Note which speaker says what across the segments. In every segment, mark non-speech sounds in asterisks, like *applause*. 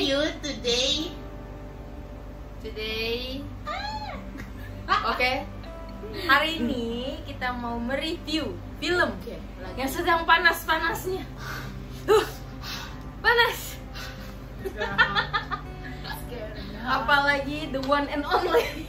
Speaker 1: you today?
Speaker 2: Today Oke Hari ini kita mau mereview film
Speaker 1: Oke, lagi.
Speaker 2: Yang sedang panas-panasnya Tuh Panas Apalagi the one and only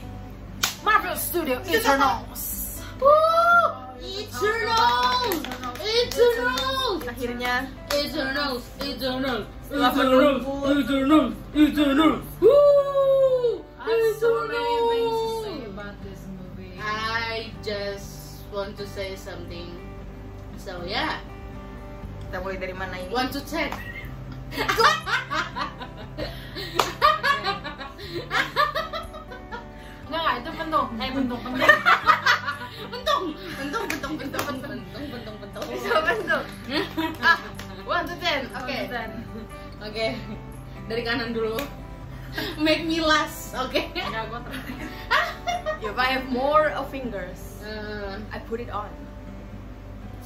Speaker 2: Marvel Studio Eternals Woo!
Speaker 1: Eternals! Eternals!
Speaker 2: Akhirnya
Speaker 1: Eternals! Eternals!
Speaker 2: setelah menunggu
Speaker 1: Eternals! Eternals! Woo! Eternals!
Speaker 3: about this movie.
Speaker 1: I just want to say something. So yeah,
Speaker 2: Kita mulai dari mana ini?
Speaker 1: want to check.
Speaker 3: Enggak, enggak, itu bentuk. Eh, bentuk, bentuk.
Speaker 1: *laughs* Bentung, bentung, bentung, bentung, bentung, bentung, bentung.
Speaker 2: Siapa tuh?
Speaker 1: Ah, one to ten. Oke.
Speaker 2: Konten.
Speaker 1: Oke, dari kanan dulu. Make me last, oke?
Speaker 3: Enggak, gua terakhir.
Speaker 2: If I have more of fingers
Speaker 1: Eh,
Speaker 2: I put it on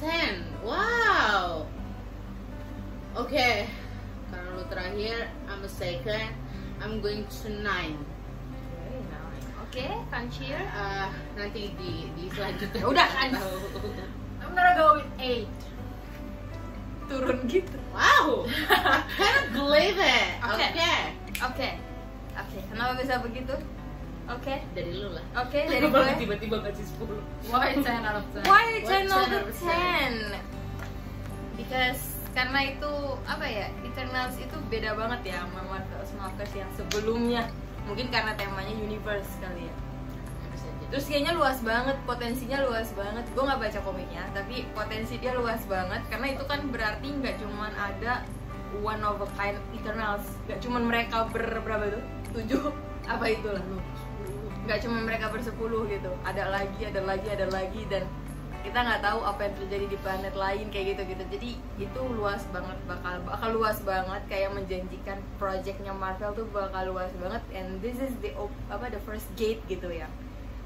Speaker 1: ten, wow. Oke, karena lu terakhir, I'm a second. I'm going to nine.
Speaker 2: Oke, Kanchir
Speaker 1: Eh, nanti di di selanjutnya.
Speaker 2: Udah, kan?
Speaker 1: Tahu.
Speaker 3: I'm gonna go with eight.
Speaker 2: Turun gitu
Speaker 1: Wow, I can't believe it. Oke,
Speaker 2: Oke. Oke Oke, kenapa bisa begitu? Oke
Speaker 1: dari lu lah.
Speaker 2: Oke, dari gue
Speaker 1: tiba-tiba kasih 10
Speaker 3: Why 10 out of
Speaker 2: Why
Speaker 3: 10?
Speaker 1: Why
Speaker 2: Eternal the
Speaker 1: 10?
Speaker 2: 10? Because karena itu apa ya Eternals itu beda banget ya sama Marvel Marvel yang sebelumnya mungkin karena temanya universe kali ya terus kayaknya luas banget potensinya luas banget gue nggak baca komiknya tapi potensi dia luas banget karena itu kan berarti nggak cuman ada one of a kind Eternals nggak cuman mereka ber berapa tuh tujuh apa itulah nggak cuma mereka bersepuluh gitu ada lagi ada lagi ada lagi dan kita nggak tahu apa yang terjadi di planet lain kayak gitu gitu jadi itu luas banget bakal bakal luas banget kayak menjanjikan projectnya Marvel tuh bakal luas banget and this is the op- apa the first gate gitu ya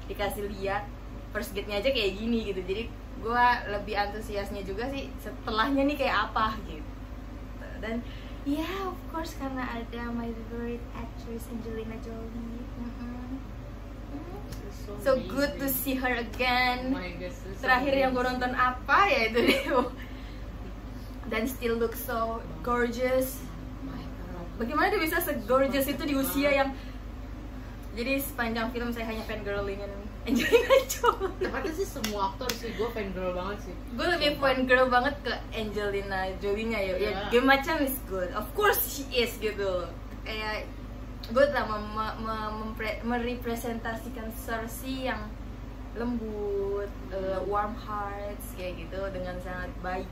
Speaker 2: dikasih lihat first gate-nya aja kayak gini gitu jadi gua lebih antusiasnya juga sih setelahnya nih kayak apa gitu dan ya of course karena ada my favorite actress Angelina Jolie Mm-hmm. Mm-mm. So good to see her
Speaker 1: Oh
Speaker 2: again. Terakhir yang gue nonton apa ya itu dia. Dan still look so gorgeous.
Speaker 1: Oh
Speaker 2: Bagaimana dia bisa se-gorgeous itu di usia yang jadi sepanjang film saya hanya fangirlingin Angelina Jolie.
Speaker 1: Tepatnya sih semua aktor sih, gue fangirl banget sih
Speaker 2: Gue lebih fangirl banget ke Angelina Jolie-nya ya. ya
Speaker 1: Iya.
Speaker 2: Game macam is good. Of course she is gitu. Kayak gue telah mem- mem- mempre- merepresentasikan Cersei yang lembut, uh, warm hearts kayak gitu dengan sangat baik.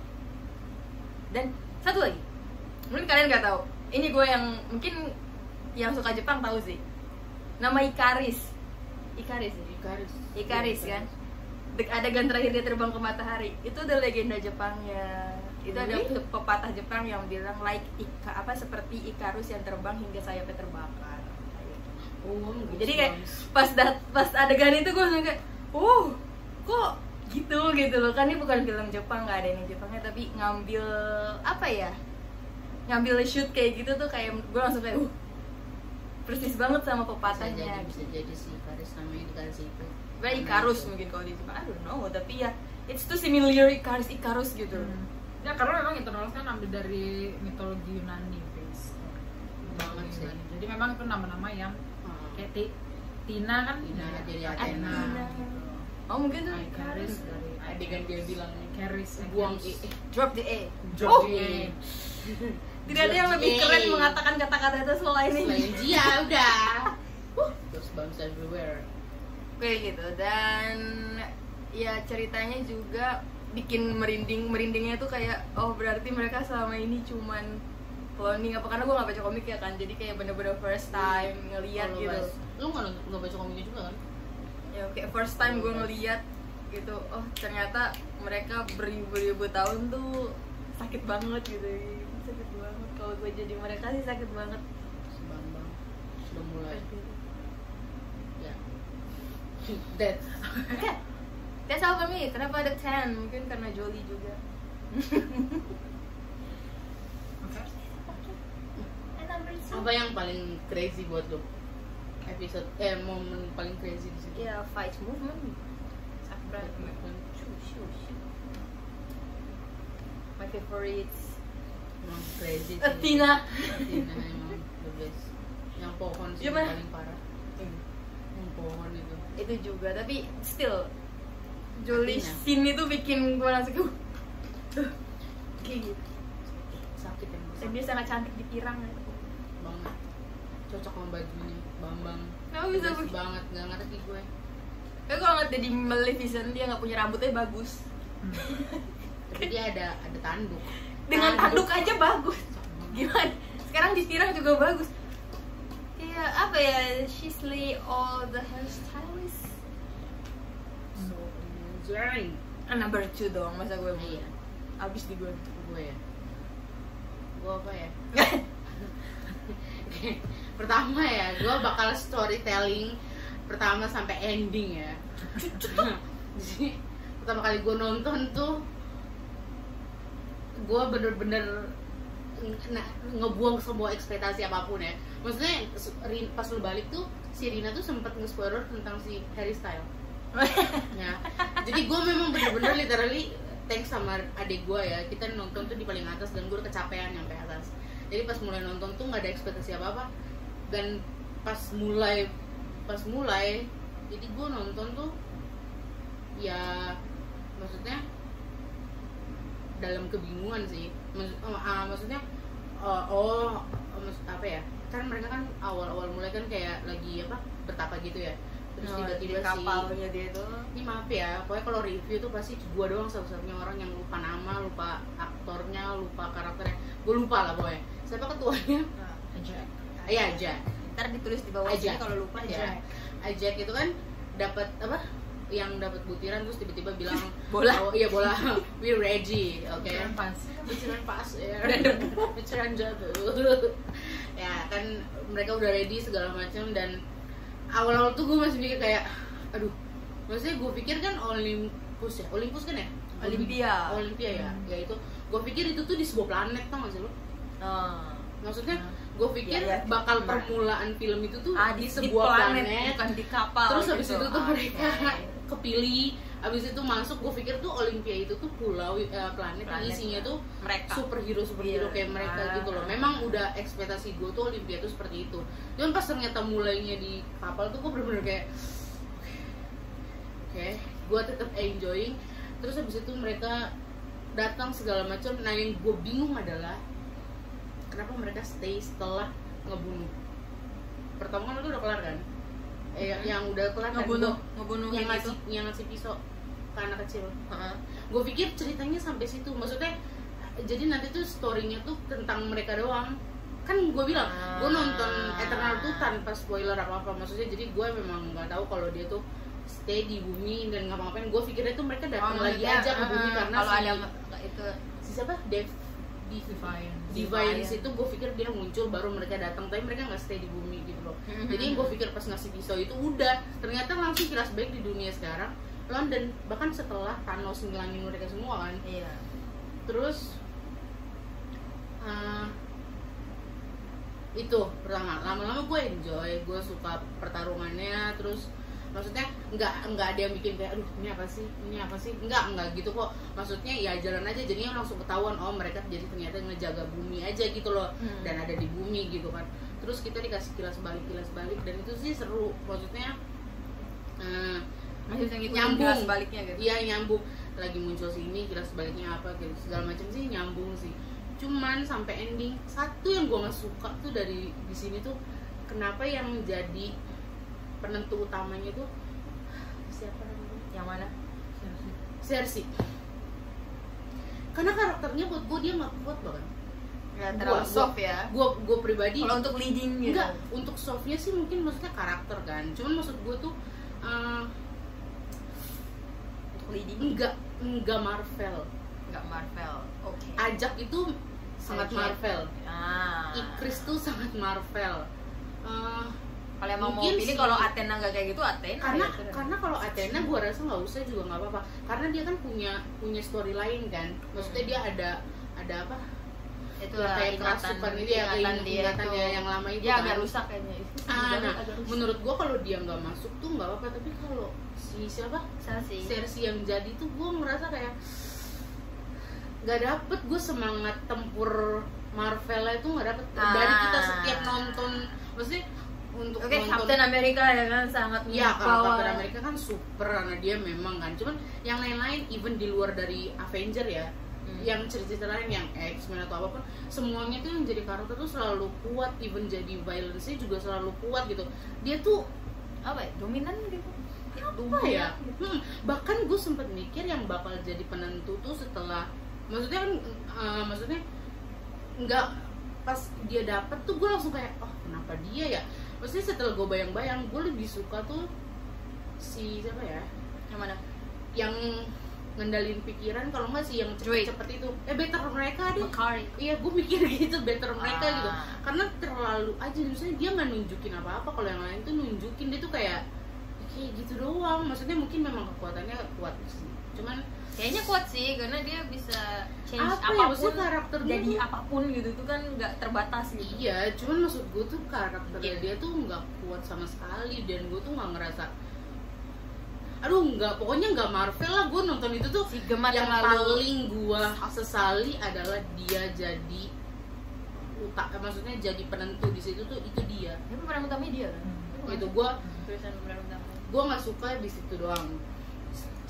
Speaker 2: Dan satu lagi, mungkin kalian nggak tahu. Ini gue yang mungkin yang suka Jepang tahu sih. Nama Ikaris. Ikaris ya?
Speaker 1: Ikaris
Speaker 2: Ikaris kan Dek adegan terakhir dia terbang ke matahari itu ada legenda Jepangnya itu ada
Speaker 1: Really?
Speaker 2: pe- pepatah Jepang yang bilang like ika apa seperti Ikarus yang terbang hingga sayapnya terbakar
Speaker 1: Oh,
Speaker 2: jadi kayak pas dat pas adegan itu gue langsung kayak uh kok gitu gitu loh kan ini bukan film Jepang nggak ada yang Jepangnya tapi ngambil apa ya ngambil shoot kayak gitu tuh kayak gue langsung kayak uh persis banget
Speaker 1: bisa
Speaker 2: sama
Speaker 1: jadi,
Speaker 2: pepatahnya
Speaker 1: bisa jadi sih Ikaris namanya Ikaris itu
Speaker 2: Sebenarnya Icarus mungkin kalau di Jepang, I don't know, tapi ya it's too similar Icarus Icarus gitu.
Speaker 3: Ya, karena memang Eternals kan ambil dari mitologi Yunani based.
Speaker 1: Banget sih. Eh,
Speaker 3: Yunani. Jadi memang itu nama-nama yang kayak Ti- Tina kan
Speaker 1: Tina
Speaker 3: ya,
Speaker 1: dari
Speaker 2: Athena.
Speaker 1: Athena
Speaker 2: Oh mungkin tuh Icarus.
Speaker 3: Icarus dari
Speaker 1: Adegan dia bilang
Speaker 3: Icarus
Speaker 1: Buang I
Speaker 3: Icarus.
Speaker 2: Drop the A.
Speaker 1: Drop
Speaker 2: oh,
Speaker 3: Iya,
Speaker 1: the A.
Speaker 2: tidak ada yang
Speaker 1: Drop
Speaker 2: lebih
Speaker 1: the A.
Speaker 2: keren mengatakan kata-kata itu selain ini.
Speaker 1: Selain dia, udah Huh, Terus bangsa everywhere
Speaker 2: Kayak gitu dan ya ceritanya juga bikin merinding merindingnya tuh kayak oh berarti mereka selama ini cuman cloning apa karena gue gak baca komik ya kan jadi kayak bener-bener first time ngeliat
Speaker 1: Kalau
Speaker 2: gitu
Speaker 1: bahas- Lu nggak nggak baca komiknya juga kan?
Speaker 2: ya kayak first time gue ngeliat gitu oh ternyata mereka beribu-ribu tahun tuh sakit banget gitu sakit banget kalau gue jadi mereka sih sakit banget
Speaker 1: Sebang bang Sudah mulai Ya That's
Speaker 2: oke that's all for me kenapa ada 10 mungkin karena Jolie juga
Speaker 3: Oke.
Speaker 2: and I'm very sorry.
Speaker 1: apa yang paling crazy buat lo episode eh momen paling crazy di situ
Speaker 2: ya fight movement sakura
Speaker 1: Momen-
Speaker 2: my Eh, favorites
Speaker 1: emang crazy sih.
Speaker 2: Athena
Speaker 1: Athena emang the best yang pohon sih
Speaker 2: Gimana?
Speaker 1: paling parah yang pohon itu
Speaker 2: itu juga tapi still Jolie
Speaker 1: Athena.
Speaker 2: scene itu bikin gue langsung *laughs* uh, uh, kayak gitu
Speaker 1: sakit yang
Speaker 2: dan dia sangat cantik di pirang
Speaker 1: banget cocok sama bajunya bambang
Speaker 2: Kenapa bisa
Speaker 1: Best
Speaker 2: begitu?
Speaker 1: banget nggak ngerti gue
Speaker 2: Tapi kalau ngeliat dia di Maleficent dia nggak punya rambutnya bagus
Speaker 1: tapi dia ada ada tanduk
Speaker 2: dengan
Speaker 1: Tanduk.
Speaker 2: tanduk aja bagus
Speaker 1: Cocok banget.
Speaker 2: Nah, gitu. *laughs* gimana sekarang di pirang juga bagus
Speaker 1: Iya,
Speaker 2: kayak apa ya she slay all the hairstylists
Speaker 1: so amazing
Speaker 2: Ah, number two dong masa gue mau
Speaker 1: Iya.
Speaker 2: abis di gue
Speaker 1: gue ya gue apa ya pertama ya gue bakal storytelling pertama sampai ending ya jadi pertama kali gue nonton tuh gue bener-bener nge- ngebuang semua ekspektasi apapun ya maksudnya se- Rin- pas lu balik tuh si Rina tuh sempet nge-spoiler tentang si Harry Style ya jadi gue memang bener-bener literally thanks sama adik gue ya kita nonton tuh di paling atas dan gue udah kecapean nyampe atas jadi pas mulai nonton tuh nggak ada ekspektasi apa apa dan pas mulai pas mulai jadi gue nonton tuh ya maksudnya dalam kebingungan sih Maksud- eh, ah, maksudnya eh, oh eh, maksud apa ya kan mereka kan awal-awal mulai kan kayak lagi apa bertapa gitu ya
Speaker 2: Oh,
Speaker 1: terus tiba-tiba
Speaker 2: di
Speaker 1: si
Speaker 2: kapalnya dia itu
Speaker 1: ini maaf ya, pokoknya kalau review tuh pasti gua doang satu-satunya orang yang lupa nama, lupa aktornya, lupa karakternya. Gua lupa lah pokoknya. Siapa ketuanya?
Speaker 3: Jack.
Speaker 1: Iya aja,
Speaker 2: ntar ditulis di bawah
Speaker 1: Aja. Iya.
Speaker 2: sini kalau lupa
Speaker 1: aja,
Speaker 2: aja
Speaker 1: aja itu kan dapat apa? Yang dapat butiran terus tiba-tiba bilang
Speaker 2: Bola.
Speaker 1: Oh, iya bola. We ready, oke?
Speaker 3: Keren pas.
Speaker 1: butiran pasir butiran jatuh ya kan mereka udah ready segala macam dan awal-awal tuh gue masih mikir kayak aduh maksudnya gue pikir kan Olympus ya Olympus kan ya
Speaker 2: Olympia.
Speaker 1: Olympia ya
Speaker 3: Hmm.
Speaker 1: ya itu gue pikir itu tuh di sebuah planet tau gak sih lo
Speaker 2: Ah.
Speaker 1: maksudnya
Speaker 3: Nah,
Speaker 1: gue pikir
Speaker 2: Ya, ya.
Speaker 1: bakal
Speaker 2: Nah.
Speaker 1: permulaan film itu tuh
Speaker 2: ah
Speaker 1: di sebuah planet,
Speaker 2: bukan di kapal
Speaker 1: terus
Speaker 2: gitu.
Speaker 1: habis itu tuh
Speaker 2: Ah,
Speaker 1: *laughs* mereka
Speaker 2: oke.
Speaker 1: kepilih habis itu masuk gue pikir tuh Olympia itu tuh pulau eh, planet, yang
Speaker 2: Planet.
Speaker 1: isinya tuh
Speaker 2: mereka
Speaker 1: superhero superhero
Speaker 2: Iya.
Speaker 1: kayak mereka
Speaker 2: Ah.
Speaker 1: gitu loh memang udah ekspektasi gue tuh Olympia tuh seperti itu cuman pas ternyata mulainya di kapal tuh gue bener-bener kayak oke gue tetap enjoying terus habis itu mereka datang segala macam nah yang gue bingung adalah kenapa mereka stay setelah ngebunuh pertama kan itu udah kelar kan eh, yang- yang udah kelar kan?
Speaker 2: ngebunuh
Speaker 1: Gua-
Speaker 2: ngebunuh
Speaker 1: yang
Speaker 2: gitu
Speaker 1: ngasih yang ngasih pisau ke anak kecil
Speaker 2: Heeh.
Speaker 1: gue pikir ceritanya sampai situ maksudnya jadi nanti tuh storynya tuh tentang mereka doang kan gue bilang gue nonton
Speaker 2: Ah.
Speaker 1: Eternal tuh tanpa spoiler apa apa maksudnya jadi gue memang nggak tahu kalau dia tuh stay di bumi dan ngapa-ngapain gue pikirnya tuh mereka datang
Speaker 2: Oh,
Speaker 1: lagi
Speaker 2: iya.
Speaker 1: aja ke bumi
Speaker 2: Ah,
Speaker 1: karena
Speaker 2: kalau
Speaker 1: si,
Speaker 2: ada nggak itu
Speaker 1: si siapa Dev
Speaker 3: Divine.
Speaker 1: Divine
Speaker 2: Divine.
Speaker 1: itu gue pikir dia muncul baru mereka datang tapi mereka nggak stay di bumi gitu
Speaker 2: Mm-hmm.
Speaker 1: loh jadi yang gue pikir pas ngasih pisau itu udah ternyata langsung kilas baik di dunia sekarang London bahkan setelah Thanos ngilangin mereka semua kan
Speaker 2: iya
Speaker 1: terus eh, itu pertama lama-lama gue enjoy gue suka pertarungannya terus maksudnya nggak nggak ada yang bikin kayak aduh ini apa sih ini apa sih nggak nggak gitu kok maksudnya ya jalan aja jadinya langsung ketahuan oh mereka jadi ternyata ngejaga bumi aja gitu loh
Speaker 2: Hmm.
Speaker 1: dan ada di bumi gitu kan terus kita dikasih kilas balik kilas balik dan itu sih seru maksudnya eh,
Speaker 2: masih bisa ngikutin
Speaker 1: Nyambung.
Speaker 2: gelas baliknya gitu
Speaker 1: Iya nyambung lagi muncul sini kira sebaliknya apa kira segala macam sih nyambung sih cuman sampai ending satu yang gue nggak suka tuh dari di sini tuh kenapa yang jadi penentu utamanya tuh siapa namanya
Speaker 2: yang mana
Speaker 1: Cersei karena karakternya buat gue dia nggak kuat banget
Speaker 2: nggak
Speaker 1: Gua-
Speaker 2: terlalu
Speaker 1: gua-
Speaker 2: soft ya
Speaker 1: gue gue pribadi
Speaker 2: kalau untuk leading gitu
Speaker 1: Enggak, untuk softnya sih mungkin maksudnya karakter kan cuman maksud gue tuh eh,
Speaker 2: untuk leading
Speaker 1: enggak enggak Marvel
Speaker 2: nggak Marvel oke
Speaker 1: ajak itu sangat
Speaker 2: Oke.
Speaker 1: Marvel
Speaker 2: ah
Speaker 1: Ikris tuh sangat Marvel. Eh,
Speaker 2: kalau emang mau
Speaker 1: Mungkin
Speaker 2: pilih
Speaker 1: sih.
Speaker 2: kalau Athena nggak kayak gitu Athena
Speaker 1: karena
Speaker 2: ya, terus.
Speaker 1: karena kalau Athena gue rasa nggak usah juga nggak apa-apa. Karena dia kan punya punya story lain kan. Maksudnya dia ada ada apa?
Speaker 2: itu
Speaker 1: kayak keras super gitu ya kayak ingatan dia yang lama itu kan.
Speaker 2: ya agak rusak kayaknya itu
Speaker 1: Ah, nah,
Speaker 2: agak rusak.
Speaker 1: menurut gua kalau dia nggak masuk tuh nggak apa-apa tapi kalau si siapa
Speaker 2: Sasi
Speaker 1: Sersi yang jadi tuh gua merasa kayak nggak dapet gue semangat tempur Marvel itu nggak dapet dari kita
Speaker 2: Ah.
Speaker 1: setiap nonton maksudnya untuk nonton
Speaker 2: Oke, Captain America ya kan sangat
Speaker 1: Iya, kalau
Speaker 2: power.
Speaker 1: Captain America kan super karena dia memang kan. Cuman yang lain-lain even di luar dari Avenger ya,
Speaker 2: Hmm.
Speaker 1: yang cerita-cerita lain yang X-Men atau apapun, semuanya tuh yang jadi karakter tuh selalu kuat, even jadi violence-nya juga selalu kuat gitu. Dia tuh
Speaker 2: apa ya? Dominan gitu.
Speaker 1: apa ya? Hmm, bahkan gue sempet mikir yang bakal jadi penentu tuh setelah maksudnya kan eh, maksudnya nggak pas dia dapet tuh gue langsung kayak oh kenapa dia ya maksudnya setelah gue bayang-bayang gue lebih suka tuh si siapa ya
Speaker 2: Yang mana?
Speaker 1: yang ngendalin pikiran kalau nggak sih yang
Speaker 2: Joy.
Speaker 1: cepet-cepet itu eh better mereka deh
Speaker 2: Makari.
Speaker 1: iya gue mikir *laughs* gitu better mereka
Speaker 2: Ah.
Speaker 1: gitu karena terlalu aja misalnya dia nggak nunjukin apa-apa kalau yang lain tuh nunjukin dia tuh kayak "Ya kayak gitu doang maksudnya mungkin memang kekuatannya kuat sih cuman
Speaker 2: Kayaknya kuat sih karena dia bisa change
Speaker 1: Apa ya,
Speaker 2: apapun
Speaker 1: maksudnya karakter dia
Speaker 2: jadi
Speaker 1: tuh-
Speaker 2: apapun gitu tuh kan nggak terbatas gitu.
Speaker 1: iya cuman maksud gue tuh karakternya
Speaker 2: Iya.
Speaker 1: dia tuh nggak kuat sama sekali dan gue tuh nggak ngerasa aduh nggak pokoknya nggak Marvel lah gue nonton itu tuh
Speaker 2: Si Gemma
Speaker 1: yang
Speaker 2: terlalu
Speaker 1: paling gua sesali adalah dia jadi utak eh, maksudnya jadi penentu di situ tuh itu dia
Speaker 2: Dia pemeran utama dia kan.
Speaker 3: Hmm.
Speaker 1: itu gua
Speaker 2: Tulisan pemeran utama.
Speaker 1: gua nggak suka di situ doang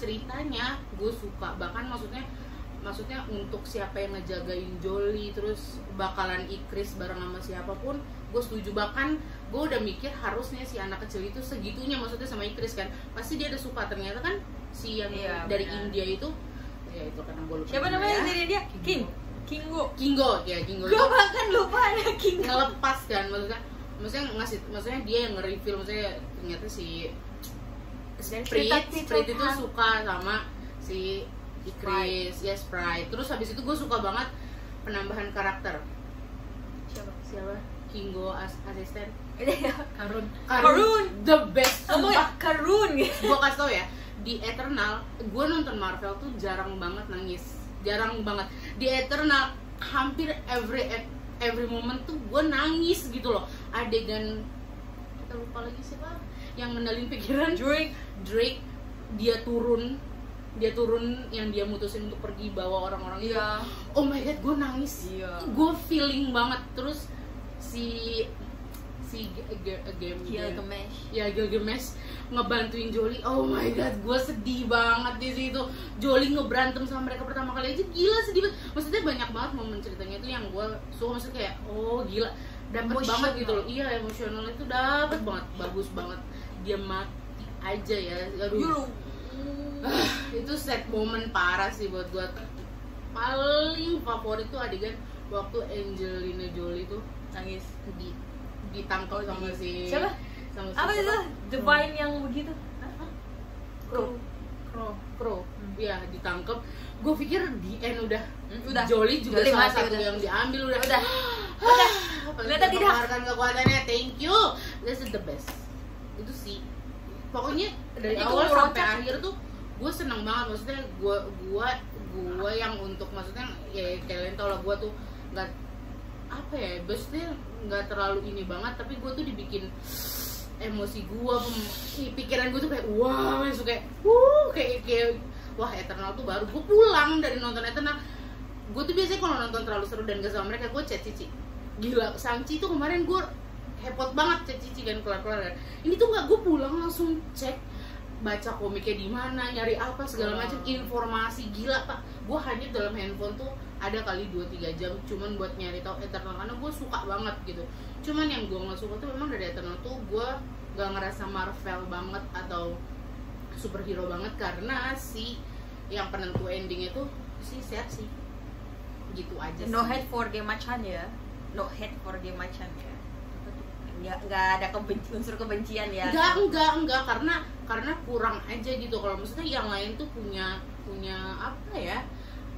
Speaker 1: ceritanya gue suka bahkan maksudnya maksudnya untuk siapa yang ngejagain Jolly terus bakalan Ikris bareng sama siapapun gue setuju bahkan gue udah mikir harusnya si anak kecil itu segitunya maksudnya sama Ikris kan pasti dia ada suka ternyata kan si yang
Speaker 2: Iya,
Speaker 1: dari
Speaker 2: benar.
Speaker 1: India itu ya itu karena gue lupa
Speaker 2: Siapa namanya
Speaker 1: namanya.
Speaker 2: jadi dia? King. Iya. Kingo.
Speaker 1: Kingo ya Kingo
Speaker 2: Gue
Speaker 1: itu
Speaker 2: bahkan lupa ada Kingo.
Speaker 1: ngelepas kan maksudnya maksudnya ngasih maksudnya dia yang nge-reveal maksudnya ternyata si Sprit Sprit itu suka sama si Ikris ya Sprite terus habis itu gue suka banget penambahan karakter
Speaker 2: Siapa?
Speaker 1: siapa Kingo as asisten
Speaker 3: Karun
Speaker 2: Karun.
Speaker 1: the best
Speaker 2: Oh
Speaker 1: sumpah
Speaker 2: ya, Karun gitu.
Speaker 1: gue kasih tau ya di Eternal gue nonton Marvel tuh jarang banget nangis jarang banget di Eternal hampir every e, every moment tuh gue nangis gitu loh adegan kita lupa lagi siapa yang ngendalin pikiran
Speaker 2: Drake.
Speaker 1: Drake dia turun dia turun yang dia mutusin untuk pergi bawa orang-orang itu
Speaker 2: Iya.
Speaker 1: oh my god gue nangis
Speaker 2: Iya.
Speaker 1: gue feeling banget terus si si G- G- game
Speaker 2: Iya, Gilgamesh.
Speaker 1: ya Gilgamesh ngebantuin Jolly oh my god gue sedih banget di situ Jolly ngeberantem sama mereka pertama kali aja gila sedih banget maksudnya banyak banget momen ceritanya itu yang gue suka maksudnya kayak oh gila dapet
Speaker 2: Emosional.
Speaker 1: banget gitu loh iya emosional itu dapet banget bagus banget dia mati aja ya aduh
Speaker 2: Yulu.
Speaker 1: Ah, itu sad moment parah sih buat gue paling favorit tuh adegan waktu Angelina Jolie tuh
Speaker 2: Nangis.
Speaker 1: di ditangkap sama si
Speaker 2: Siapa?
Speaker 1: sama si
Speaker 2: Apa itu?
Speaker 1: siapa?
Speaker 2: Divine yang begitu.
Speaker 1: Crow.
Speaker 3: Crow.
Speaker 1: Pro,
Speaker 3: Hmm.
Speaker 1: ya ditangkap. Gue pikir di end udah,
Speaker 2: Hmm, udah.
Speaker 1: Jolly juga
Speaker 2: Jolly
Speaker 1: salah
Speaker 2: mati,
Speaker 1: satu
Speaker 2: udah.
Speaker 1: yang diambil udah. Ah,
Speaker 2: Udah.
Speaker 1: Ternyata
Speaker 2: Ternyata tidak.
Speaker 1: kekuatannya. Thank you. This is the best. Itu sih. Pokoknya dari
Speaker 2: Itu
Speaker 1: awal
Speaker 2: ngerocak.
Speaker 1: sampai akhir tuh gue seneng banget maksudnya gue gue gue yang untuk maksudnya ya kalian tau lah gue tuh nggak apa ya maksudnya nggak terlalu ini banget tapi gue tuh dibikin emosi gua pem- i- pikiran gua tuh kayak wah langsung kayak wuh kayak kayak wah Eternal tuh baru gua pulang dari nonton Eternal gua tuh biasanya kalau nonton terlalu seru dan gak sama mereka gua chat Cici gila Sangci tuh kemarin gua hepot banget chat Cici kan kelar kelar ini tuh nggak gua pulang langsung cek baca komiknya di mana nyari apa segala macam informasi gila pak gua hanya dalam handphone tuh ada kali 2-3 jam cuman buat nyari tahu Eternal karena gua suka banget gitu cuman yang gue nggak suka tuh memang dari Eternal tuh gue gak ngerasa Marvel banget atau superhero banget karena si yang penentu endingnya tuh si Cersei gitu aja
Speaker 2: No
Speaker 1: sih.
Speaker 2: hate for game macan ya. No hate for game macan ya. Nggak, nggak ada kebenci, unsur kebencian ya.
Speaker 1: enggak enggak enggak karena karena kurang aja gitu kalau maksudnya yang lain tuh punya punya apa ya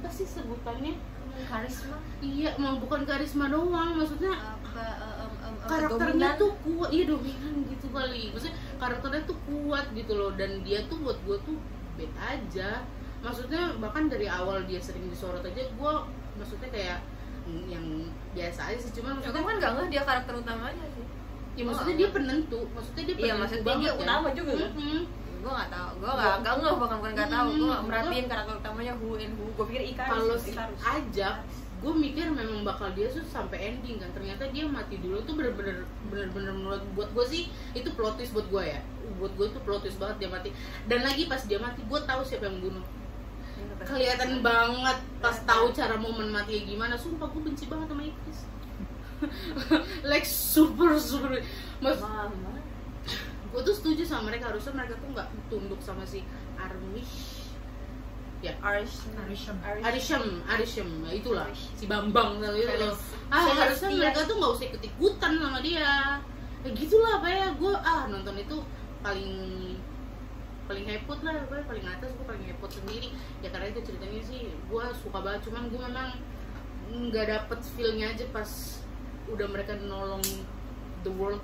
Speaker 1: apa sih sebutannya
Speaker 2: Karisma.
Speaker 1: iya mau bukan karisma doang maksudnya
Speaker 2: Apa, eh, em, em, em,
Speaker 1: karakternya
Speaker 2: dominan.
Speaker 1: tuh kuat iya dominan gitu kali maksudnya karakternya tuh kuat gitu loh dan dia tuh buat gue tuh bad aja maksudnya bahkan dari awal dia sering disorot aja gue maksudnya kayak yang biasa aja sih cuman
Speaker 2: Aku
Speaker 1: maksudnya
Speaker 2: kan gak ngeh dia karakter utamanya sih
Speaker 1: ya maksudnya dia penentu maksudnya dia
Speaker 2: Iya,
Speaker 1: penentu
Speaker 2: maksudnya dia
Speaker 1: banget,
Speaker 2: utama juga, kan?
Speaker 1: Mm-mm.
Speaker 2: Gue gak tau, gue gak, gak ngeh bahkan bukan gak tau Gue
Speaker 1: Hmm,
Speaker 2: gak merhatiin
Speaker 1: gua-
Speaker 2: karakter utamanya who and who Gue pikir Ikarus
Speaker 1: kalau si
Speaker 2: Ikarus.
Speaker 1: ajak gue mikir memang bakal dia tuh sampai ending kan ternyata dia mati dulu tuh bener-bener bener-bener menurut buat gue sih itu plot twist buat gue ya buat gue tuh plot twist banget dia mati dan lagi pas dia mati gue tahu siapa yang bunuh kelihatan banget pas tahu cara momen matinya gimana sumpah gue benci banget sama Iblis *laughs* like super super mas
Speaker 2: Mama
Speaker 1: gue tuh setuju sama mereka harusnya mereka tuh nggak tunduk sama si Armish
Speaker 2: Arish
Speaker 3: Arisham.
Speaker 1: Arisham Arisham nah, itulah
Speaker 2: Arisham.
Speaker 1: si Bambang tau gitu loh ah
Speaker 2: Celestia.
Speaker 1: harusnya mereka tuh nggak usah ikut ikutan sama dia ya gitulah apa ya gue ah nonton itu paling paling hepot lah gue paling atas gue paling hepot sendiri ya karena itu ceritanya sih gue suka banget cuman gue memang nggak dapet feelnya aja pas udah mereka nolong the world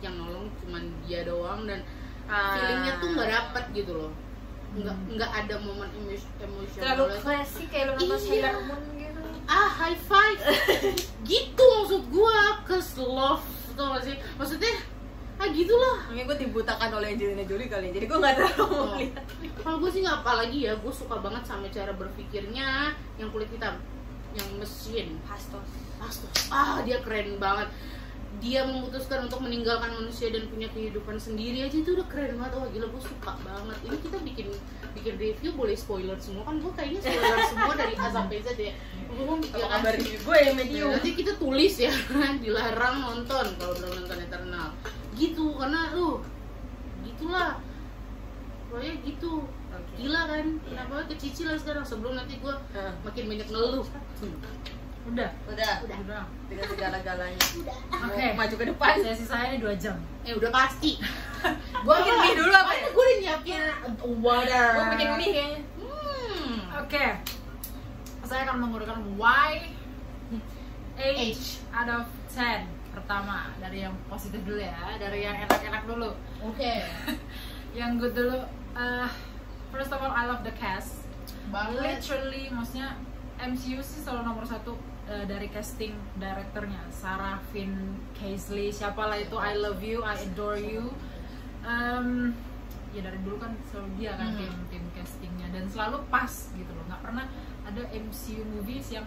Speaker 1: yang nolong cuman dia doang dan feelingnya tuh nggak dapet gitu loh nggak
Speaker 3: Hmm.
Speaker 1: nggak ada momen emos- emosional
Speaker 2: Terlalu classy kayak lu
Speaker 1: Iya.
Speaker 2: nonton Sailor Moon gitu
Speaker 1: ah high five gitu maksud gua cause love tau gak sih maksudnya ah gitulah
Speaker 2: Mungkin gue dibutakan oleh Angelina Jolie kali ya, Jadi gue gak terlalu
Speaker 1: Oh.
Speaker 2: melihat
Speaker 1: kalau gua sih nggak apalagi ya gua suka banget sama cara berpikirnya yang kulit hitam yang mesin
Speaker 2: Pastos
Speaker 1: Astro. ah dia keren banget dia memutuskan untuk meninggalkan manusia dan punya kehidupan sendiri aja itu udah keren banget wah gila gue suka banget ini kita bikin bikin review boleh spoiler semua kan gue kayaknya spoiler semua dari A sampai Z ya Gua
Speaker 2: Apa
Speaker 1: mikir, ah,
Speaker 2: kabar review gue ya
Speaker 3: Iya.
Speaker 1: Ya,
Speaker 2: medium
Speaker 1: nanti kita tulis ya *laughs* dilarang nonton kalau belum nonton Eternal gitu karena uh gitulah pokoknya gitu
Speaker 2: Oke.
Speaker 1: gila kan
Speaker 2: Iya.
Speaker 1: kenapa kecicil lah sekarang sebelum nanti gue
Speaker 2: Hah.
Speaker 1: makin banyak ngeluh
Speaker 3: Udah.
Speaker 2: Udah
Speaker 1: Udah.
Speaker 3: Udah.
Speaker 2: Dengan segala-galanya Mau
Speaker 3: Oke.
Speaker 2: maju ke depan
Speaker 3: Sesi saya ini 2 jam.
Speaker 1: *laughs* eh udah pasti
Speaker 3: *laughs*
Speaker 2: Gue bikin mie dulu apa ya?
Speaker 1: makanya gue udah nyiapin water
Speaker 2: Gue bikin mie kayaknya
Speaker 1: hmm.
Speaker 3: Oke. Saya akan mengurutkan Y H
Speaker 1: H.
Speaker 3: out of 10 pertama dari yang positif dulu ya, dari yang enak-enak dulu.
Speaker 1: oke
Speaker 3: Yang good dulu eh, first of all I love the cast.
Speaker 1: banget
Speaker 3: Literally maksudnya MCU sih selalu nomor satu eh, dari casting directornya Sarah Finn Casely siapalah itu I love you I adore you Em, ya dari dulu kan selalu dia kan
Speaker 1: Hmm.
Speaker 3: tim tim castingnya dan selalu pas gitu loh nggak pernah ada MCU movies yang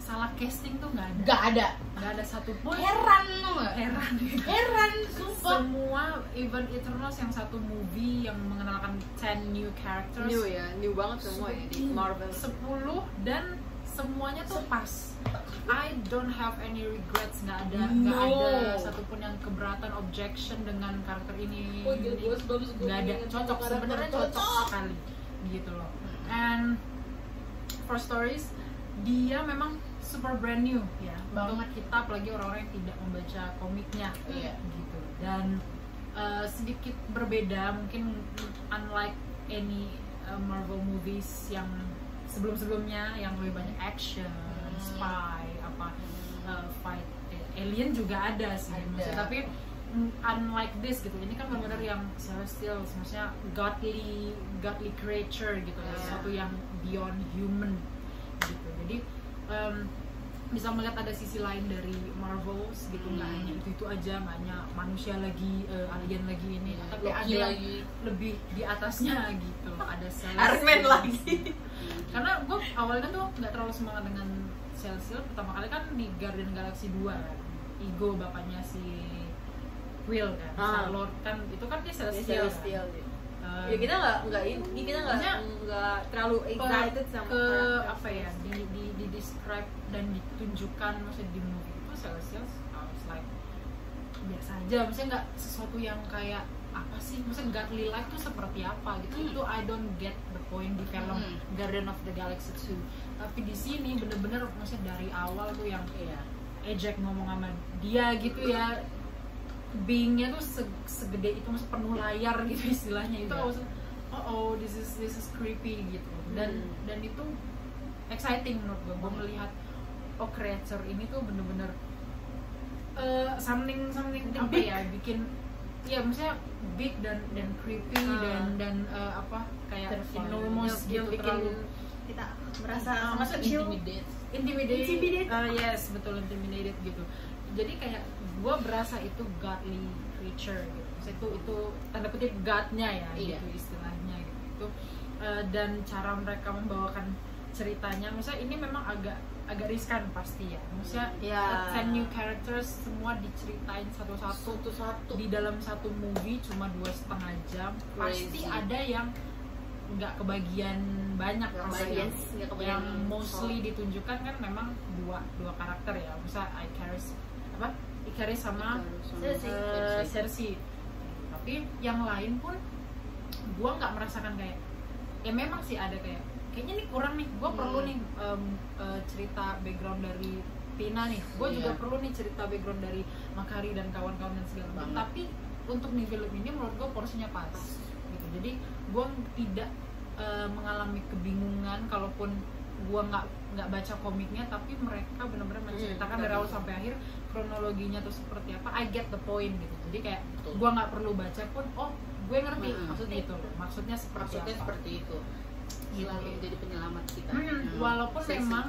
Speaker 3: salah casting tuh nggak ada
Speaker 1: gak ada
Speaker 3: nggak ada satupun
Speaker 1: heran tau nggak?
Speaker 3: heran gitu.
Speaker 1: heran sumpah
Speaker 3: semua even Eternals yang satu movie yang mengenalkan 10 new characters
Speaker 2: New ya, new banget semua ya di Marvel
Speaker 3: 10 dan semuanya tuh pas. I don't have any regrets, nggak ada nggak
Speaker 1: No.
Speaker 3: ada satupun yang keberatan objection dengan karakter ini.
Speaker 1: Oh, gila, gua sebelum sebelum
Speaker 3: nggak ada
Speaker 1: ingat
Speaker 3: cocok
Speaker 1: karakter
Speaker 3: sebenarnya
Speaker 1: cocok.
Speaker 3: cocok sekali gitu loh. And for stories dia memang super brand new ya untuk
Speaker 1: Banget.
Speaker 3: kita apalagi orang-orang yang tidak membaca komiknya
Speaker 1: Hmm. Iya.
Speaker 3: gitu dan uh, sedikit berbeda mungkin unlike any uh, Marvel movies yang sebelum-sebelumnya yang lebih banyak action,
Speaker 1: Hmm.
Speaker 3: spy, apa uh, fight eh, alien juga ada sih
Speaker 1: Ada.
Speaker 3: maksudnya tapi mm, unlike this gitu ini kan benar-benar yang celestial maksudnya godly godly creature gitu
Speaker 1: Iya.
Speaker 3: sesuatu yang beyond human gitu jadi em, bisa melihat ada sisi lain dari Marvel gitu nggak
Speaker 1: Hmm.
Speaker 3: hanya itu itu aja nggak hanya manusia lagi eh, alien lagi ini tapi
Speaker 1: Iya.
Speaker 3: ada
Speaker 1: Loki
Speaker 3: yang
Speaker 1: lagi
Speaker 3: lebih di atasnya gitu ada
Speaker 2: Iron Man lagi.
Speaker 3: karena gue awalnya kan tuh nggak terlalu semangat dengan Celsius pertama kali kan di Guardian Galaxy 2 kan Igo bapaknya si Will kan
Speaker 1: Ah.
Speaker 3: Star Lord kan itu kan dia
Speaker 2: Dia
Speaker 3: Celestial,
Speaker 2: Celestial
Speaker 3: kan?
Speaker 2: dia.
Speaker 3: Um,
Speaker 2: Ya kita nggak nggak ini kita nggak
Speaker 3: Maksudnya,
Speaker 2: nggak terlalu excited sama
Speaker 3: ke
Speaker 2: karakter
Speaker 3: apa ya di, di, di describe dan ditunjukkan maksudnya di movie itu Celestial I was like biasa aja maksudnya nggak sesuatu yang kayak apa sih maksudnya godly life tuh seperti apa gitu
Speaker 1: Hmm.
Speaker 3: itu I don't get the point di film
Speaker 1: Hmm.
Speaker 3: Garden of the Galaxy 2 tapi di sini bener-bener maksudnya dari awal tuh yang
Speaker 1: iya
Speaker 3: ejek ngomong sama dia gitu ya beingnya tuh se- segede itu mas penuh layar gitu istilahnya itu
Speaker 1: Iya.
Speaker 3: aku langsung, oh oh this is this is creepy gitu dan
Speaker 2: Hmm.
Speaker 3: dan itu exciting menurut gue gue melihat oh creature ini tuh bener-bener eh, something something apa
Speaker 2: Big.
Speaker 3: ya bikin ya maksudnya big dan dan creepy
Speaker 2: Ah.
Speaker 3: dan dan eh, apa kayak
Speaker 2: Terrifying. Yang-
Speaker 3: enormous
Speaker 2: yang
Speaker 3: gitu
Speaker 2: bikin
Speaker 3: terlalu
Speaker 2: kita merasa masuk show
Speaker 3: intimidate intimidate
Speaker 2: Intimidate.
Speaker 3: Uh, yes betul intimidated gitu jadi kayak gue berasa itu godly creature gitu Maksudnya itu itu tanda kutip godnya ya
Speaker 1: Iya.
Speaker 3: gitu istilahnya gitu itu uh, dan cara mereka membawakan ceritanya misalnya ini memang agak agak riskan pasti ya misalnya
Speaker 1: Iya.
Speaker 2: Ya.
Speaker 3: ten new characters semua diceritain satu-satu
Speaker 1: satu
Speaker 3: di dalam satu movie cuma dua setengah jam
Speaker 1: Crazy.
Speaker 3: pasti ada yang nggak kebagian banyak
Speaker 1: Nggak
Speaker 3: pasti.
Speaker 1: kebagian,
Speaker 2: Iya,
Speaker 1: nggak kebagian
Speaker 3: yang mostly ditunjukkan kan memang dua dua karakter ya misal Icarus apa Icarus sama
Speaker 1: Iya
Speaker 2: Cersei.
Speaker 3: eh, Cersei tapi yang lain pun gua nggak merasakan kayak ya memang sih ada kayak kayaknya nih kurang nih gua
Speaker 1: Hmm.
Speaker 3: perlu nih em, eh, cerita background dari Tina nih gue juga
Speaker 1: Iya.
Speaker 3: perlu nih cerita background dari Makari dan kawan-kawan dan segala macam
Speaker 1: Banget.
Speaker 3: tapi untuk nih film ini menurut gue porsinya pas gitu jadi gue tidak eh, mengalami kebingungan kalaupun gue nggak nggak baca komiknya tapi mereka benar-benar
Speaker 1: Hmm,
Speaker 3: menceritakan dari
Speaker 1: betul.
Speaker 3: awal sampai akhir kronologinya tuh seperti apa I get the point gitu jadi kayak
Speaker 1: Betul.
Speaker 3: gue nggak perlu baca pun oh gue ngerti
Speaker 1: Mm-mm.
Speaker 3: maksudnya itu loh. maksudnya seperti
Speaker 1: maksudnya
Speaker 3: apa Iya. Gitu.
Speaker 1: seperti itu selalu menjadi penyelamat kita
Speaker 3: Hmm,
Speaker 1: Hmm.
Speaker 3: walaupun
Speaker 1: Seksi.
Speaker 3: memang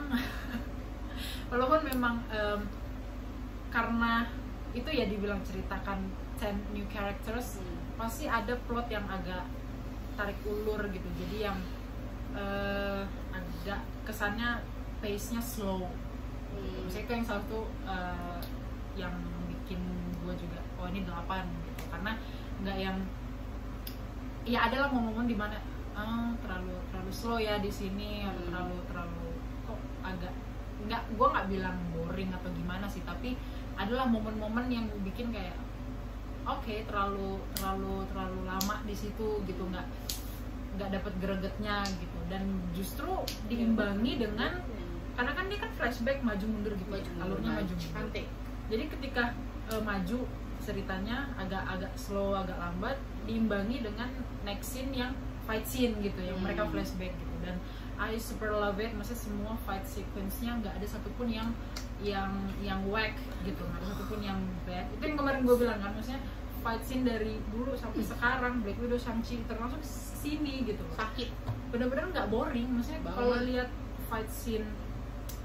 Speaker 3: *laughs* walaupun memang em, karena itu ya dibilang ceritakan 10 new characters
Speaker 1: Hmm.
Speaker 3: pasti ada plot yang agak tarik ulur gitu jadi yang eh, agak kesannya pace nya slow
Speaker 1: Hmm.
Speaker 3: misalnya gitu. itu yang satu eh, yang bikin gue juga oh ini 8 gitu karena nggak yang ya adalah momen-momen dimana ah terlalu terlalu slow ya di sini atau
Speaker 1: Hmm.
Speaker 3: terlalu terlalu kok agak nggak gue nggak bilang boring atau gimana sih tapi adalah momen-momen yang bikin kayak oke terlalu terlalu terlalu lama di situ gitu nggak nggak dapet gregetnya gitu dan justru diimbangi dengan
Speaker 1: Hmm.
Speaker 3: karena kan dia kan flashback maju mundur gitu
Speaker 1: Maju mundur,
Speaker 3: alurnya maju
Speaker 1: maju.
Speaker 3: mundur
Speaker 1: cantik
Speaker 3: jadi ketika eh, maju ceritanya agak-agak slow agak lambat diimbangi dengan next scene yang fight scene gitu yang
Speaker 1: Hmm.
Speaker 3: mereka flashback gitu dan I super love it maksudnya semua fight sequence-nya nggak ada satupun yang yang yang whack gitu nggak ada satupun yang bad itu yang kemarin gue bilang kan maksudnya fight scene dari dulu sampai
Speaker 1: Hmm.
Speaker 3: sekarang Black Widow, Shang-Chi termasuk sini gitu loh
Speaker 1: sakit
Speaker 3: bener-bener nggak boring maksudnya
Speaker 1: Banget.
Speaker 3: kalau lihat fight scene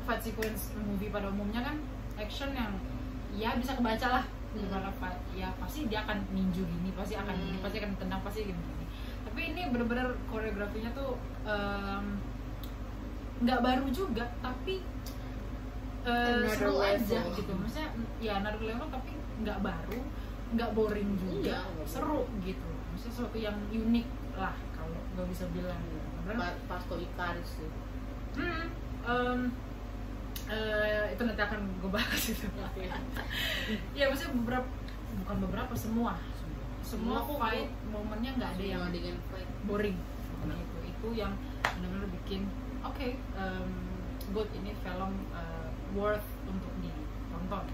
Speaker 3: fight sequence movie pada umumnya kan action yang ya bisa kebaca lah gimana fight. ya pasti dia akan ninju gini pasti akan gini
Speaker 1: Hmm.
Speaker 3: pasti akan tendang pasti gini, gini. tapi ini bener-bener koreografinya tuh em, nggak baru juga tapi eh,
Speaker 1: Another
Speaker 3: seru aja
Speaker 1: level.
Speaker 3: gitu maksudnya ya another level tapi nggak baru nggak boring juga
Speaker 1: Iya, nggak
Speaker 3: seru gitu maksudnya sesuatu yang unik lah kalau nggak bisa bilang gitu. Bener?
Speaker 1: Pa- Pasto Ikaris sih
Speaker 3: Hmm, em, eh, itu nanti akan gue bahas itu ya maksudnya beberapa bukan beberapa semua semua
Speaker 1: Semua kok,
Speaker 3: fight momennya nggak ada yang
Speaker 1: yang dengan fight
Speaker 3: boring Nah, itu itu yang benar-benar bikin oke em, good ini film eh, worth untuk ditonton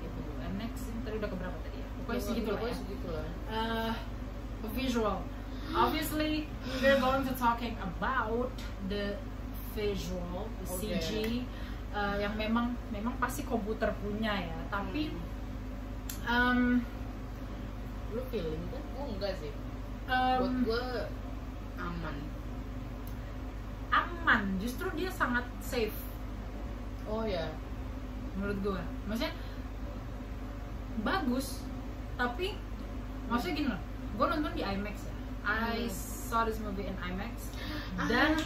Speaker 3: gitu And next ini tadi udah keberapa tadi ya pokoknya segitu lah ya
Speaker 1: segitu lah
Speaker 3: uh, visual. Obviously, we're going to talking about the visual, the
Speaker 1: Okay.
Speaker 3: CG uh, yang memang memang pasti komputer punya ya. Tapi
Speaker 1: Hmm.
Speaker 3: um,
Speaker 1: lu feeling kan gue enggak sih buat
Speaker 3: um,
Speaker 1: gue aman
Speaker 3: aman, justru dia sangat safe
Speaker 1: oh ya
Speaker 3: iya. menurut gua. Maksudnya bagus, tapi maksudnya gini loh. Gua nonton di IMAX ya. I
Speaker 1: Hmm. Ah.
Speaker 3: saw this movie in IMAX dan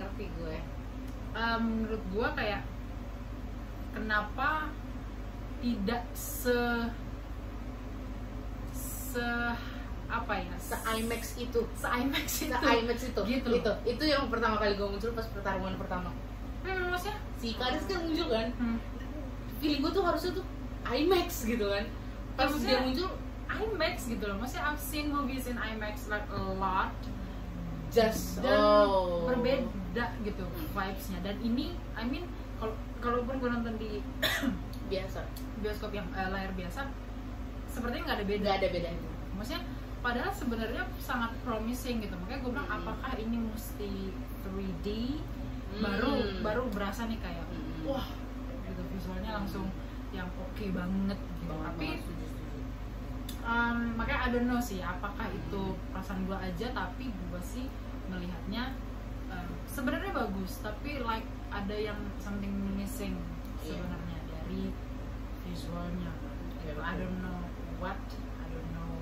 Speaker 1: ngerti gue
Speaker 3: Eh, menurut gua kayak kenapa tidak se se apa ya
Speaker 1: se IMAX itu
Speaker 3: se IMAX
Speaker 1: se
Speaker 3: itu
Speaker 1: IMAX itu
Speaker 3: Gitu.
Speaker 1: itu itu yang pertama kali gue muncul pas pertarungan pertama
Speaker 3: Hmm, maksudnya
Speaker 1: si Ikaris kan muncul kan
Speaker 3: hmm,
Speaker 1: feeling gue tuh harusnya tuh IMAX gitu kan pas
Speaker 3: Maksudnya-
Speaker 1: dia muncul
Speaker 3: IMAX gitu loh maksudnya I've seen movies in IMAX like a lot
Speaker 1: just
Speaker 3: dan
Speaker 1: oh
Speaker 3: berbeda gitu vibesnya dan ini I mean kalau kalaupun gue nonton di
Speaker 1: biasa
Speaker 3: bioskop yang eh, layar biasa sepertinya nggak ada beda
Speaker 1: nggak ada bedanya
Speaker 3: maksudnya padahal sebenarnya sangat promising gitu makanya gue
Speaker 1: Hmm.
Speaker 3: bilang apakah ini mesti 3D baru
Speaker 1: Hmm.
Speaker 3: baru berasa nih kayak
Speaker 1: Hmm.
Speaker 3: wah gitu visualnya langsung yang oke banget gitu
Speaker 1: Banget,
Speaker 3: tapi
Speaker 1: banget, setuju, setuju.
Speaker 3: em, makanya I don't know sih apakah itu perasaan gue aja tapi gue sih melihatnya um, sebenarnya bagus tapi like ada yang something missing
Speaker 1: Iya.
Speaker 3: sebenarnya dari visualnya
Speaker 1: Iya,
Speaker 3: I
Speaker 1: betul.
Speaker 3: don't know what I don't know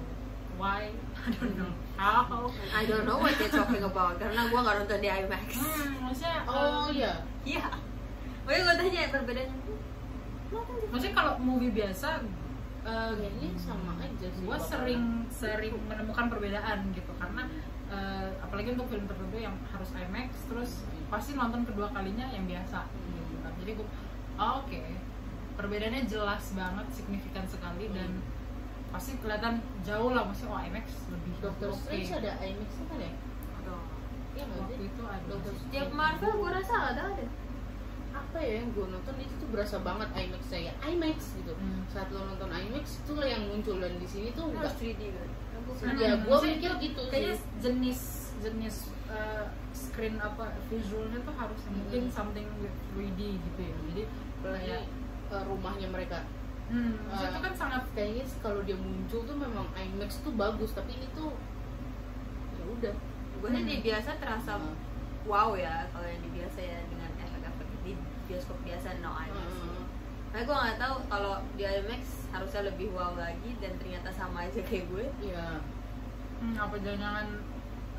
Speaker 3: why I don't know how
Speaker 2: I don't know what they're talking about karena gue nggak nonton di IMAX.
Speaker 3: hmm, maksudnya
Speaker 1: oh
Speaker 3: um,
Speaker 1: iya
Speaker 2: Iya. Makanya gue tanya perbedaannya.
Speaker 3: maksudnya kalau movie biasa uh,
Speaker 1: eh, kayaknya sama aja sih
Speaker 3: gue sering sering menemukan perbedaan gitu karena eh, apalagi untuk film tertentu yang harus IMAX terus pasti nonton kedua kalinya yang biasa gitu kan. jadi gue oh, oke perbedaannya jelas banget signifikan sekali dan pasti kelihatan jauh lah masih oh IMAX lebih
Speaker 1: Dokter
Speaker 3: oke.
Speaker 1: Strange ada IMAX apa deh?
Speaker 2: Aduh.
Speaker 1: Iya nggak
Speaker 3: waktu
Speaker 1: sih?
Speaker 3: itu ada
Speaker 1: Dokter Strange.
Speaker 2: Tiap Marvel gue rasa ada ada.
Speaker 1: apa ya yang gue nonton itu tuh berasa banget IMAX saya IMAX gitu
Speaker 3: Hmm.
Speaker 1: saat lo nonton IMAX itu yang muncul dan di sini tuh enggak
Speaker 2: Harus 3D kan.
Speaker 1: ya
Speaker 3: Hmm.
Speaker 1: gue
Speaker 3: Maksudnya
Speaker 1: mikir gitu
Speaker 3: kayaknya
Speaker 1: sih
Speaker 2: Iya.
Speaker 3: jenis jenis eh, screen apa visualnya tuh harus
Speaker 1: Hmm.
Speaker 3: mungkin something with 3D gitu ya jadi
Speaker 1: apalagi
Speaker 3: kayak
Speaker 1: eh, rumahnya mereka
Speaker 3: hmm, maksudnya
Speaker 2: Ah.
Speaker 3: itu kan sangat
Speaker 1: kayaknya sih kalau dia muncul tuh memang IMAX tuh bagus tapi ini tuh ya udah
Speaker 2: Gue sih di biasa terasa
Speaker 1: Heeh.
Speaker 2: wow ya kalau yang di biasa ya dengan efek-efek di bioskop biasa no IMAX.
Speaker 1: Heeh.
Speaker 2: Nah gue nggak tahu kalau di IMAX harusnya lebih wow lagi dan ternyata sama aja kayak gue.
Speaker 1: Iya.
Speaker 3: Hmm, apa jangan-jangan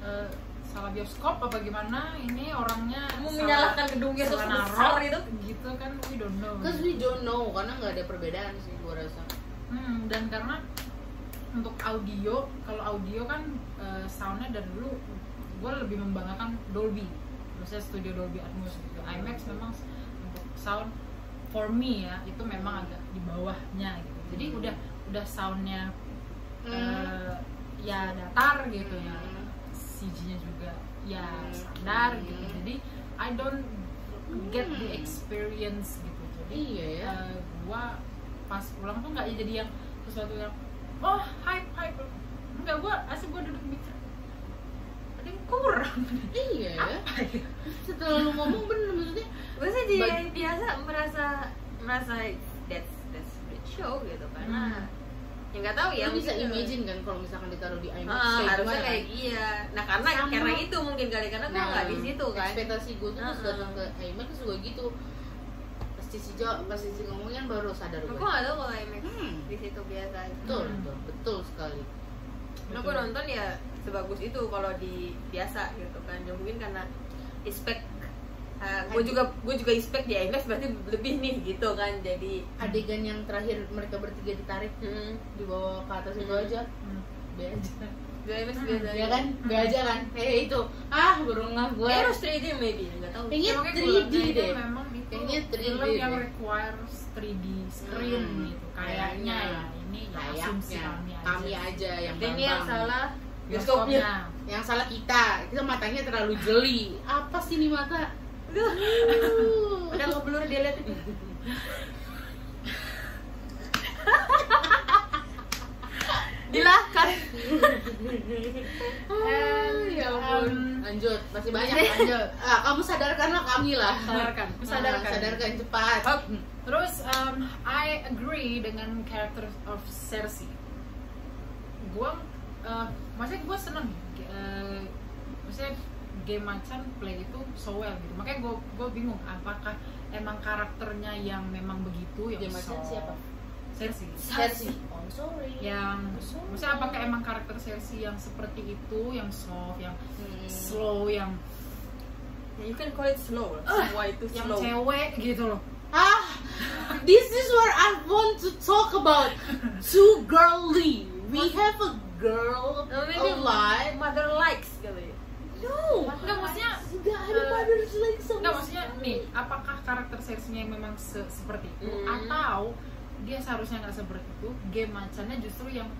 Speaker 3: eh, salah bioskop apa gimana? Ini orangnya
Speaker 2: Mau
Speaker 3: salah-
Speaker 2: menyalahkan gedungnya terus
Speaker 3: salah
Speaker 2: besar
Speaker 3: naruh,
Speaker 2: gitu.
Speaker 3: Gitu kan we don't know.
Speaker 1: Cause we don't know karena nggak ada perbedaan sih gue rasa.
Speaker 3: Hmm, dan karena untuk audio, kalau audio kan eh, soundnya dari dulu gue lebih membanggakan Dolby, maksudnya studio Dolby Atmos gitu. IMAX memang untuk sound for me ya itu memang agak di bawahnya gitu. Jadi
Speaker 1: Hmm.
Speaker 3: udah udah soundnya eh,
Speaker 2: Hmm.
Speaker 3: ya datar gitu ya.
Speaker 1: Hmm.
Speaker 3: CG-nya juga ya
Speaker 1: Hmm.
Speaker 3: standar gitu.
Speaker 1: Hmm.
Speaker 3: Jadi I don't get the experience gitu. Jadi
Speaker 1: Iya ya.
Speaker 3: eh, gua pas pulang tuh nggak jadi yang sesuatu yang oh hype hype. Enggak gua asli gua duduk mikir ada yang kurang.
Speaker 2: Hmm.
Speaker 1: Iya ya.
Speaker 3: Apa ya?
Speaker 1: Setelah lu ngomong bener maksudnya.
Speaker 2: gue sih di
Speaker 1: Bag-
Speaker 2: biasa merasa merasa that's that's a great show gitu karena ya nggak tahu ya
Speaker 1: Hmm. lu bisa
Speaker 2: mungkin-
Speaker 1: imagine kan kalau misalkan ditaruh di IMAX
Speaker 2: Ah,
Speaker 1: kayak
Speaker 2: harusnya
Speaker 1: gimana?
Speaker 2: kayak iya nah karena
Speaker 1: Sama.
Speaker 2: karena itu mungkin kali karena gue nggak di situ kan ah.
Speaker 1: ekspektasi gue tuh pas
Speaker 2: Heeh.
Speaker 1: datang ke IMAX juga gitu pasti si Jo pasti si ngomongnya baru sadar gue
Speaker 2: aku nggak tahu kalau IMAX
Speaker 1: Hmm.
Speaker 2: di situ biasa
Speaker 1: betul
Speaker 3: Hmm.
Speaker 1: betul betul sekali
Speaker 2: karena gue nonton ya sebagus itu kalau di biasa gitu kan ya mungkin karena expect gue juga gue juga expect di IMAX berarti lebih nih gitu kan jadi
Speaker 1: adegan yang terakhir mereka bertiga ditarik
Speaker 2: hmm,
Speaker 1: dibawa ke atas itu
Speaker 2: Hmm.
Speaker 1: aja
Speaker 3: Hmm.
Speaker 1: be aja
Speaker 2: di IMAX
Speaker 3: Hmm,
Speaker 2: biasa
Speaker 1: ya kan be aja kan eh itu ah burung gue
Speaker 2: Kayaknya Ya, harus 3D maybe nggak tahu
Speaker 1: Kayaknya
Speaker 3: Makanya
Speaker 1: 3D
Speaker 3: gua-
Speaker 1: Iya, deh.
Speaker 3: Memang itu
Speaker 1: Kayaknya 3D
Speaker 3: film yang
Speaker 1: deh.
Speaker 3: requires 3D screen
Speaker 1: Hmm,
Speaker 3: gitu. Kayaknya ya
Speaker 1: kayaknya.
Speaker 3: ini ya asumsi
Speaker 1: kayaknya
Speaker 3: kami aja.
Speaker 1: kami aja yang
Speaker 2: Dan ini yang
Speaker 1: bambang.
Speaker 2: salah
Speaker 3: bioskopnya.
Speaker 2: bioskopnya.
Speaker 1: yang salah kita kita matanya terlalu jeli apa sih nih mata
Speaker 2: Udah ngeblur dia lihat itu. Dilahkan.
Speaker 1: Ah, ya ampun.
Speaker 3: Um,
Speaker 1: lanjut masih banyak lanjut Ah, kamu sadarkanlah kami lah
Speaker 3: Sadarkan,
Speaker 1: Ah,
Speaker 2: sadarkan.
Speaker 1: sadarkan cepat
Speaker 3: Oh, Terus um, I agree dengan character of Cersei. Gua uh, maksudnya gua seneng uh, maksudnya game macan play itu so well gitu. Makanya gua gua bingung apakah emang karakternya yang memang begitu yang
Speaker 1: Game Macan
Speaker 3: soft?
Speaker 1: siapa?
Speaker 3: Cersei.
Speaker 1: Versi. I'm sorry.
Speaker 2: Ya,
Speaker 3: yang maksudnya apakah emang karakter Cersei yang seperti itu yang soft yang
Speaker 1: Hmm.
Speaker 3: slow yang
Speaker 2: Ya, You can call it slow. Semua itu
Speaker 3: yang
Speaker 2: slow.
Speaker 3: cewek gitu loh
Speaker 1: Ah, this is what I want to talk about. Too girly. We have a girl
Speaker 2: No, Oh, maybe
Speaker 1: alive.
Speaker 2: Mother likes kali.
Speaker 1: No.
Speaker 3: Enggak, maksudnya,
Speaker 1: Enggak ada
Speaker 3: eh,
Speaker 1: mothers like sama
Speaker 3: Enggak maksudnya
Speaker 1: sekali.
Speaker 3: nih, apakah karakter Cersei-nya yang memang se- seperti itu
Speaker 2: Hmm.
Speaker 3: atau dia seharusnya nggak seperti itu? Game macannya justru yang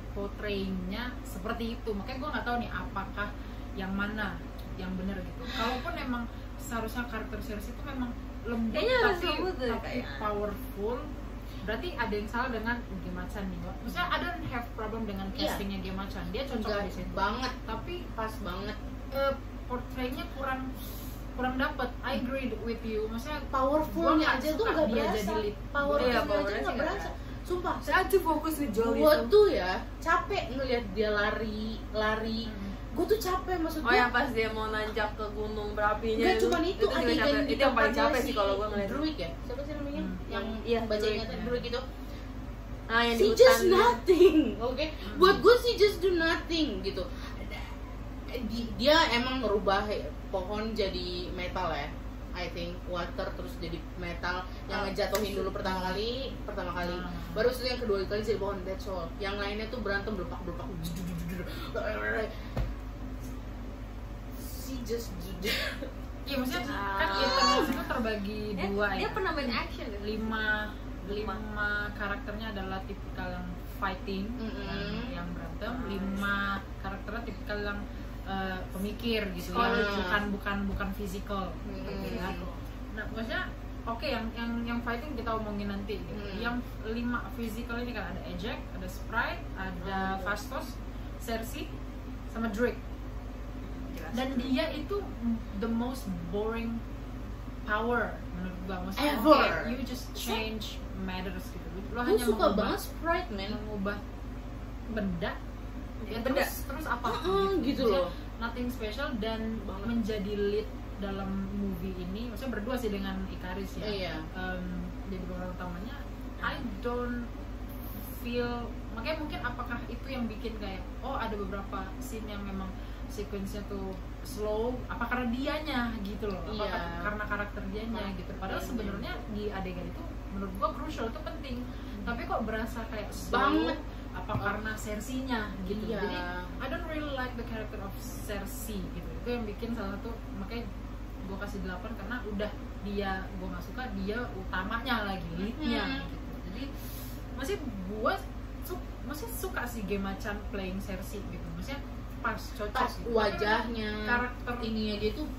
Speaker 3: memportraynya seperti itu. Makanya gue nggak tahu nih apakah yang mana yang benar gitu. Kalaupun emang seharusnya karakter Cersei itu memang lembut
Speaker 2: Kayaknya harus
Speaker 3: tapi,
Speaker 2: lembut deh,
Speaker 3: tapi
Speaker 2: kayaknya.
Speaker 3: powerful. Berarti ada yang salah dengan game macan nih, Mbak. Maksudnya I don't have problem dengan
Speaker 1: Iya.
Speaker 3: castingnya game macan. Dia cocok
Speaker 1: Enggak
Speaker 3: di situ.
Speaker 1: banget,
Speaker 3: Tapi
Speaker 1: pas banget.
Speaker 3: eh, portraynya kurang kurang dapat. I agree with you. Maksudnya
Speaker 1: Powerfulnya
Speaker 3: Gua nggak
Speaker 1: aja tuh
Speaker 3: suka
Speaker 1: nggak
Speaker 3: dia
Speaker 1: berasa.
Speaker 3: jadi lead.
Speaker 1: Powerfulnya
Speaker 2: Iya,
Speaker 1: aja
Speaker 2: powernya
Speaker 1: nggak
Speaker 2: sih nggak
Speaker 1: berasa. Sumpah,
Speaker 2: Saya tuh fokus with Jolie.
Speaker 1: gue tuh ya capek ngelihat dia lari, lari,
Speaker 3: Hmm.
Speaker 1: gue tuh capek maksud
Speaker 2: Oh
Speaker 1: gue
Speaker 2: yang pas dia mau nanjak ke gunung berapinya
Speaker 1: Gak cuma itu,
Speaker 2: juga
Speaker 1: adegan
Speaker 2: capek.
Speaker 1: di
Speaker 2: Iya, itu yang paling
Speaker 1: tempatnya
Speaker 2: capek sih
Speaker 1: si
Speaker 2: kalau gue ngeliat.
Speaker 1: Druid ya? Siapa sih namanya?
Speaker 3: Hmm.
Speaker 1: Yang
Speaker 2: Iya,
Speaker 1: baca
Speaker 2: Druid.
Speaker 1: ingatan Druid gitu
Speaker 2: Nah yang di
Speaker 1: She
Speaker 2: hutan. Hmm.
Speaker 1: just nothing, oke? Buat gue sih just do nothing gitu Di- Dia emang ngerubah pohon jadi metal ya I think water terus jadi metal yang
Speaker 2: Ah.
Speaker 1: ngejatuhin dulu pertama kali pertama kali
Speaker 3: Ah.
Speaker 1: baru itu yang kedua kali jadi pohon that's all yang lainnya tuh berantem berpak berpak
Speaker 2: Hmm.
Speaker 1: she just did
Speaker 3: Iya maksudnya
Speaker 2: Ah.
Speaker 3: kan Eternals itu terbagi
Speaker 2: Eh,
Speaker 3: dua
Speaker 2: dia
Speaker 3: ya.
Speaker 2: pernah main action kan?
Speaker 3: lima
Speaker 2: Lima.
Speaker 3: lima karakternya adalah tipikal yang fighting
Speaker 1: Mm-mm.
Speaker 3: yang- yang berantem lima karakternya tipikal yang eh, pemikir gitu ya
Speaker 1: Scholar.
Speaker 3: bukan bukan bukan fisikal
Speaker 2: Hmm,
Speaker 3: gitu ya.
Speaker 1: Mm.
Speaker 3: nah maksudnya oke yang yang yang fighting kita omongin nanti gitu.
Speaker 1: Mm.
Speaker 3: yang lima fisikal ini kan ada Ejek ada Sprite ada
Speaker 1: Mm.
Speaker 3: Fastos Cersei sama Drake
Speaker 2: Jelas.
Speaker 3: dan dia itu the most boring power menurut gua maksudnya
Speaker 1: Ever.
Speaker 3: oke, you just change matters gitu lo
Speaker 1: gue
Speaker 3: hanya
Speaker 1: suka
Speaker 3: mengubah,
Speaker 1: banget sprite man
Speaker 3: mengubah benda ya
Speaker 2: Beda.
Speaker 3: terus terus apa
Speaker 1: Heeh, Iya, gitu
Speaker 3: Maksudnya
Speaker 1: loh.
Speaker 3: nothing special dan
Speaker 1: Banget.
Speaker 3: menjadi lead dalam movie ini maksudnya berdua sih dengan Ikaris ya
Speaker 1: Iya.
Speaker 3: Em, jadi pemeran utamanya I don't feel makanya mungkin apakah itu yang bikin kayak oh ada beberapa scene yang memang sequence-nya tuh slow apa karena dianya gitu loh apa
Speaker 1: Iya.
Speaker 3: kar- karena karakter dianya gitu padahal
Speaker 1: Dianya.
Speaker 3: sebenarnya di adegan itu menurut gua crucial itu penting tapi kok berasa kayak slow
Speaker 1: Hmm. Banget.
Speaker 3: apa karena sensinya gitu
Speaker 1: Iya.
Speaker 3: jadi I don't really like the character of Cersei gitu itu yang bikin salah satu makanya gue kasih 8 karena udah dia gue nggak suka dia utamanya lagi leadnya
Speaker 1: Mhm.
Speaker 3: gitu jadi masih gue su- masih suka sih game macan playing Cersei gitu maksudnya pas cocok
Speaker 1: pas
Speaker 3: gitu. Tapi
Speaker 1: wajahnya
Speaker 3: karakter
Speaker 1: ininya dia tuh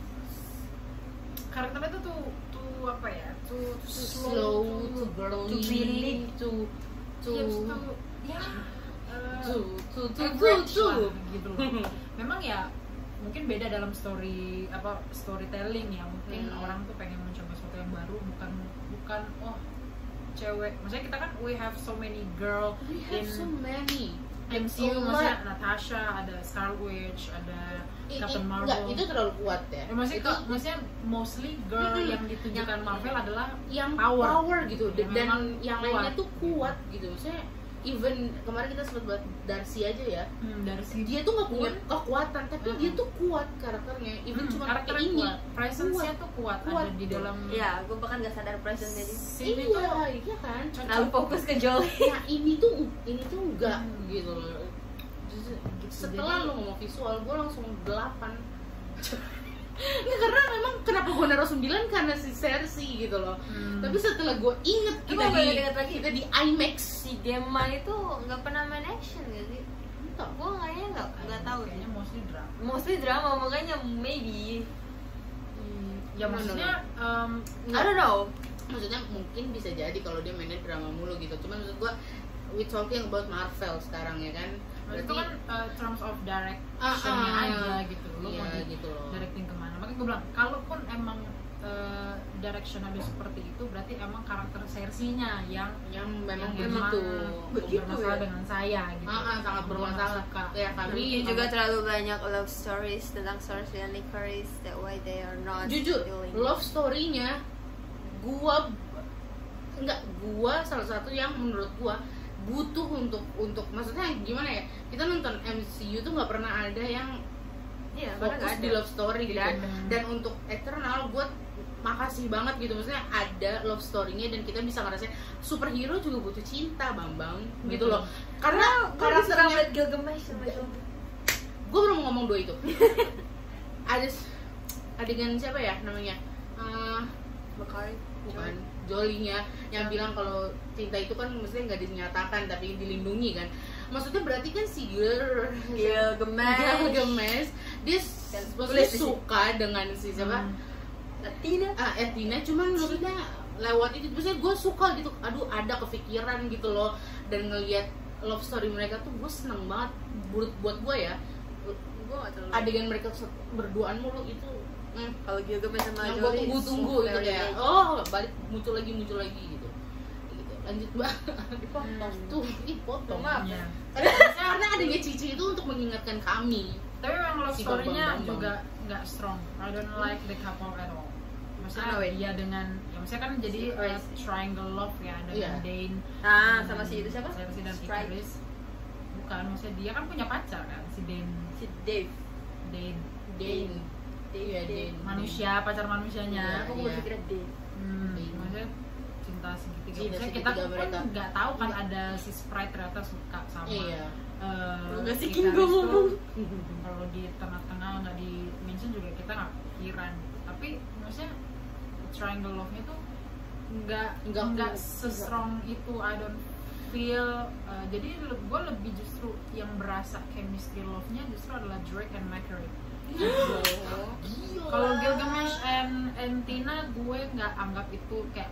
Speaker 3: karakternya tuh tuh tuh apa ya tuh, tuh
Speaker 1: slow to girly
Speaker 3: to girly.
Speaker 1: to to
Speaker 3: Yes, tuh ya
Speaker 1: to
Speaker 3: eh,
Speaker 1: to to to
Speaker 3: average
Speaker 1: to
Speaker 3: lah, gitu loh. *laughs* Memang ya mungkin beda dalam story apa storytelling ya mungkin
Speaker 1: Hmm.
Speaker 3: orang tuh pengen mencoba sesuatu yang baru bukan bukan oh cewek maksudnya kita kan we have so many girl
Speaker 1: we have
Speaker 3: in
Speaker 1: so many
Speaker 3: MCU
Speaker 1: a lot.
Speaker 3: maksudnya Natasha ada Scarlet Witch ada
Speaker 1: I- i-
Speaker 3: Captain Marvel
Speaker 1: enggak, itu terlalu kuat ya
Speaker 3: Ya, maksudnya,
Speaker 1: itu
Speaker 3: kok- maksudnya mostly girl
Speaker 1: Mm-mm.
Speaker 3: yang ditunjukkan
Speaker 1: Yang-
Speaker 3: Marvel adalah
Speaker 1: yang
Speaker 3: power.
Speaker 1: power, gitu
Speaker 3: Yang
Speaker 1: dan
Speaker 3: memang
Speaker 1: yang
Speaker 3: kuat.
Speaker 1: lainnya tuh kuat gitu saya even kemarin kita sempat buat Darcy aja ya
Speaker 3: hmm, dari segi
Speaker 1: dia tuh nggak punya kekuatan tapi
Speaker 3: Mm-mm.
Speaker 1: dia tuh kuat karakternya even
Speaker 3: Iya. hmm,
Speaker 1: cuma
Speaker 3: karakter
Speaker 1: pakai ini
Speaker 3: kuat presence-nya
Speaker 1: Kuat.
Speaker 3: tuh kuat,
Speaker 1: Kuat. gitu.
Speaker 3: ada di dalam
Speaker 2: Ya, gue bahkan gak sadar presence jadi
Speaker 3: scene itu
Speaker 1: iya iya kan
Speaker 2: lalu fokus ke Jolie.
Speaker 1: nah ini tuh ini tuh enggak
Speaker 3: Hmm.
Speaker 1: gitu loh Justru-
Speaker 3: Gitu,
Speaker 1: setelah
Speaker 3: jadi-
Speaker 1: lo ngomong visual gue langsung 8 *laughs* Nggak, karena memang kenapa gue naruh 9 karena si Cersei gitu loh
Speaker 3: Hmm.
Speaker 1: tapi setelah gue inget kita
Speaker 2: Emang
Speaker 1: di
Speaker 2: boleh deket lagi?
Speaker 1: kita di IMAX
Speaker 2: Si Gemma itu nggak pernah main action gak sih?
Speaker 1: Entah.
Speaker 2: Gue kayaknya nggak nggak tahu
Speaker 1: ya,
Speaker 3: kayaknya
Speaker 2: deh.
Speaker 3: mostly drama
Speaker 2: Mostly drama makanya maybe
Speaker 3: ya
Speaker 1: No,
Speaker 3: maksudnya em,
Speaker 2: I don't know.
Speaker 1: maksudnya mungkin bisa jadi kalau dia mainnya drama mulu gitu cuman maksud gue we talking about Marvel sekarang ya kan
Speaker 3: itu kan eh, terms of
Speaker 1: Ah,
Speaker 3: direction
Speaker 1: ah.
Speaker 3: aja gitu lo
Speaker 1: Iya,
Speaker 3: mau di-
Speaker 1: gitu loh.
Speaker 3: directing kemana makanya gue bilang kalaupun emang eh, direction ada seperti itu berarti emang karakter sersinya yang
Speaker 1: yang memang
Speaker 3: yang
Speaker 1: begitu
Speaker 3: memang
Speaker 2: Begitu
Speaker 3: bermasalah
Speaker 2: ya?
Speaker 3: dengan saya gitu
Speaker 1: Ah, ah, sangat bermasalah Ya,
Speaker 3: Suka.
Speaker 1: kayak kami
Speaker 2: Ini Iya juga terlalu banyak love stories tentang Cersei dan Licorice that why they are not
Speaker 1: jujur
Speaker 2: doing.
Speaker 1: love story-nya gua nggak gua salah satu yang menurut gua butuh untuk untuk maksudnya gimana ya kita nonton MCU tuh nggak pernah ada yang
Speaker 2: Iya, karena nggak
Speaker 1: fokus
Speaker 2: ada.
Speaker 1: di love story gitu
Speaker 2: Tidak
Speaker 3: ada.
Speaker 1: dan untuk Eternal gue makasih banget gitu maksudnya ada love story-nya dan kita bisa ngerasain superhero juga butuh cinta bambang gitu
Speaker 3: Betul.
Speaker 1: loh karena karakternya
Speaker 2: Gilgamesh sama Jolie.
Speaker 1: gue baru mau ngomong dua itu ada s- adegan siapa ya namanya Eh,
Speaker 2: Bakari.
Speaker 1: bukan jolinya yang bilang kalau cinta itu kan maksudnya nggak dinyatakan tapi dilindungi kan maksudnya berarti kan si Gil
Speaker 2: Gilgamesh.
Speaker 1: Gilgamesh dia s-
Speaker 2: Dan
Speaker 1: maksudnya
Speaker 2: tulis di
Speaker 1: suka dengan si siapa
Speaker 3: Hmm.
Speaker 2: Latina.
Speaker 1: ah Edina cuman maksudnya lewat itu maksudnya gue suka gitu aduh ada kepikiran gitu loh dan ngelihat love story mereka tuh gue seneng banget buat buat gue ya
Speaker 2: Gue nggak terlalu.
Speaker 1: adegan mereka se- berduaan mulu itu mm,
Speaker 2: Kalau Gilgamesh sama
Speaker 1: yang
Speaker 2: Jolie.
Speaker 1: gue tunggu-tunggu
Speaker 2: it's
Speaker 1: gitu
Speaker 2: very
Speaker 1: kayak
Speaker 2: nice.
Speaker 1: oh balik muncul lagi muncul lagi gitu gitu lanjut mbak
Speaker 2: Dipotong.
Speaker 1: *laughs* tuh ini potong
Speaker 2: Maaf.
Speaker 1: *laughs*
Speaker 3: Ya.
Speaker 1: karena karena adanya cici itu untuk mengingatkan kami
Speaker 3: tapi memang love
Speaker 1: Si Hmm?
Speaker 3: story-nya
Speaker 1: Bambang-Bambang.
Speaker 3: juga nggak strong I don't like the couple at all maksudnya
Speaker 2: Ah, wait.
Speaker 3: dia dengan ya maksudnya kan jadi
Speaker 2: Si- oh,
Speaker 3: uh,
Speaker 2: si-
Speaker 3: triangle love ya ada
Speaker 1: Iya.
Speaker 3: Dane
Speaker 2: ah sama si itu siapa
Speaker 3: Chelsea dan
Speaker 2: Sprite.
Speaker 3: Icarus bukan maksudnya dia kan punya pacar kan si Dane
Speaker 2: si Dave
Speaker 3: Dane
Speaker 1: Dane.
Speaker 2: Dave,
Speaker 1: Iya,
Speaker 2: Dave.
Speaker 1: Dane.
Speaker 3: manusia pacar
Speaker 2: Nah,
Speaker 3: manusianya
Speaker 2: aku
Speaker 1: Iya.
Speaker 2: berpikir Dave
Speaker 3: Hmm,
Speaker 1: Iya.
Speaker 3: maksudnya cinta segitiga.
Speaker 1: Cinta
Speaker 3: Maksudnya
Speaker 1: segitiga
Speaker 3: kita
Speaker 1: mereka.
Speaker 3: kan nggak tahu kan
Speaker 1: Iya.
Speaker 3: ada si Sprite ternyata suka sama.
Speaker 1: *laughs* Iya.
Speaker 3: eh,
Speaker 2: Lu nggak sih,
Speaker 3: gitaris
Speaker 2: King, gua
Speaker 3: tuh.
Speaker 2: ngomong.
Speaker 3: Kalau di tengah-tengah nggak di mention juga kita nggak kepikiran. Tapi maksudnya triangle love-nya tuh nggak
Speaker 1: Nggak
Speaker 3: nggak nggak
Speaker 1: kuat.
Speaker 3: se-strong itu. I don't feel. eh, jadi gue lebih justru yang berasa chemistry love-nya justru adalah Drake and Mercury.
Speaker 1: Gila.
Speaker 3: Kalau Gilgamesh and, and Tina gue nggak anggap itu kayak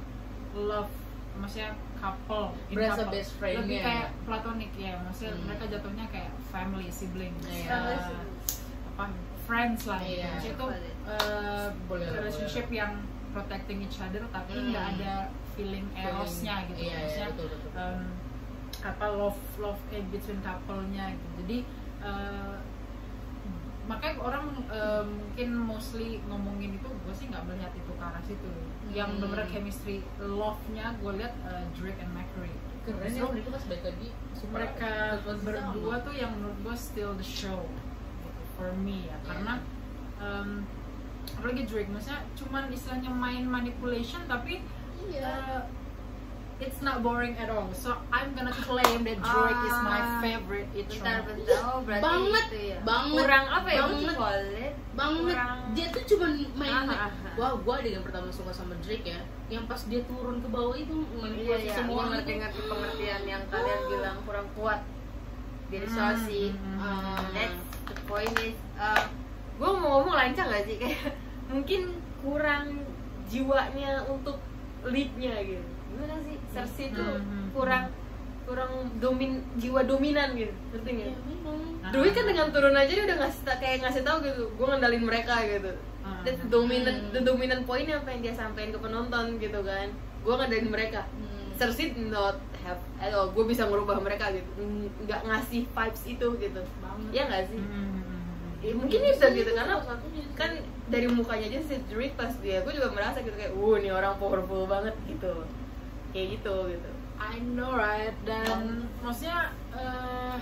Speaker 3: love maksudnya couple, in
Speaker 1: Berasa
Speaker 3: couple.
Speaker 1: best friend-nya.
Speaker 3: lebih kayak platonic ya maksudnya
Speaker 1: Hmm.
Speaker 3: mereka jatuhnya kayak family sibling
Speaker 1: Iya.
Speaker 3: Uh, apa friends lah gitu.
Speaker 1: Iya.
Speaker 3: Maksudnya itu uh,
Speaker 1: Boleh lah,
Speaker 3: relationship yang protecting each other tapi
Speaker 1: Hmm.
Speaker 3: nggak ada feeling erosnya gitu
Speaker 1: Iya, iya,
Speaker 3: maksudnya
Speaker 1: betul, betul.
Speaker 3: um, apa love love in between couple-nya gitu. Jadi uh, makanya orang uh, mungkin mostly ngomongin itu gue sih nggak melihat itu ke arah situ. Yang
Speaker 1: Hmm.
Speaker 3: bener chemistry love-nya gue lihat uh, Drake and Mercury.
Speaker 2: Eh,
Speaker 1: keren ya
Speaker 3: Justru
Speaker 1: mereka pas balik lagi super
Speaker 3: mereka
Speaker 1: super
Speaker 3: berdua
Speaker 1: sama.
Speaker 3: tuh yang menurut gue still the show gitu, for me ya karena um, apalagi Drake maksudnya cuman istilahnya main manipulation tapi
Speaker 1: iya
Speaker 3: uh, it's not boring at all so I'm gonna claim that Drake is my
Speaker 2: Ah.
Speaker 3: favorite itu
Speaker 2: bentar bentar oh berarti
Speaker 1: banget
Speaker 2: itu ya
Speaker 1: banget
Speaker 2: kurang apa ya
Speaker 1: banget
Speaker 2: kulit
Speaker 1: banget
Speaker 2: kurang-
Speaker 1: dia tuh cuman main
Speaker 2: Ah, ah, ah.
Speaker 1: wah gua adegan pertama suka sama Drake ya yang pas dia turun ke bawah itu
Speaker 2: iya
Speaker 1: manipulasi
Speaker 2: iya
Speaker 1: semua
Speaker 2: semua
Speaker 1: orang
Speaker 2: ngerti
Speaker 1: itu.
Speaker 2: ngerti pengertian yang kalian bilang kurang kuat dari
Speaker 3: Hmm,
Speaker 2: soal si
Speaker 3: hmm, hmm.
Speaker 2: uh, that's the point is gue mau ngomong lancar gak sih *laughs* kayak mungkin kurang jiwanya untuk leadnya gitu gimana sih Cersei itu
Speaker 3: Hmm, hmm,
Speaker 2: kurang kurang domin jiwa dominan gitu ngerti
Speaker 1: Iya,
Speaker 2: nggak?
Speaker 1: memang.
Speaker 3: Ah.
Speaker 2: Dwi kan dengan turun aja dia udah ngasih ta- kayak ngasih tahu gitu, gue ngendalin mereka gitu.
Speaker 3: Ah.
Speaker 2: That's
Speaker 1: Hmm.
Speaker 2: dominant, the dominant point yang pengen dia sampaikan ke penonton gitu kan. Gue ngendalin mereka.
Speaker 1: Hmm.
Speaker 2: Cersei not have at all. Gue bisa ngerubah mereka gitu. N- Nggak ngasih vibes itu gitu.
Speaker 1: Banget.
Speaker 2: Iya nggak sih?
Speaker 3: Hmm, hmm, hmm,
Speaker 2: Ya,
Speaker 3: hmm.
Speaker 2: mungkin
Speaker 1: Iya
Speaker 2: itu gitu karena
Speaker 1: salah satunya sih.
Speaker 2: kan dari mukanya aja si Drake pas dia, gue juga merasa gitu kayak, wuh ini orang powerful banget gitu. Kayak gitu gitu.
Speaker 3: I know right dan maksudnya eh,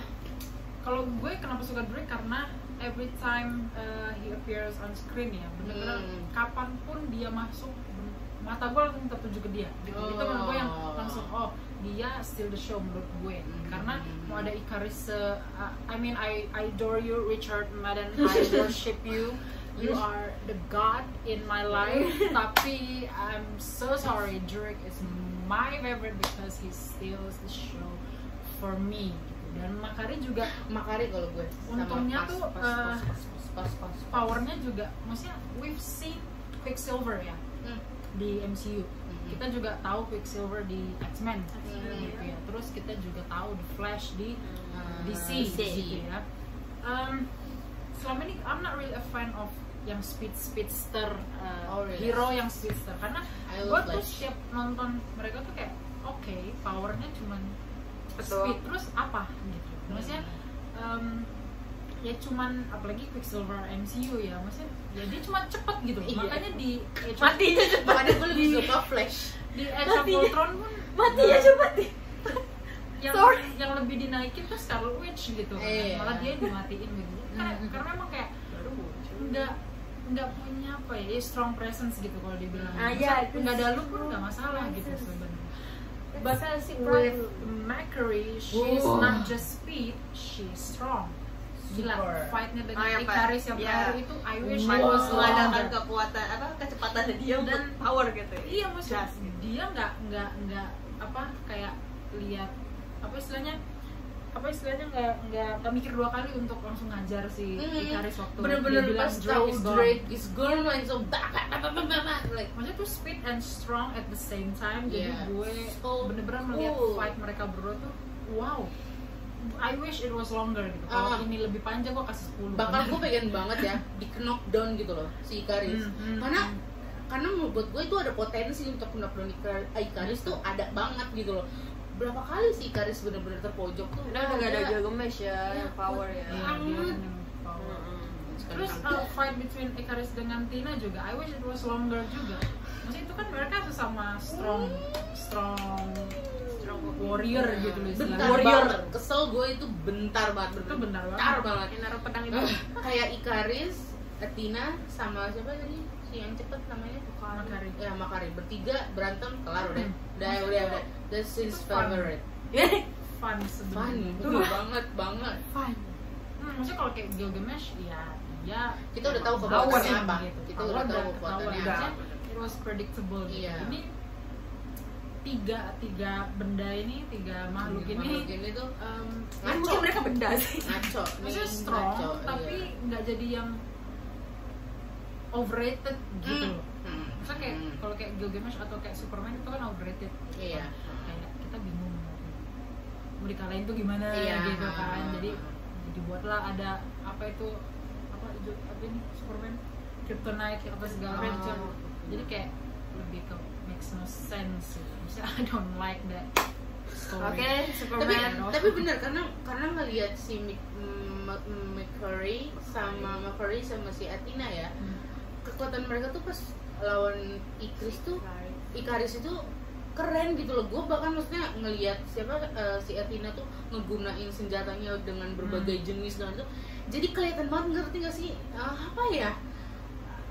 Speaker 3: kalau gue kenapa suka Drake karena every time eh, he appears on screen ya bener-bener
Speaker 1: Hmm.
Speaker 3: kapanpun dia masuk ben- mata gue langsung tertuju ke dia gitu. itu menurut gue yang
Speaker 1: Oh.
Speaker 3: langsung oh dia still the show menurut gue
Speaker 1: Hmm.
Speaker 3: karena mau ada Icarus se- uh, I mean I I adore you Richard Madden
Speaker 1: *laughs*
Speaker 3: I worship you you are the god in my
Speaker 1: *laughs*
Speaker 3: life tapi I'm so sorry Drake is my favorite because he steals the show for me dan Makari juga
Speaker 1: makari kalau gue sama
Speaker 3: Untungnya
Speaker 1: pas,
Speaker 3: tuh,
Speaker 1: pas, pas,
Speaker 3: eh,
Speaker 1: pas, pas, pas, pas.
Speaker 3: powernya juga maksudnya we've seen Quicksilver ya
Speaker 1: Hmm.
Speaker 3: di MCU
Speaker 1: Mhm.
Speaker 3: kita juga tahu Quicksilver di X-Men
Speaker 1: X-Men, iya.
Speaker 3: gitu ya terus kita juga tahu The Flash di
Speaker 1: Hmm.
Speaker 3: DC
Speaker 2: DC.
Speaker 3: gitu ya Um, selama ini I'm not really a fan of yang speed speedster uh,
Speaker 1: Oh, really?
Speaker 3: hero yang speedster karena
Speaker 1: I
Speaker 3: gue
Speaker 1: love
Speaker 3: tuh
Speaker 1: Flash.
Speaker 3: setiap nonton mereka tuh kayak oke powernya cuman
Speaker 2: Betul.
Speaker 3: speed terus apa gitu maksudnya um, ya cuman apalagi Quicksilver MCU ya maksudnya ya dia cuma cepet gitu
Speaker 1: Iya.
Speaker 3: makanya di Age of,
Speaker 2: Matinya cepat.
Speaker 1: makanya gue lebih suka Flash
Speaker 3: di Age of
Speaker 2: Matinya.
Speaker 3: Ultron pun
Speaker 2: Matinya cepat nih.
Speaker 3: yang
Speaker 2: Sorry.
Speaker 3: yang lebih dinaikin tuh Scarlet Witch gitu kan.
Speaker 1: Iya. Mm-hmm.
Speaker 3: malah dia yang dimatiin gitu karena,
Speaker 1: Mm-mm.
Speaker 3: karena emang kayak
Speaker 1: baru muncul
Speaker 3: nggak nggak punya apa ya strong presence gitu kalau dibilang
Speaker 2: Ah,
Speaker 3: Maksudnya
Speaker 2: iya, itu
Speaker 3: nggak ada lu pun
Speaker 2: strong
Speaker 3: nggak masalah gitu
Speaker 2: presence.
Speaker 3: sebenarnya
Speaker 2: But
Speaker 3: With Mercury, she's
Speaker 1: Wow.
Speaker 3: not just speed, she's strong. Gila,
Speaker 1: Super. Oh, iya,
Speaker 3: fightnya dengan
Speaker 2: Ah, yang
Speaker 3: Icarus yang
Speaker 2: ya.
Speaker 3: baru itu, I wish I
Speaker 1: Wow.
Speaker 3: was
Speaker 2: mengandalkan
Speaker 3: stronger.
Speaker 2: kekuatan apa kecepatannya dia
Speaker 3: Dan-
Speaker 2: dan power gitu ya.
Speaker 3: Iya maksudnya
Speaker 2: Gas gitu.
Speaker 3: dia nggak nggak nggak apa kayak lihat apa istilahnya apa istilahnya nggak nggak nggak mikir dua kali untuk langsung ngajar si
Speaker 1: Mm.
Speaker 3: Icarus waktu
Speaker 1: bener-bener
Speaker 3: dia bilang
Speaker 1: pas
Speaker 3: Drake
Speaker 1: tahu
Speaker 3: is gone.
Speaker 1: Drake is gone langsung bak bak bak bak bak bak like
Speaker 3: maksudnya tuh speed and strong at the same time jadi
Speaker 1: Yeah.
Speaker 3: gue
Speaker 1: So
Speaker 3: bener-bener melihat
Speaker 1: cool.
Speaker 3: fight mereka berdua tuh wow I wish it was longer gitu
Speaker 1: Ah.
Speaker 3: kalau ini lebih panjang gue kasih Iya, 10
Speaker 1: bakal gue pengen banget ya di knockdown gitu loh si Ikaris
Speaker 3: Hmm, hmm,
Speaker 1: karena
Speaker 3: hmm.
Speaker 1: karena menurut gue itu ada potensi untuk knockdown Ika- Ikaris tuh ada banget gitu loh berapa kali si Ikaris bener-bener terpojok tuh
Speaker 2: Udah udah gak ada Gilgamesh ya,
Speaker 1: Iya.
Speaker 2: yang power ya. Hmm.
Speaker 3: Iya, dia
Speaker 1: Banget.
Speaker 3: kan yang power
Speaker 1: Terus eh,
Speaker 3: Terus uh, fight between Icarus dengan Tina juga, I wish it was longer juga. Maksudnya itu kan mereka sesama strong, strong, strong warrior gitu loh istilahnya.
Speaker 1: bentar
Speaker 3: Warrior.
Speaker 1: banget. Kesel gue itu bentar banget.
Speaker 3: Itu bentar banget.
Speaker 1: banget.
Speaker 2: yang naruh pedang itu
Speaker 1: Eh, kayak Ikaris, Athena sama siapa tadi? Si yang cepet namanya
Speaker 3: Makari.
Speaker 1: Ya Makari. Bertiga berantem kelar udah.
Speaker 3: Hmm.
Speaker 1: Udah udah udah. That's his
Speaker 3: Itu fun.
Speaker 1: favorite.
Speaker 2: Iya. Eh,
Speaker 3: Fun
Speaker 1: Fun,
Speaker 3: sebenarnya.
Speaker 1: betul banget banget.
Speaker 3: Fun. Hmm, maksudnya kalau kayak Gilgamesh, ya dia
Speaker 1: Kita udah tahu
Speaker 3: power
Speaker 1: kekuatannya
Speaker 3: sih,
Speaker 1: apa.
Speaker 3: gitu.
Speaker 1: Kita
Speaker 3: Power
Speaker 1: udah tahu
Speaker 3: dan
Speaker 1: kekuatannya
Speaker 3: ketahuan.
Speaker 1: apa.
Speaker 3: Maksudnya, It was predictable. gitu.
Speaker 1: Iya.
Speaker 3: Ini tiga tiga benda ini, tiga makhluk
Speaker 1: Makhluk iya.
Speaker 3: ini.
Speaker 1: ini tuh
Speaker 3: em,
Speaker 1: ngaco.
Speaker 2: mungkin mereka benda sih
Speaker 1: Ngaco. Ini
Speaker 3: maksudnya strong
Speaker 1: ngaco,
Speaker 3: tapi
Speaker 1: iya.
Speaker 3: nggak jadi yang overrated gitu
Speaker 1: Hmm.
Speaker 3: loh
Speaker 1: Hmm.
Speaker 3: maksudnya kayak
Speaker 1: Hmm.
Speaker 3: kalau kayak Gilgamesh atau kayak Superman itu kan overrated gitu
Speaker 1: Iya.
Speaker 3: kan. kayak kita bingung mau mau dikalahin tuh gimana
Speaker 1: Iya. Ah.
Speaker 3: gitu kan jadi dibuatlah ada apa itu apa itu apa ini Superman Kryptonite apa segala
Speaker 1: Oh.
Speaker 3: macam jadi kayak lebih ke makes no sense gitu. Maksudnya *laughs* I don't like that
Speaker 2: oke
Speaker 3: story
Speaker 1: tapi
Speaker 2: Superman
Speaker 1: tapi benar karena karena ngelihat si Mc- M- M- McCurry sama McCurry sama si Athena ya
Speaker 3: Hmm.
Speaker 1: kekuatan mereka tuh pas lawan Ikris tuh Ikaris itu keren gitu loh gue bahkan maksudnya ngelihat siapa eh, si Athena tuh ngegunain senjatanya dengan berbagai jenis dan itu jadi kelihatan banget ngerti gak sih Eh, apa ya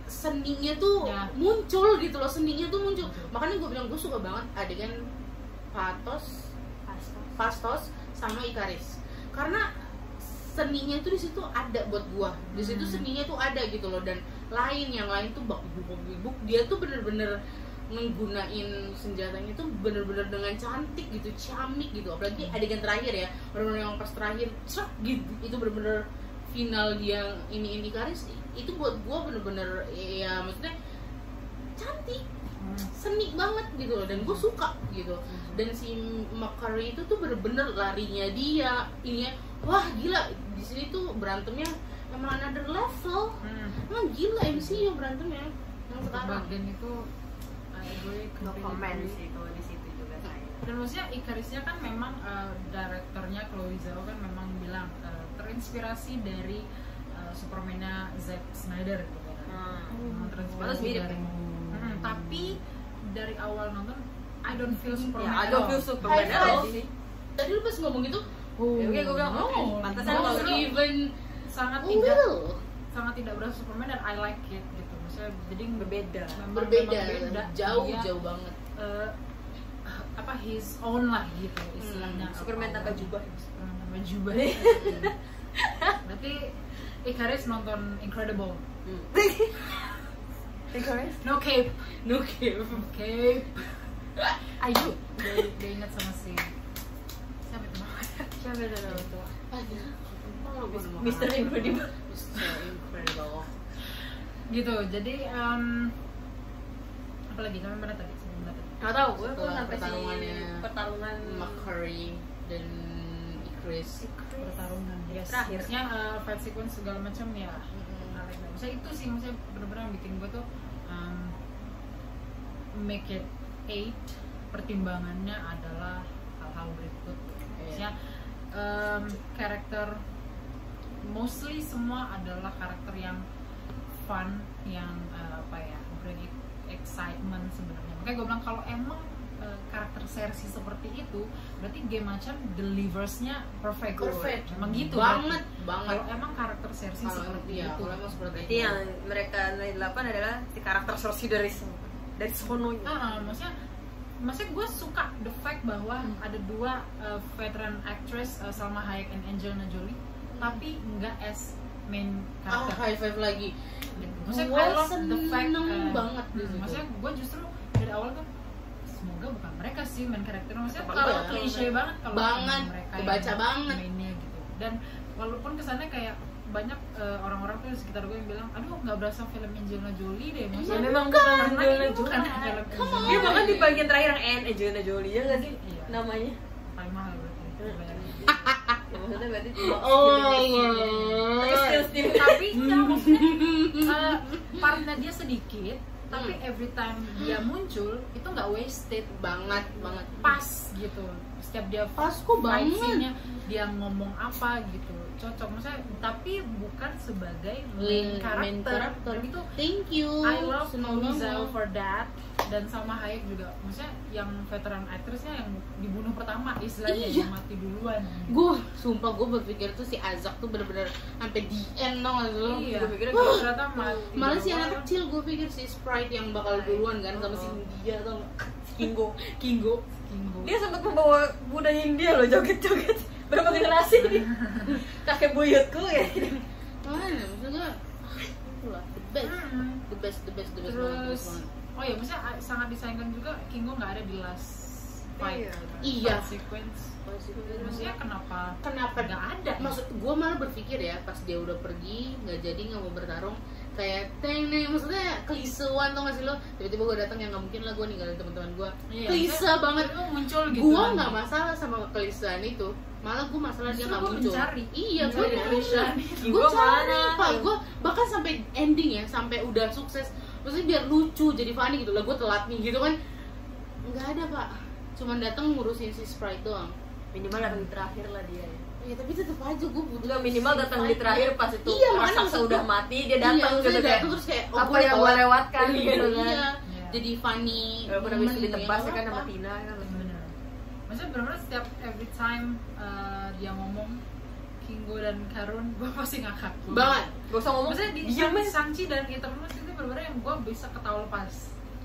Speaker 1: seninya tuh
Speaker 3: Ya.
Speaker 1: muncul gitu loh seninya tuh muncul
Speaker 3: Muncul.
Speaker 1: makanya gue bilang gue suka banget adegan patos Fastos sama Ikaris karena seninya tuh di situ ada buat gua di situ
Speaker 3: Hmm.
Speaker 1: seninya tuh ada gitu loh dan lain yang lain tuh bak bibuk bibuk dia tuh bener-bener menggunain senjatanya tuh bener-bener dengan cantik gitu ciamik gitu apalagi adegan terakhir ya bener-bener yang pas terakhir cerak gitu itu bener-bener final dia ini ini Ikaris itu buat gua bener-bener ya maksudnya cantik
Speaker 3: Hmm.
Speaker 1: seni banget gitu loh dan gue suka gitu dan si Makari itu tuh bener-bener larinya dia ini wah gila di sini tuh berantemnya emang another level
Speaker 3: Hmm.
Speaker 1: emang gila MCU berantemnya yang sekarang
Speaker 3: Bagan itu I agree,
Speaker 2: no
Speaker 3: completely
Speaker 2: comment
Speaker 3: agree.
Speaker 2: sih kalau di situ juga saya
Speaker 3: Dan maksudnya Icarisnya kan memang eh, direkturnya Chloe Zhao kan memang bilang eh, terinspirasi dari eh, Superman-nya Zack Snyder gitu kan. Memang
Speaker 2: Balas
Speaker 3: terinspirasi
Speaker 2: Hmm. mirip
Speaker 3: dari. Hmm, tapi dari awal nonton I don't feel
Speaker 2: ya
Speaker 3: Superman.
Speaker 2: I
Speaker 3: at
Speaker 2: don't
Speaker 3: all.
Speaker 2: feel Superman
Speaker 1: High
Speaker 2: at all
Speaker 1: five.
Speaker 2: sih
Speaker 1: tadi lu pas ngomong gitu
Speaker 3: Oh,
Speaker 2: Ya, oke, gua bilang,
Speaker 3: no,
Speaker 2: oke, pantesan
Speaker 3: no,
Speaker 2: kalau
Speaker 1: not
Speaker 3: no.
Speaker 2: di-
Speaker 1: even
Speaker 3: sangat
Speaker 1: a
Speaker 3: tidak
Speaker 1: little
Speaker 3: sangat tidak berasa Superman dan I like it gitu. Maksudnya jadi
Speaker 2: berbeda
Speaker 3: memang-
Speaker 1: berbeda
Speaker 3: memang beda.
Speaker 1: jauh
Speaker 3: Dia-
Speaker 1: jauh banget
Speaker 3: eh, apa his own lah gitu istilahnya
Speaker 2: Superman tanpa jubah.
Speaker 3: Superman tanpa jubah *laughs* berarti Ikaris nonton Incredible no cape
Speaker 1: no give
Speaker 3: cape ayo dia, dia ingat sama si siapa itu namanya
Speaker 2: siapa yang tahu Mr.
Speaker 1: Mister
Speaker 2: Incredible.
Speaker 1: Mister Incredible
Speaker 3: gitu jadi em apalagi sampai mana tadi Sampai mana tadi
Speaker 2: nggak tahu gue tuh
Speaker 1: Setelah
Speaker 2: sampai si
Speaker 1: pertarungannya-
Speaker 2: pertarungan
Speaker 1: Makari dan Chris
Speaker 3: pertarungan yes.
Speaker 2: Terakhir.
Speaker 3: Maksudnya, eh, fight sequence segala macam ya menarik
Speaker 2: Hmm.
Speaker 3: banget. Maksudnya itu sih maksudnya bener-bener yang bikin gue tuh um, make it eight pertimbangannya adalah hal-hal berikut maksudnya um, karakter mostly semua adalah karakter yang fun yang uh, apa ya bring ex- excitement sebenarnya makanya gue bilang kalau emang uh, karakter sersi seperti itu berarti game macam deliversnya perfect
Speaker 1: Perfect.
Speaker 3: emang gitu
Speaker 1: Eh, banget
Speaker 3: berarti.
Speaker 1: banget
Speaker 3: kalau emang karakter sersi
Speaker 1: kalau
Speaker 3: seperti
Speaker 1: iya
Speaker 3: itu
Speaker 1: kalau emang seperti
Speaker 2: Jadi
Speaker 1: itu
Speaker 2: yang mereka nilai 8 adalah si karakter sorsi dari dari sononya
Speaker 3: Ah, maksudnya maksudnya gue suka the fact bahwa
Speaker 1: Hmm.
Speaker 3: ada dua uh, veteran actress uh, Salma Hayek and Angelina Jolie
Speaker 1: Hmm.
Speaker 3: tapi nggak as main
Speaker 1: ah
Speaker 3: karakter.
Speaker 1: high five lagi
Speaker 3: gitu. Maksudnya
Speaker 1: Gua
Speaker 3: I love the fact
Speaker 1: seneng
Speaker 3: uh,
Speaker 1: banget di
Speaker 3: hmm,
Speaker 1: situ.
Speaker 3: maksudnya gue justru dari awal kan semoga bukan mereka sih main karakter maksudnya
Speaker 2: Iya.
Speaker 3: kalau klise banget kalau
Speaker 1: Banget,
Speaker 3: mereka
Speaker 1: kebaca
Speaker 3: yang
Speaker 1: banget.
Speaker 3: mainnya gitu dan walaupun kesannya kayak banyak uh, orang-orang tuh di sekitar gue yang bilang aduh nggak berasa film Angelina Jolie deh maksudnya
Speaker 2: Ya, memang bukan
Speaker 3: karena
Speaker 2: Angelina
Speaker 3: ini bukan Iya,
Speaker 2: Jolie.
Speaker 3: film
Speaker 1: Iya. Come on.
Speaker 2: Dia
Speaker 3: Angelina
Speaker 2: bahkan di bagian terakhir yang N Angelina Jolie ya nggak sih
Speaker 3: Iya.
Speaker 2: namanya
Speaker 3: paling mahal berarti bayarnya.
Speaker 2: Ya, maksudnya berarti cuma
Speaker 1: Allah
Speaker 2: tapi still still
Speaker 3: tapi ya maksudnya eh, partnya dia sedikit tapi
Speaker 1: Hmm.
Speaker 3: every time dia muncul itu nggak wasted
Speaker 1: banget banget
Speaker 3: pas gitu setiap dia
Speaker 1: Pas kok
Speaker 3: fight
Speaker 1: Oh, banget.
Speaker 3: scene-nya, dia ngomong apa gitu cocok maksudnya tapi bukan sebagai
Speaker 1: Main-
Speaker 3: main
Speaker 1: main
Speaker 3: karakter
Speaker 1: karakter.
Speaker 3: dan itu
Speaker 1: thank you
Speaker 3: I love
Speaker 1: Senang
Speaker 3: Rizal
Speaker 1: banget.
Speaker 3: for that dan sama Hayek juga maksudnya yang veteran aktrisnya yang dibunuh pertama istilahnya
Speaker 1: Iya.
Speaker 3: yang mati duluan
Speaker 1: gue sumpah gue berpikir tuh si Azak tuh bener-bener sampai di end dong lu
Speaker 3: iya
Speaker 2: Gua pikir
Speaker 3: Wah, ternyata mati
Speaker 1: malah si
Speaker 3: duluan.
Speaker 1: ya, anak kecil gue pikir si Sprite yang bakal duluan kan sama si
Speaker 2: Oh.
Speaker 1: India atau Kingo Kingo
Speaker 3: Kingo.
Speaker 2: dia sempat membawa Buddha India loh joget-joget berapa generasi nih kakek buyutku ya
Speaker 1: mana maksud gue itulah the best
Speaker 3: Mm-mm.
Speaker 1: the best the best the best banget, the
Speaker 3: Hmm, terus
Speaker 1: best banget.
Speaker 3: oh ya maksudnya a- sangat disayangkan juga Kingo nggak ada di last fight
Speaker 2: Iya.
Speaker 1: Iya.
Speaker 3: Fight sequence
Speaker 1: Pas itu-
Speaker 3: maksudnya kenapa
Speaker 1: kenapa
Speaker 3: nggak ada
Speaker 1: maksud gue malah berpikir ya pas dia udah pergi nggak jadi nggak mau bertarung kayak teng neng maksudnya klisewan tau gak sih lo tiba-tiba gue datang yang nggak mungkin lah gue ninggalin teman-teman gue
Speaker 3: Iya,
Speaker 1: klise
Speaker 3: maksudnya
Speaker 1: banget
Speaker 3: itu muncul gitu
Speaker 1: gue nggak masalah sama kekelisean itu malah gue masalah dia
Speaker 3: Justru
Speaker 1: nggak
Speaker 3: gua
Speaker 1: muncul
Speaker 3: mencari.
Speaker 1: iya gue
Speaker 3: Mencari kekelisean.
Speaker 1: gue
Speaker 2: Gua
Speaker 1: cari
Speaker 2: mana?
Speaker 1: pak gue bahkan sampai ending ya sampai udah sukses maksudnya biar lucu jadi funny gitu lah gue telat nih gitu kan nggak ada pak cuman datang ngurusin si sprite doang
Speaker 2: minimal datang di terakhir lah dia ya
Speaker 1: ya tapi tetap aja gue butuh
Speaker 2: Enggak minimal datang di terakhir pas itu
Speaker 1: Iya, makanya
Speaker 2: raksasa
Speaker 1: maksud
Speaker 2: udah
Speaker 1: gua-
Speaker 2: mati dia datang
Speaker 1: iya,
Speaker 2: gitu
Speaker 1: maksudnya
Speaker 2: kayak
Speaker 1: datang terus kayak oh,
Speaker 2: apa
Speaker 1: gua
Speaker 2: yang
Speaker 1: telat.
Speaker 2: gua lewatkan
Speaker 1: *laughs* Iya,
Speaker 2: gitu kan.
Speaker 1: iya.
Speaker 3: Iya.
Speaker 1: jadi funny
Speaker 2: walaupun habis itu
Speaker 1: momen,
Speaker 2: ditebas ya
Speaker 1: apa-apa.
Speaker 2: kan
Speaker 1: Iya.
Speaker 2: sama Tina kan
Speaker 3: bener maksudnya benar-benar setiap every time uh, dia ngomong Kingo dan Karun gue pasti ngakak
Speaker 1: banget Iya,
Speaker 2: gak usah ngomong
Speaker 3: maksudnya di
Speaker 2: diem
Speaker 3: Shang-
Speaker 2: ya.
Speaker 3: Shang-Chi dan Eternals itu benar-benar yang gue bisa ketawa lepas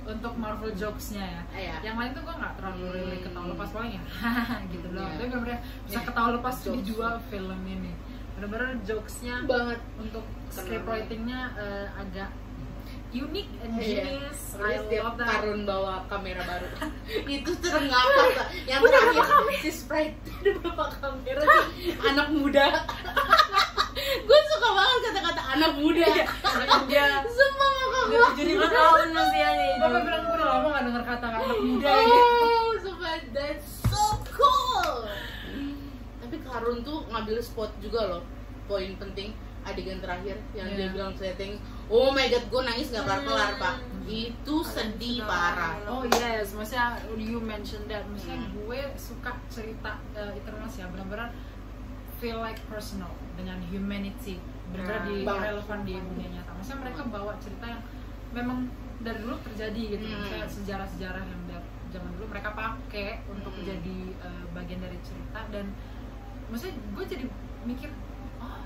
Speaker 3: untuk Marvel jokes-nya ya
Speaker 1: Iya.
Speaker 3: yang lain tuh gue nggak terlalu
Speaker 1: Hmm.
Speaker 3: really ketawa lepas paling ya hahaha *laughs* gitu loh
Speaker 1: Iya.
Speaker 3: tapi benar-benar bisa
Speaker 1: Iya.
Speaker 3: ketawa lepas
Speaker 1: Jokes.
Speaker 3: dijual film ini benar-benar jokes-nya
Speaker 1: banget
Speaker 3: untuk
Speaker 1: Tenang.
Speaker 3: script writing-nya eh, agak unik and
Speaker 1: Iya.
Speaker 3: genius I
Speaker 1: Terus dia
Speaker 3: love that
Speaker 1: karun bawa kamera
Speaker 2: *laughs*
Speaker 1: baru. itu tuh ngakak Pak. Yang terakhir si Sprite *laughs* ada berapa kamera
Speaker 2: *laughs*
Speaker 1: sih? Anak muda. *laughs* gue suka banget kata-kata anak muda.
Speaker 2: Iya.
Speaker 3: *laughs*
Speaker 2: dia
Speaker 1: Semua ngakak
Speaker 2: dia
Speaker 1: gue.
Speaker 2: tujuh ribu tahun ya, usia nih
Speaker 3: Iya. Bapak bilang gue udah lama gak denger kata anak muda
Speaker 1: *laughs*
Speaker 3: ini
Speaker 1: Oh, suka that's so cool. Tapi Karun tuh ngambil spot juga loh. Poin penting adegan terakhir yang
Speaker 3: Iya.
Speaker 1: dia bilang setting. Oh my god, gue nangis nggak kelar-kelar, Pak.
Speaker 2: Hmm.
Speaker 1: Itu sedih parah.
Speaker 3: Oh yes, maksudnya you mentioned that Maksudnya
Speaker 1: Hmm.
Speaker 3: gue suka cerita uh, Eternals ya Bener-bener feel like personal Dengan humanity Bener-bener di
Speaker 1: Nah, banget.
Speaker 3: relevan di dunia nyata Maksudnya mereka bawa cerita yang memang dari dulu terjadi gitu
Speaker 1: Hmm.
Speaker 3: Maksudnya sejarah-sejarah yang dari zaman dulu mereka pakai Untuk
Speaker 1: Hmm.
Speaker 3: jadi uh, bagian dari cerita Dan maksudnya gue jadi mikir oh,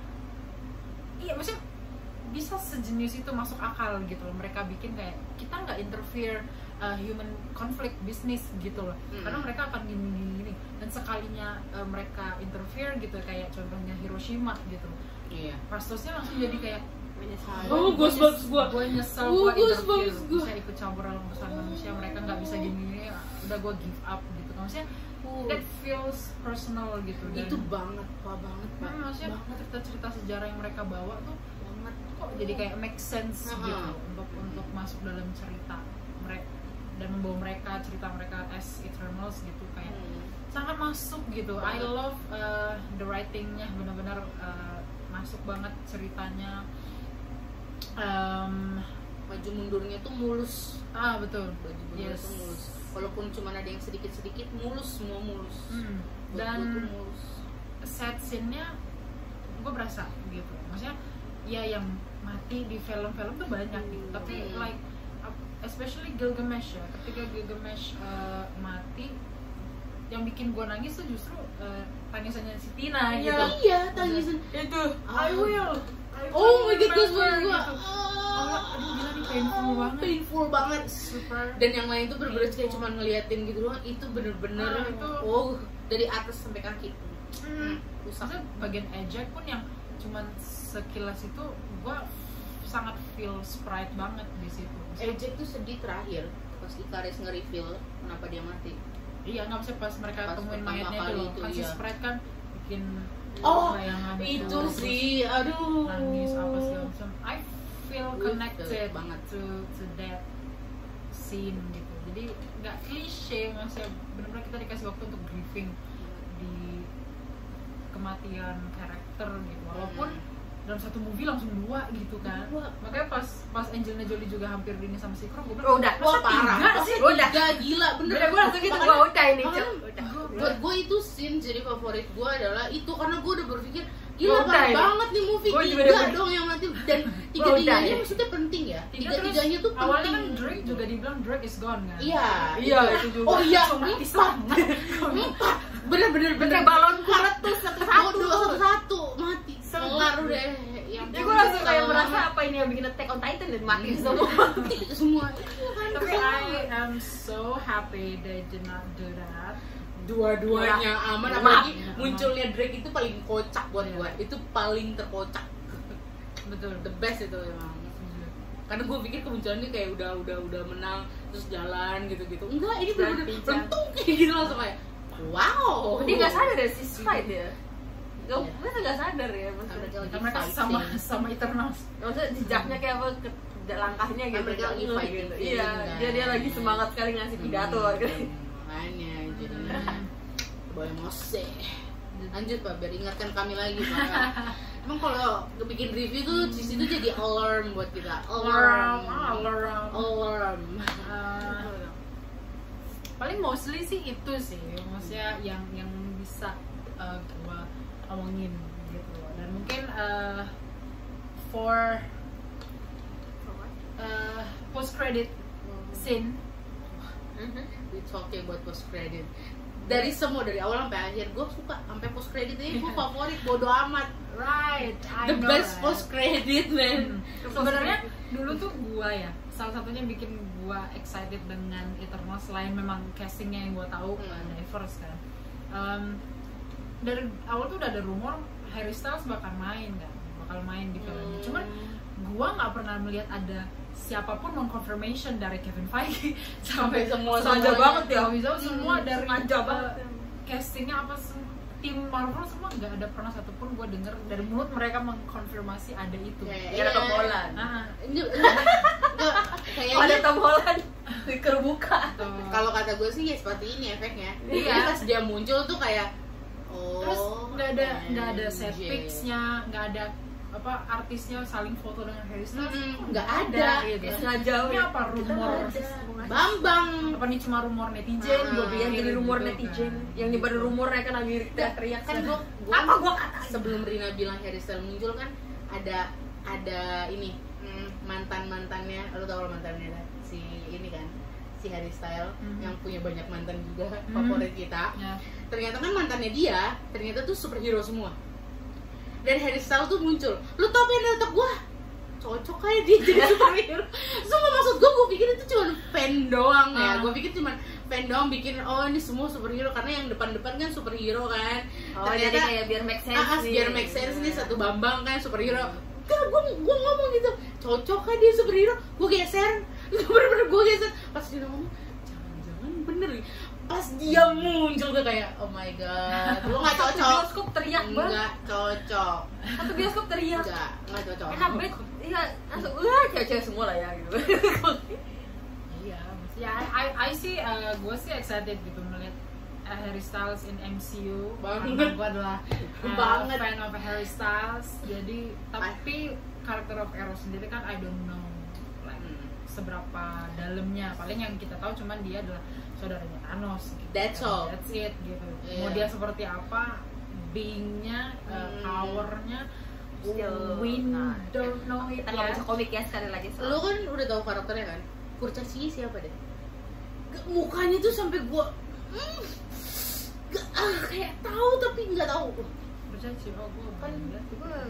Speaker 3: Iya maksudnya bisa sejenis itu masuk akal gitu loh mereka bikin kayak kita nggak interfere uh, human conflict bisnis gitu loh
Speaker 1: Mm.
Speaker 3: karena mereka akan gini gini gini dan sekalinya uh, mereka interfere gitu kayak contohnya Hiroshima gitu
Speaker 1: Iya.
Speaker 3: pastosnya langsung jadi kayak
Speaker 1: Oh,
Speaker 3: gue
Speaker 1: goosebumps
Speaker 3: nyes-
Speaker 1: gua.
Speaker 3: gue nyesel
Speaker 1: Oh,
Speaker 3: gue interfere
Speaker 1: goosebumps gua. Oh.
Speaker 3: bisa ikut campur dalam urusan manusia mereka nggak bisa gini gini udah gue give up gitu maksudnya that feels personal gitu dan
Speaker 1: itu banget pak banget pak
Speaker 3: Hmm, maksudnya
Speaker 1: banget
Speaker 3: cerita-cerita sejarah yang mereka bawa tuh
Speaker 1: banget
Speaker 3: kok jadi kayak make sense
Speaker 1: Aha.
Speaker 3: gitu untuk untuk masuk dalam cerita mereka dan membawa mereka cerita mereka as Eternals gitu kayak
Speaker 1: Hmm.
Speaker 3: sangat masuk gitu I love uh, the writingnya benar-benar uh, masuk banget ceritanya Em,
Speaker 1: maju mundurnya tuh mulus
Speaker 3: ah betul
Speaker 1: baju mundurnya
Speaker 3: Yes.
Speaker 1: tuh mulus walaupun cuma ada yang sedikit sedikit mulus semua mulus
Speaker 3: Hmm,
Speaker 1: Buat
Speaker 3: dan
Speaker 1: gua tuh mulus
Speaker 3: set scene-nya gue berasa gitu maksudnya ya yang mati di film-film tuh banyak gitu tapi
Speaker 1: Hmm.
Speaker 3: like ap- especially Gilgamesh ya ketika Gilgamesh uh, mati yang bikin gue nangis tuh justru uh, tangisannya si Tina
Speaker 2: Iya.
Speaker 3: gitu
Speaker 1: iya tangisan
Speaker 2: itu
Speaker 3: I will I will
Speaker 1: oh my god gue
Speaker 3: remember,
Speaker 1: gue
Speaker 3: gitu. Oh, aduh, gila nih, painful banget.
Speaker 1: Ah, painful banget
Speaker 3: super
Speaker 1: dan yang lain tuh bener-bener kayak
Speaker 3: Painful.
Speaker 1: cuma ngeliatin gitu doang itu bener-bener
Speaker 3: Ah, itu-
Speaker 1: oh dari atas sampai kaki
Speaker 3: Hmm.
Speaker 1: rusak
Speaker 3: maksudnya bagian ejek pun yang cuman sekilas itu gue sangat feel sprite banget di situ Maksudnya,
Speaker 1: Ejek tuh sedih terakhir pas Ikaris nge-reveal kenapa dia mati
Speaker 3: Iya nggak bisa pas mereka
Speaker 1: Pas
Speaker 3: temuin
Speaker 1: pertama
Speaker 3: mayatnya
Speaker 1: kali
Speaker 3: itu loh.
Speaker 1: itu,
Speaker 3: Kan si
Speaker 1: iya.
Speaker 3: Sprite kan bikin
Speaker 1: Oh,
Speaker 3: bayangan gitu,
Speaker 1: itu
Speaker 3: terus
Speaker 1: sih aduh
Speaker 3: nangis apa sih macam. I feel
Speaker 1: Betul
Speaker 3: connected
Speaker 1: banget.
Speaker 3: to to that scene gitu. Jadi nggak klise maksudnya benar-benar kita dikasih waktu untuk grieving di kematian karakter gitu. Walaupun dalam satu movie langsung dua gitu kan
Speaker 1: Dua.
Speaker 3: makanya pas pas Angelina Jolie juga hampir ini sama si Crop gue
Speaker 2: Oh,
Speaker 3: bilang
Speaker 2: udah
Speaker 1: Wah
Speaker 2: Masa
Speaker 1: parah,
Speaker 2: tiga
Speaker 1: pasti
Speaker 2: sih? udah
Speaker 1: tiga gila bener.
Speaker 2: udah gue langsung gitu
Speaker 1: Makanya-
Speaker 2: wah udah ini
Speaker 1: makanya
Speaker 2: cok udah
Speaker 1: buat gue itu scene jadi favorit gue adalah itu karena gue udah berpikir gila
Speaker 2: Gua udah
Speaker 1: parah
Speaker 2: ya.
Speaker 1: banget nih movie
Speaker 2: Gua juga
Speaker 1: tiga
Speaker 2: udah-
Speaker 1: dong yang
Speaker 2: *laughs*
Speaker 1: mati dan tiga
Speaker 2: udah
Speaker 1: tiganya
Speaker 2: ya.
Speaker 1: maksudnya penting ya tiga
Speaker 3: terus
Speaker 1: tiganya tuh
Speaker 3: awalnya kan
Speaker 1: penting
Speaker 3: Drake juga dibilang Drake is gone kan
Speaker 1: iya
Speaker 2: iya itu juga
Speaker 1: oh iya
Speaker 3: Traumatis
Speaker 1: empat empat bener bener bener
Speaker 2: kayak balonku meletus
Speaker 1: satu
Speaker 2: satu-satu
Speaker 1: satu satu mati
Speaker 2: Satu.
Speaker 1: kelar udah yang
Speaker 2: ya gue langsung kayak merasa apa ini yang bikin Attack on Titan dan mati gitu. *laughs* semua
Speaker 1: mati semua Iya kan,
Speaker 3: tapi
Speaker 1: kesel.
Speaker 3: I am so happy they did not do that
Speaker 1: dua-duanya aman
Speaker 2: Aman.
Speaker 1: apalagi munculnya Drake itu paling kocak buat gue itu paling terkocak
Speaker 3: betul
Speaker 1: the best itu emang karena gue pikir kemunculannya kayak udah udah udah menang terus jalan gitu gitu enggak ini
Speaker 2: Jalan
Speaker 1: bener-bener
Speaker 2: pincang.
Speaker 1: beruntung *laughs* kayak gitu langsung kayak wow
Speaker 2: oh dia nggak sadar ya sis fight ya Gak,
Speaker 1: Iya.
Speaker 2: mereka nggak sadar ya maksudnya
Speaker 1: Mereka-
Speaker 3: Karena mereka sama *laughs* sama Eternals
Speaker 2: maksudnya jejaknya kayak apa ke, langkahnya gitu
Speaker 1: Mereka lagi
Speaker 2: jalannya
Speaker 1: fighting
Speaker 2: gitu.
Speaker 1: feeling,
Speaker 2: iya
Speaker 1: kan?
Speaker 2: dia dia lagi semangat sekali ngasih pidato gitu.
Speaker 1: Hmm, makanya jadi boleh mose *laughs* lanjut pak biar ingatkan kami lagi
Speaker 2: *laughs*
Speaker 1: pak emang kalau bikin review tuh di situ
Speaker 2: Hmm.
Speaker 1: jadi alarm buat kita alarm
Speaker 3: alarm
Speaker 1: alarm
Speaker 3: Eh, paling mostly sih itu sih maksudnya yang yang bisa eh, gua omongin gitu loh. dan mungkin eh, for post credit scene
Speaker 2: Mhm.
Speaker 1: it's okay buat post credit dari semua dari awal sampai akhir gue suka sampai post credit ini
Speaker 2: *laughs*
Speaker 1: gue favorit bodo amat
Speaker 3: right I
Speaker 1: the
Speaker 3: know,
Speaker 1: best
Speaker 3: right?
Speaker 1: post credit man
Speaker 3: Hmm. sebenarnya dulu tuh gua ya salah satunya yang bikin gua excited dengan Eternal selain memang castingnya yang gua tahu
Speaker 1: Hmm.
Speaker 3: ada Evers kan Em, dari awal tuh udah ada rumor Harry Styles bakal main kan bakal main
Speaker 1: Gitu. Hmm.
Speaker 3: di filmnya cuman gua nggak pernah melihat ada siapapun mengconfirmation dari Kevin Feige *laughs*
Speaker 1: Sampai semua-
Speaker 3: sengaja
Speaker 1: semuanya.
Speaker 3: banget ya Wizard semua
Speaker 2: Hmm,
Speaker 3: dari
Speaker 2: sengaja
Speaker 3: eh,
Speaker 2: banget.
Speaker 3: castingnya apa semua tim Marvel semua nggak ada pernah satupun gua denger dari mulut mereka mengkonfirmasi ada itu
Speaker 1: Kayak-
Speaker 2: gara Tom Holland
Speaker 3: Ah,
Speaker 1: Ini- *laughs* enggak,
Speaker 2: Oh, ada
Speaker 1: kayaknya
Speaker 2: Tom *laughs* Holland dikerbuka
Speaker 3: gitu.
Speaker 1: kalau kata gue sih ya seperti ini efeknya
Speaker 2: Iya.
Speaker 1: Jadi pas dia muncul tuh kayak oh iya,
Speaker 3: terus nggak ada nggak ada set
Speaker 1: anjay.
Speaker 3: pics-nya nggak ada apa artisnya saling foto dengan Harry Styles
Speaker 1: Mm-mm, nggak
Speaker 3: nggak ada,
Speaker 1: ada.
Speaker 3: gitu
Speaker 2: sengaja
Speaker 3: ini apa rumor
Speaker 1: Bambang
Speaker 3: apa nih cuma rumor
Speaker 1: Ah,
Speaker 3: netizen
Speaker 1: Nah,
Speaker 3: gua
Speaker 2: gue bilang
Speaker 3: bilang
Speaker 2: jadi rumor netizen yang
Speaker 1: gitu.
Speaker 2: nyebarin rumornya iya, kan Amir teriak-teriak
Speaker 1: kan gue
Speaker 2: apa gua kata
Speaker 1: sebelum Rina bilang Harry Styles muncul kan ada ada ini mantan mantannya lo tau lah mantannya kan? si ini kan si Harry Styles
Speaker 3: Hmm.
Speaker 1: yang punya banyak mantan juga
Speaker 3: Hmm.
Speaker 1: favorit kita
Speaker 3: ya
Speaker 1: ternyata kan mantannya dia ternyata tuh superhero semua dan Harry Styles tuh muncul lu tau apa yang datang gua cocok kayak dia jadi superhero semua maksud gua gua pikir itu cuma fan doang ya
Speaker 3: Ah.
Speaker 1: gua pikir cuma fan doang bikin oh ini semua superhero karena yang depan-depan kan superhero kan
Speaker 2: oh jadi kayak biar make sense
Speaker 1: ah, ah,
Speaker 2: nih.
Speaker 1: biar make sense nih satu bambang kan superhero Enggak, gue gue ngomong gitu cocok kan dia superhero gue geser *laughs* gue bener-bener gue geser pas dia ngomong jangan-jangan bener nih." pas dia muncul gue kayak oh my god gue nggak
Speaker 2: satu
Speaker 1: cocok *laughs*
Speaker 2: bioskop teriak banget
Speaker 1: nggak cocok
Speaker 2: satu bioskop teriak
Speaker 1: nggak nggak cocok
Speaker 2: enak banget iya langsung wah cewek-cewek semua lah ya gitu
Speaker 3: Iya, ya I, I sih gue sih excited gitu melihat uh, Harry Styles in MCU.
Speaker 1: Banget.
Speaker 3: Gue
Speaker 1: *laughs*
Speaker 3: adalah uh,
Speaker 1: Banget.
Speaker 3: fan of Harry Styles. Jadi tapi karakter of Arrow sendiri kan I don't know like
Speaker 1: Hmm.
Speaker 3: seberapa dalamnya. Paling yang kita tahu cuman dia adalah saudaranya Thanos. Gitu.
Speaker 1: That's
Speaker 3: And
Speaker 1: all.
Speaker 3: That's it gitu.
Speaker 1: Iya.
Speaker 3: Mau dia seperti apa, beingnya, uh,
Speaker 1: Hmm.
Speaker 3: powernya, oh,
Speaker 2: Still
Speaker 3: we
Speaker 2: not.
Speaker 3: don't know it
Speaker 2: kita nggak
Speaker 3: yet.
Speaker 2: bisa komik ya sekali lagi so.
Speaker 1: lu kan udah tahu karakternya kan kurcacinya siapa deh Nggak, mukanya tuh sampai gue hmm, nggak, ah, kayak tahu tapi nggak tahu
Speaker 3: Berjanji, oh gue
Speaker 2: kan gue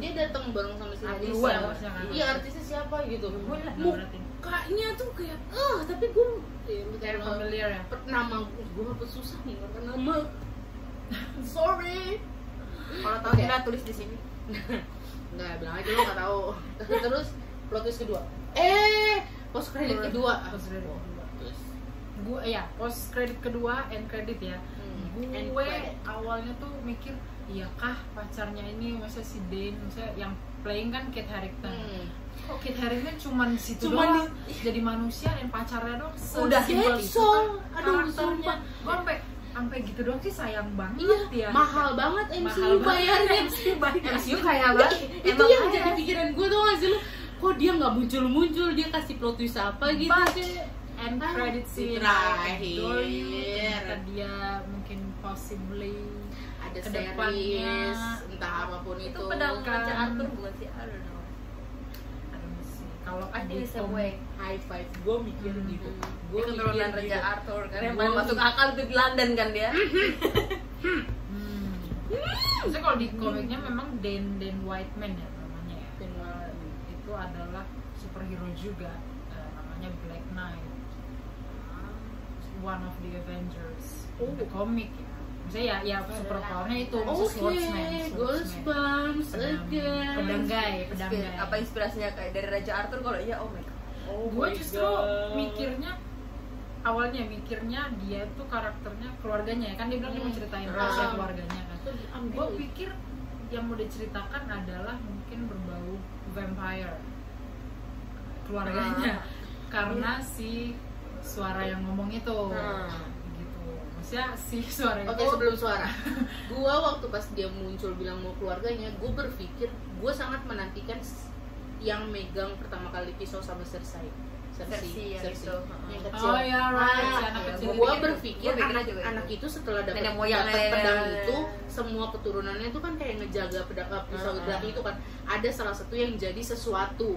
Speaker 1: dia datang bareng sama si
Speaker 3: Artis
Speaker 1: Harry
Speaker 3: ya,
Speaker 1: Styles.
Speaker 3: maksudnya kan?
Speaker 1: iya artisnya siapa gitu
Speaker 3: Gue lah berarti.
Speaker 1: mukanya tuh kayak ah tapi gue
Speaker 3: Dari familiar ya.
Speaker 1: nama gue apa susah nih karena nama *laughs* sorry
Speaker 2: kalau tahu
Speaker 1: Oke.
Speaker 2: kita tulis di sini
Speaker 1: nggak bilang aja lo nggak tahu *laughs* terus plot twist kedua eh post credit kedua
Speaker 3: Post credit kedua.
Speaker 1: Terus,
Speaker 3: Gue ya post credit kedua end credit ya.
Speaker 1: hmm, end
Speaker 3: Gue
Speaker 1: credit.
Speaker 3: awalnya tuh mikir, iyakah pacarnya ini masa si Dane, masa yang playing kan Kate Harington.
Speaker 1: Hmm.
Speaker 3: Kok Kate Harington cuman di situ
Speaker 1: Cuman
Speaker 3: doang, jadi manusia dan pacarnya doang.
Speaker 1: Udah
Speaker 3: sesimpel
Speaker 1: cancel.
Speaker 3: kan
Speaker 1: Aduh,
Speaker 3: karakternya.
Speaker 1: sumpah.
Speaker 3: Gue sampai sampai gitu doang sih sayang banget
Speaker 1: Iya,
Speaker 3: ya
Speaker 1: mahal banget MCU
Speaker 3: Mahal *laughs*
Speaker 1: bayarnya.
Speaker 3: banget, MCU bayar. Iya,
Speaker 1: MCU kaya banget. itu
Speaker 2: Emang
Speaker 1: yang
Speaker 2: kaya.
Speaker 1: jadi pikiran gue tuh gak sih lu? Kok dia nggak muncul-muncul? Dia kasih plot twist apa gitu?
Speaker 3: But-
Speaker 1: sih? Nah,
Speaker 3: end credit scene
Speaker 1: Terakhir.
Speaker 3: I adore you, ternyata dia mungkin possibly
Speaker 1: Ada
Speaker 3: Kedepannya.
Speaker 1: series, entah apapun itu.
Speaker 2: itu pedang
Speaker 3: kan.
Speaker 2: raja Arthur bukan sih I don't know
Speaker 3: aduh sih kalau
Speaker 2: I think it's a
Speaker 3: Tom-
Speaker 2: way
Speaker 1: High five, gue mikir
Speaker 3: Hmm.
Speaker 1: gitu.
Speaker 2: dia
Speaker 1: Gue
Speaker 2: keturunan raja Arthur karena yang paling
Speaker 1: Gua-
Speaker 2: masuk akal itu di London kan dia
Speaker 3: hmm. Maksudnya kalau di komiknya memang Dan Dan Whiteman ya namanya ya itu adalah superhero juga eh, namanya Black Knight one of the Avengers
Speaker 1: Oh.
Speaker 3: the komik ya Maksudnya ya, ya super powernya itu maksudnya
Speaker 1: Oke,
Speaker 3: swordsman, swordsman.
Speaker 1: Goosebumps
Speaker 3: Pedang-
Speaker 1: again.
Speaker 3: pedanggai, pedanggai.
Speaker 2: Inspir- apa inspirasinya kayak dari raja Arthur kalau iya oh my god
Speaker 1: Oh
Speaker 3: gue
Speaker 1: my
Speaker 3: justru
Speaker 1: God.
Speaker 3: mikirnya awalnya mikirnya dia itu karakternya keluarganya ya kan dia bilang dia mau ceritain
Speaker 1: Hmm.
Speaker 3: rahasia
Speaker 1: Ah.
Speaker 3: keluarganya kan
Speaker 1: Itu diambil.
Speaker 3: gue pikir yang mau diceritakan adalah mungkin berbau vampire
Speaker 2: Ah.
Speaker 1: Ah.
Speaker 3: keluarganya karena
Speaker 1: Iya.
Speaker 3: si suara yang ngomong itu
Speaker 2: Hmm.
Speaker 3: gitu maksudnya si suara
Speaker 1: Ah. Oke
Speaker 3: itu
Speaker 1: sebelum suara, *laughs* gua waktu pas dia muncul bilang mau keluarganya, gue berpikir gue sangat menantikan s- yang megang pertama kali pisau sama Cersei.
Speaker 2: Cersei yang itu, heeh.
Speaker 1: yang kecil.
Speaker 3: oh ya right si anak
Speaker 2: iya,
Speaker 3: kecil
Speaker 1: gue
Speaker 2: pikir-
Speaker 1: berpikir
Speaker 2: gua pikir
Speaker 1: anak,
Speaker 2: juga itu.
Speaker 1: anak itu setelah dapat
Speaker 2: Nenek moyang,
Speaker 1: dapat
Speaker 2: nenek-
Speaker 1: pedang itu semua keturunannya itu kan kayak ngejaga pedang eh, pisau
Speaker 2: Heeh.
Speaker 1: pedang itu kan ada salah satu yang jadi sesuatu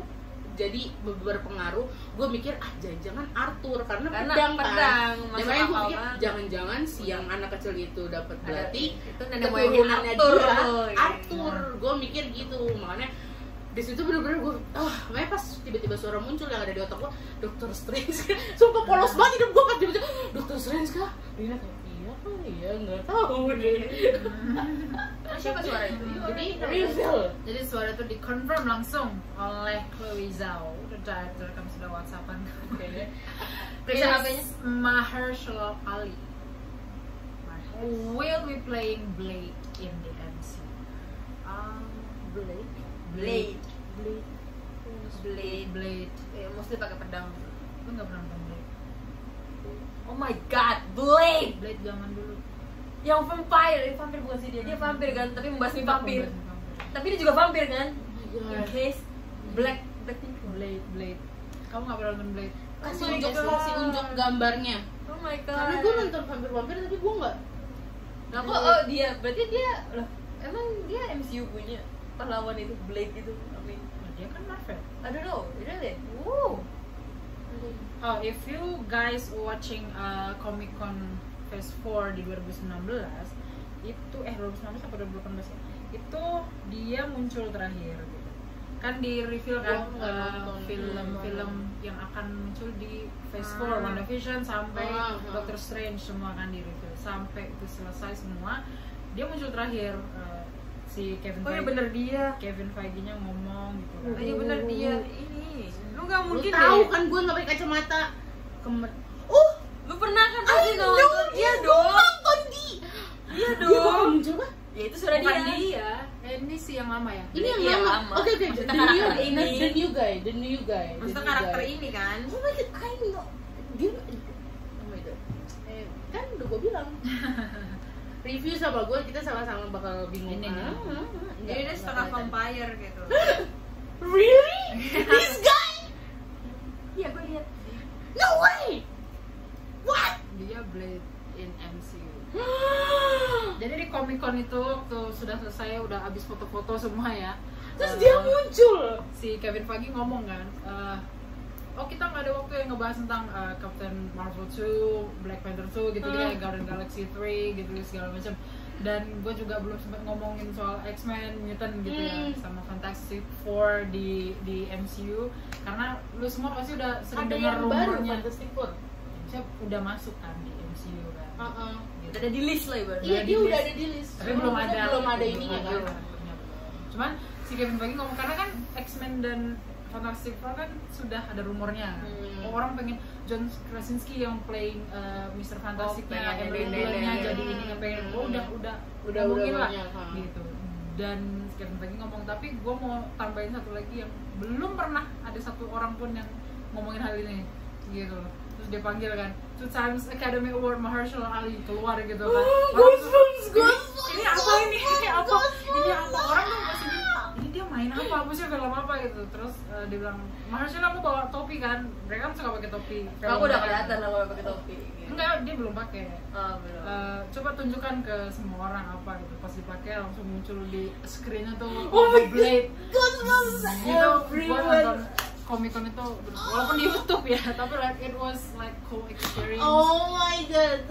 Speaker 1: jadi ber- berpengaruh gue mikir ah jangan-jangan Arthur karena,
Speaker 2: karena
Speaker 1: pedang, kan Dan
Speaker 2: pedang masuk
Speaker 1: makanya gue
Speaker 2: akal
Speaker 1: pikir
Speaker 2: banget
Speaker 1: jangan-jangan si yang anak kecil itu dapat
Speaker 2: Ada-
Speaker 1: berarti
Speaker 2: itu nenek moyangnya
Speaker 1: keturunannya
Speaker 2: Arthur
Speaker 1: dia
Speaker 2: tuh, iya.
Speaker 1: Arthur gue mikir gitu makanya di situ bener-bener gue ah makanya pas tiba-tiba suara muncul yang ada di otak gue Dokter Strange *laughs* sumpah
Speaker 2: Iya.
Speaker 1: polos banget hidup gue pas tiba-tiba Dokter Strange kah Dina kayak iya kali ya nggak
Speaker 2: Oh,
Speaker 1: tahu deh
Speaker 2: iya. Terus siapa suara itu
Speaker 1: jadi
Speaker 2: Iya.
Speaker 1: reveal
Speaker 3: Jadi suara itu dikonfirm langsung oleh Chloe Zhao, the director kamu sudah whatsappan
Speaker 2: Iya.
Speaker 3: kayaknya.
Speaker 1: Iya.
Speaker 2: Periksa HP-nya.
Speaker 3: Is Mahershala Ali will be playing Blade in the MCU. Um, Blade,
Speaker 2: Blade
Speaker 3: Blade,
Speaker 2: Blade
Speaker 3: Blade.
Speaker 2: Eh, mostly pakai pedang
Speaker 3: Lu nggak pernah nonton Blade?
Speaker 2: oh my god Blade
Speaker 3: Blade zaman dulu.
Speaker 2: yang vampire eh, vampir bukan sih dia dia vampir kan tapi membasmi vampir tapi dia juga vampir kan
Speaker 1: Oh my
Speaker 2: in
Speaker 1: God.
Speaker 2: case black black people
Speaker 3: Blade, Blade. Kamu nggak pernah nonton Blade?
Speaker 1: kasih
Speaker 2: Oh my
Speaker 1: unjuk
Speaker 2: God.
Speaker 1: kasih unjuk gambarnya
Speaker 2: oh my god
Speaker 1: karena gue nonton vampir-vampir tapi gue nggak
Speaker 2: Nah, kok oh dia berarti dia loh, emang dia MCU punya pahlawan itu Blade itu. I mean,
Speaker 3: Nah, Dia kan Marvel.
Speaker 2: I don't know, really. Wow.
Speaker 3: Oh, if you guys watching uh, Comic Con Phase 4 di 2019 itu eh 2019 apa 2018 ya? Itu dia muncul terakhir gitu. Kan di reveal kan
Speaker 1: Gua nggak
Speaker 3: uh,
Speaker 1: nonton.
Speaker 3: film-film yang akan muncul di Phase 4
Speaker 2: Ah.
Speaker 3: WandaVision sampai
Speaker 1: Ah, ah.
Speaker 3: Doctor Strange semua kan di reveal sampai itu selesai semua. Dia muncul terakhir uh, si
Speaker 2: Oh
Speaker 3: Kevin
Speaker 2: iya
Speaker 3: Feige-
Speaker 2: bener dia.
Speaker 3: Kevin Feige-nya ngomong gitu.
Speaker 2: Oh
Speaker 3: kan.
Speaker 2: iya bener dia. Ini. Lu nggak
Speaker 1: lu
Speaker 2: mungkin ya.
Speaker 1: tahu
Speaker 2: deh.
Speaker 1: kan gue nggak pakai kacamata kemet
Speaker 2: Uh, lu pernah kan pasti
Speaker 1: Ayo,
Speaker 2: nonton? Iya dong.
Speaker 1: nonton di
Speaker 2: Iya
Speaker 1: dia bakal
Speaker 2: dong.
Speaker 1: muncul kan
Speaker 2: Ya itu suara
Speaker 3: Bukan
Speaker 2: dia.
Speaker 3: dia. Eh, ini si yang lama ya.
Speaker 1: ini yang
Speaker 2: Iya,
Speaker 1: lama
Speaker 2: lama.
Speaker 1: oke oke the
Speaker 2: Maksudnya
Speaker 1: new
Speaker 2: karakter
Speaker 1: the,
Speaker 2: ini.
Speaker 1: the new guy the new guy the
Speaker 2: Maksudnya
Speaker 1: new
Speaker 2: karakter
Speaker 1: guy.
Speaker 2: ini kan.
Speaker 1: Oh my god, I know. Dia, oh my god. Eh, kan udah gue
Speaker 3: *laughs*
Speaker 1: bilang. Review sama gue kita sama-sama bakal bingung.
Speaker 3: Ini
Speaker 1: Ah,
Speaker 3: nih.
Speaker 1: ah, ah. Enggak,
Speaker 2: Jadi dia
Speaker 1: enggak
Speaker 2: setengah
Speaker 1: kelihatan.
Speaker 2: vampire gitu.
Speaker 1: Really? This guy?
Speaker 2: Iya, gue lihat.
Speaker 1: No way. *gasps* What?
Speaker 3: Dia Blade in MCU. Jadi di Comic Con itu waktu sudah selesai udah habis foto-foto semua ya.
Speaker 1: Terus
Speaker 3: Eh,
Speaker 1: dia muncul.
Speaker 3: si Kevin Feige ngomong kan, eh, oh kita nggak ada waktu yang ngebahas tentang eh, Captain Marvel 2, Black Panther 2 gitu ya,
Speaker 1: Hmm.
Speaker 3: Guardian Galaxy 3 gitu segala macam. Dan gue juga belum sempat ngomongin soal X-Men, Mutant gitu ya,
Speaker 1: Hmm.
Speaker 3: sama Fantastic Four di di MCU. Karena lu semua pasti udah sering
Speaker 1: Ada
Speaker 3: dengar
Speaker 1: yang baru
Speaker 3: rumornya.
Speaker 1: Fantastic Four.
Speaker 3: Siap, udah masuk kan di MCU kan.
Speaker 1: Heeh.
Speaker 3: Gitu.
Speaker 2: Ada di list lah ibaratnya.
Speaker 1: Iya,
Speaker 3: Ada
Speaker 1: dia
Speaker 3: di
Speaker 1: udah
Speaker 3: list.
Speaker 1: ada di list.
Speaker 3: tapi
Speaker 1: Cuma
Speaker 3: belum
Speaker 1: kita
Speaker 3: ada
Speaker 1: Belum ada
Speaker 3: belum
Speaker 1: ininya
Speaker 3: ada.
Speaker 1: kan.
Speaker 3: cuman si Kevin Feige ngomong karena kan X-Men dan Fantastic Four kan sudah ada rumornya
Speaker 1: Hmm.
Speaker 3: Oh, orang pengen John Krasinski yang playing uh, Mr.
Speaker 2: Oh,
Speaker 3: Fantastic
Speaker 2: pengen
Speaker 3: Emery
Speaker 2: jadi
Speaker 3: Millernya
Speaker 2: Leland.
Speaker 3: jadi ini yang pengen oh,
Speaker 1: Hmm.
Speaker 3: udah udah
Speaker 1: Udah udah
Speaker 3: ngomongin lah
Speaker 1: banyak. ha.
Speaker 3: gitu dan si Kevin Feige ngomong tapi gue mau tambahin satu lagi yang belum pernah ada satu orang pun yang ngomongin hal ini gitu loh terus dia panggil kan two times Academy Award Mahershala Ali keluar gitu
Speaker 1: Oh,
Speaker 3: kan Orang
Speaker 1: goosebumps,
Speaker 3: tuh,
Speaker 1: goosebumps,
Speaker 3: ini apa ini ini apa ini apa orang tuh pasti bilang, ini dia main apa apa sih film apa gitu terus eh, dia bilang Mahershala aku bawa topi kan mereka kan suka pakai topi
Speaker 2: Aku udah kelihatan aku pakai topi.
Speaker 3: enggak dia belum pakai
Speaker 2: Oh, belum.
Speaker 3: Eh, coba tunjukkan ke semua orang apa gitu pas dipakai langsung muncul di screennya tuh
Speaker 1: Oh my
Speaker 3: Blade
Speaker 1: Goosebumps
Speaker 3: itu gua nonton
Speaker 1: everywhere.
Speaker 3: komik kon itu walaupun di YouTube ya tapi like it was like cool experience
Speaker 1: Oh my god.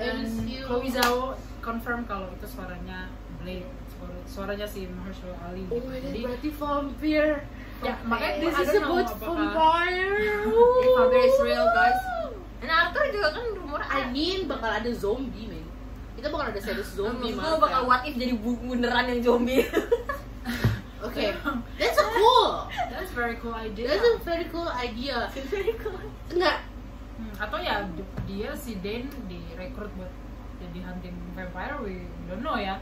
Speaker 3: dan
Speaker 1: MCU.
Speaker 3: Chloe Zhao confirm kalau itu suaranya Blade suara- suaranya si Mahershala Ali
Speaker 1: Oh my
Speaker 3: gitu.
Speaker 1: god,
Speaker 3: jadi
Speaker 1: berarti vampire.
Speaker 3: ya makanya
Speaker 1: This
Speaker 3: I
Speaker 1: is a
Speaker 3: don't know uh,
Speaker 1: good
Speaker 3: apakah-
Speaker 1: vampire.
Speaker 2: If Vampire is real, guys. Dan Arthur juga kan rumor
Speaker 1: I mean bakal ada zombie, men. Kita bakal ada series zombie,
Speaker 2: Gue
Speaker 1: Marvel.
Speaker 2: bakal what if jadi bu- beneran yang zombie. *laughs*
Speaker 1: Oke. That's a cool.
Speaker 3: that's very cool idea
Speaker 1: That's a very cool idea. Enggak,
Speaker 3: Hmm, atau ya di- dia si Dane direkrut buat jadi hunting vampire we don't know ya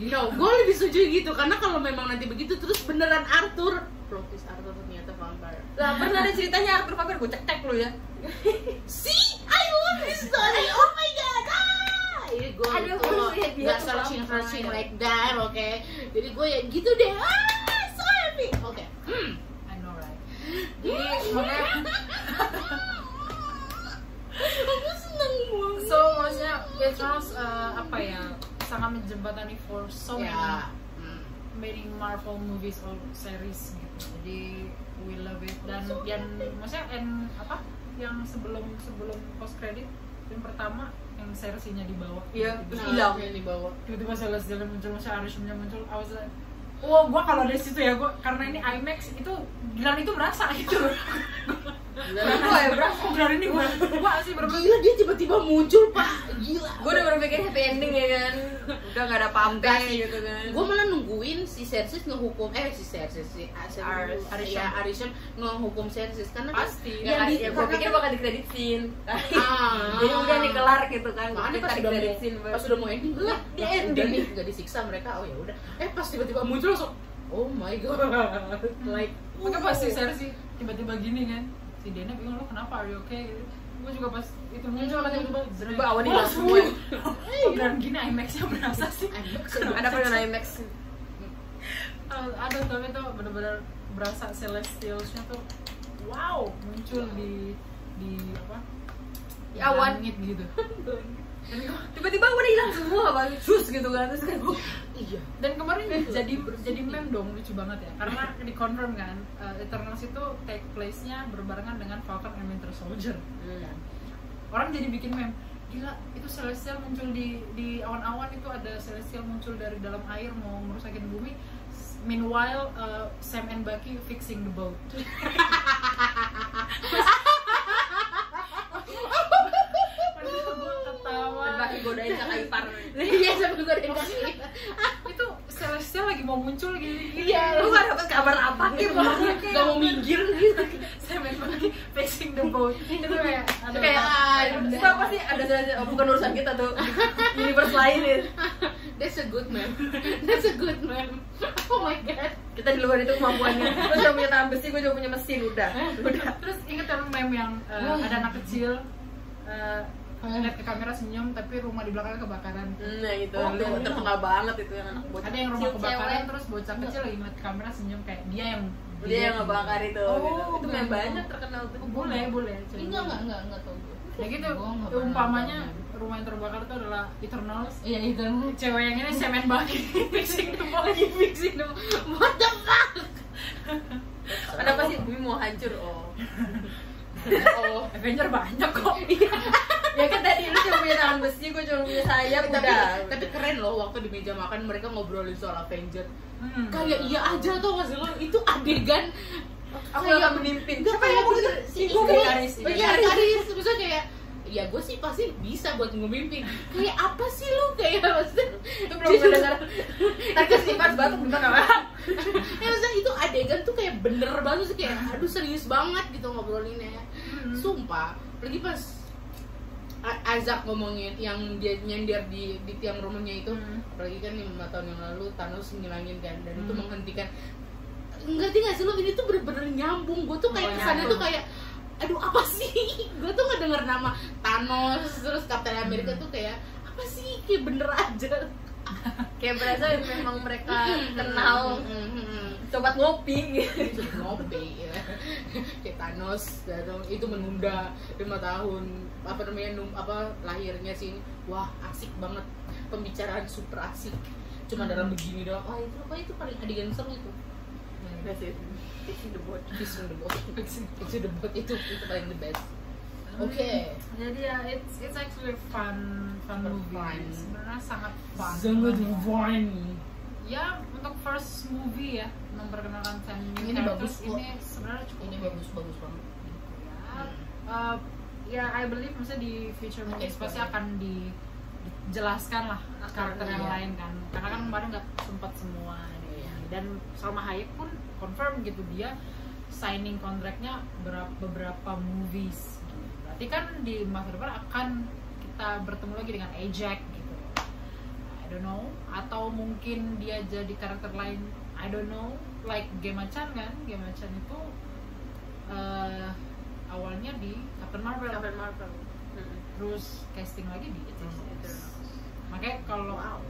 Speaker 1: No, gue lebih setuju gitu karena kalau memang nanti begitu terus beneran Arthur plot twist Arthur ternyata vampire.
Speaker 2: Lah pernah ada ceritanya Arthur vampir gue cek-cek lu ya.
Speaker 1: See, I love this
Speaker 2: *laughs*
Speaker 1: story. Oh my god. Ah! Jadi gue
Speaker 2: Ada
Speaker 1: itu
Speaker 2: apa sih? Dia
Speaker 1: nggak
Speaker 2: tuh
Speaker 1: searching
Speaker 2: vampire.
Speaker 1: searching like that, oke? Jadi gue ya gitu deh. Ah, so happy. Oke. Hmm.
Speaker 3: I know right
Speaker 2: Jadi
Speaker 1: *laughs*
Speaker 2: makanya
Speaker 1: Aku seneng banget.
Speaker 3: So maksudnya
Speaker 2: ya,
Speaker 3: Eternals
Speaker 2: eh,
Speaker 3: uh, apa ya sangat menjembatani for so
Speaker 1: ya. Hmm.
Speaker 3: many many Marvel movies or series gitu. Jadi we love it dan yang maksudnya yang apa yang sebelum sebelum post credit yang pertama yang serisinya di bawah.
Speaker 2: Iya,
Speaker 3: Gitu.
Speaker 2: terus
Speaker 1: Nah,
Speaker 2: hilang.
Speaker 1: yang
Speaker 2: *laughs*
Speaker 1: dibawa.
Speaker 3: Tiba-tiba Celeste Jalan muncul, maksudnya Arishumnya muncul, I was like, Wow, gua kalau dari situ ya, gua karena ini IMAX itu gila itu berasa *laughs* gitu.
Speaker 1: Gila,
Speaker 2: Gua ya, berasa.
Speaker 3: Gila ini gua, gua sih bener
Speaker 1: Gila, dia tiba-tiba muncul pak. Gila.
Speaker 2: gue udah berpikir happy ending ya kan. Udah gak ada
Speaker 1: Enggak
Speaker 2: pamkai
Speaker 1: sih.
Speaker 2: gitu kan.
Speaker 1: gue malah nungguin si Sersis ngehukum eh si Sersis si
Speaker 2: Ar-
Speaker 1: Arishon ya Arishon ngehukum Sersis karena kan
Speaker 3: Pasti.
Speaker 1: yang
Speaker 2: Ya,
Speaker 1: di,
Speaker 2: ya gue pikir bakal dikreditin.
Speaker 1: Ah.
Speaker 2: Jadi udah nih kelar gitu kan. Gua
Speaker 1: Makanya
Speaker 2: pikir
Speaker 1: pas
Speaker 2: tadi
Speaker 1: sudah mau
Speaker 2: kreditin.
Speaker 1: pas sudah mau ending
Speaker 4: Iya,
Speaker 1: lah
Speaker 2: Di
Speaker 1: lah,
Speaker 2: ending.
Speaker 1: udah nih nggak disiksa mereka oh ya udah eh pas tiba-tiba muncul langsung oh my god like oh.
Speaker 3: Maka pas si Sarah sih tiba-tiba gini kan Si Dena bingung lo kenapa are you okay Gue juga pas itu muncul kan tiba-tiba
Speaker 2: Tiba-tiba awan
Speaker 3: Wah,
Speaker 2: hilang
Speaker 3: semua.
Speaker 2: semua.
Speaker 3: Kok beneran gini IMAX-nya berasa sih
Speaker 2: Ada apa dengan IMAX?
Speaker 3: Uh, Ada tapi tuh bener-bener berasa celestialsnya tuh Wow muncul di di apa
Speaker 2: Di awan.
Speaker 3: langit *laughs* gitu
Speaker 2: Tiba-tiba udah hilang semua bang. Cus gitu kan. Terus kan gue
Speaker 1: iya
Speaker 3: dan kemarin Eh, jadi jadi meme dong lucu banget ya karena di confirm kan uh, Eternals itu take place nya berbarengan dengan Falcon and Winter Soldier
Speaker 4: Hmm.
Speaker 3: orang jadi bikin meme gila itu celestial muncul di di awan-awan itu ada celestial muncul dari dalam air mau merusakin bumi S- meanwhile uh, Sam and Bucky fixing the
Speaker 1: *laughs*
Speaker 3: boat Waktu itu gua ketawa
Speaker 2: Bagi kan godain kakak ipar.
Speaker 1: iya sampai gue udah kasih
Speaker 3: itu celestial lagi mau muncul gini
Speaker 1: Iya.
Speaker 2: Lu gak dapet kabar apa gitu
Speaker 1: nggak mau minggir gitu
Speaker 3: Sam and Bucky fixing the boat itu kayak aduh.
Speaker 2: Kayak
Speaker 1: Ada.
Speaker 2: itu apa sih ada ada- oh, bukan urusan kita tuh universe lain ya.
Speaker 1: that's a good man that's a good man oh my god
Speaker 2: Kita di luar itu kemampuannya. Gue juga punya tangan besi, gue juga punya mesin udah. Udah.
Speaker 3: Terus inget yang meme yang uh, ada anak kecil uh, ngeliat ke kamera senyum tapi rumah di belakangnya kebakaran.
Speaker 2: Nah gitu.
Speaker 3: Oh,
Speaker 2: Lu
Speaker 3: iya.
Speaker 2: terkenal banget itu yang anak bocah.
Speaker 3: Ada yang rumah
Speaker 2: kecil,
Speaker 3: kebakaran
Speaker 2: cewek.
Speaker 3: terus bocah kecil lagi ngeliat ke kamera senyum kayak dia yang
Speaker 2: dia yang ngebakar itu.
Speaker 3: Oh,
Speaker 2: gitu. Itu
Speaker 3: bener.
Speaker 2: yang banyak terkenal tuh.
Speaker 3: Oh, boleh, boleh. cerita.
Speaker 4: Enggak, enggak, enggak, enggak tau gue
Speaker 3: Nah gitu,
Speaker 2: Oh,
Speaker 4: Gua nggak pernah
Speaker 3: umpamanya
Speaker 4: nonton.
Speaker 3: rumah yang terbakar itu adalah Eternals.
Speaker 4: Iya itu
Speaker 3: Cewek yang ini semen bagi *laughs* fixing the body, fixing the
Speaker 1: what the fuck
Speaker 2: Ada apa sih bumi mau hancur? Oh.
Speaker 1: oh
Speaker 3: Avenger banyak kok.
Speaker 2: ya kan tadi lu cuma punya tangan besi, gue cuma punya sayap
Speaker 1: tapi,
Speaker 2: udah.
Speaker 1: tapi keren loh waktu di meja makan mereka ngobrolin soal Avenger
Speaker 3: Hmm.
Speaker 1: kayak iya aja tuh mas lo itu adegan
Speaker 2: aku
Speaker 1: kayak-
Speaker 2: gak menimpin.
Speaker 1: Enggak,
Speaker 2: Siapa yang
Speaker 1: kayak
Speaker 2: ngomong gitu?
Speaker 1: bener-
Speaker 2: Si
Speaker 1: si
Speaker 2: Gue.
Speaker 1: Karis
Speaker 2: Oh,
Speaker 1: iya
Speaker 2: iya, Karis.
Speaker 1: Karis maksudnya kayak ya gue sih pasti bisa buat ngemimpin kayak apa sih lu kayak maksudnya
Speaker 2: Itu belum mendengar. *laughs* Tadi sifat batuk bentar apa?
Speaker 1: ya maksudnya itu adegan tuh kayak bener banget sih kayak aduh serius banget gitu ngobrolinnya
Speaker 3: Hmm.
Speaker 1: sumpah lagi pas A- Azak ngomongin yang dia nyender di, di tiang rumahnya itu
Speaker 3: Hmm.
Speaker 1: apalagi kan lima tahun yang lalu Thanos ngilangin kan dan itu
Speaker 3: Hmm.
Speaker 1: menghentikan ngerti gak sih lo ini tuh bener-bener nyambung gue tuh kayak
Speaker 3: Oh,
Speaker 1: kesannya
Speaker 3: nyambung.
Speaker 1: tuh kayak aduh apa sih *laughs* gue tuh ngedenger nama Thanos terus Captain America
Speaker 3: Hmm.
Speaker 1: tuh kayak apa sih kayak bener aja
Speaker 2: kayak berasa memang mereka kenal
Speaker 1: Hmm, hmm, hmm.
Speaker 2: sobat ngopi gitu.
Speaker 1: ngopi ya. *laughs* kayak Thanos datang itu menunda lima tahun apa namanya num, apa lahirnya sih wah asik banget pembicaraan super asik cuma
Speaker 3: Hmm.
Speaker 1: dalam begini doang wah itu apa itu paling adegan seru itu
Speaker 2: That's it. Fixing the boat.
Speaker 1: Kiss on the boat *laughs* itu the boat itu itu paling the best oke
Speaker 3: Jadi ya, it's it's actually fun fun
Speaker 1: Super
Speaker 3: movie.
Speaker 1: fun.
Speaker 3: Sebenarnya sangat fun.
Speaker 1: divine
Speaker 3: Ya untuk first movie ya memperkenalkan Sam
Speaker 1: Ini bagus kok. Iya.
Speaker 3: Ini sebenarnya cukup.
Speaker 1: ini bagus bagus banget Hmm.
Speaker 3: Ya, uh, ya I believe maksudnya di future movies pasti akan di dijelaskan lah karakter yang
Speaker 1: Iya.
Speaker 3: lain kan karena kan kemarin nggak sempat semua ini.
Speaker 1: Iya.
Speaker 3: dan Salma Hayek pun confirm gitu dia signing kontraknya berapa, beberapa movies gitu. berarti kan di masa depan akan kita bertemu lagi dengan Ajak gitu I don't know atau mungkin dia jadi karakter lain I don't know like Gemma Chan kan Gemma Chan itu eh, awalnya di Captain Marvel
Speaker 2: Captain Marvel. Mm-mm.
Speaker 3: terus casting lagi di
Speaker 2: Hmm.
Speaker 3: Eternals.
Speaker 2: Eternals.
Speaker 3: Makanya kalau
Speaker 2: Wow.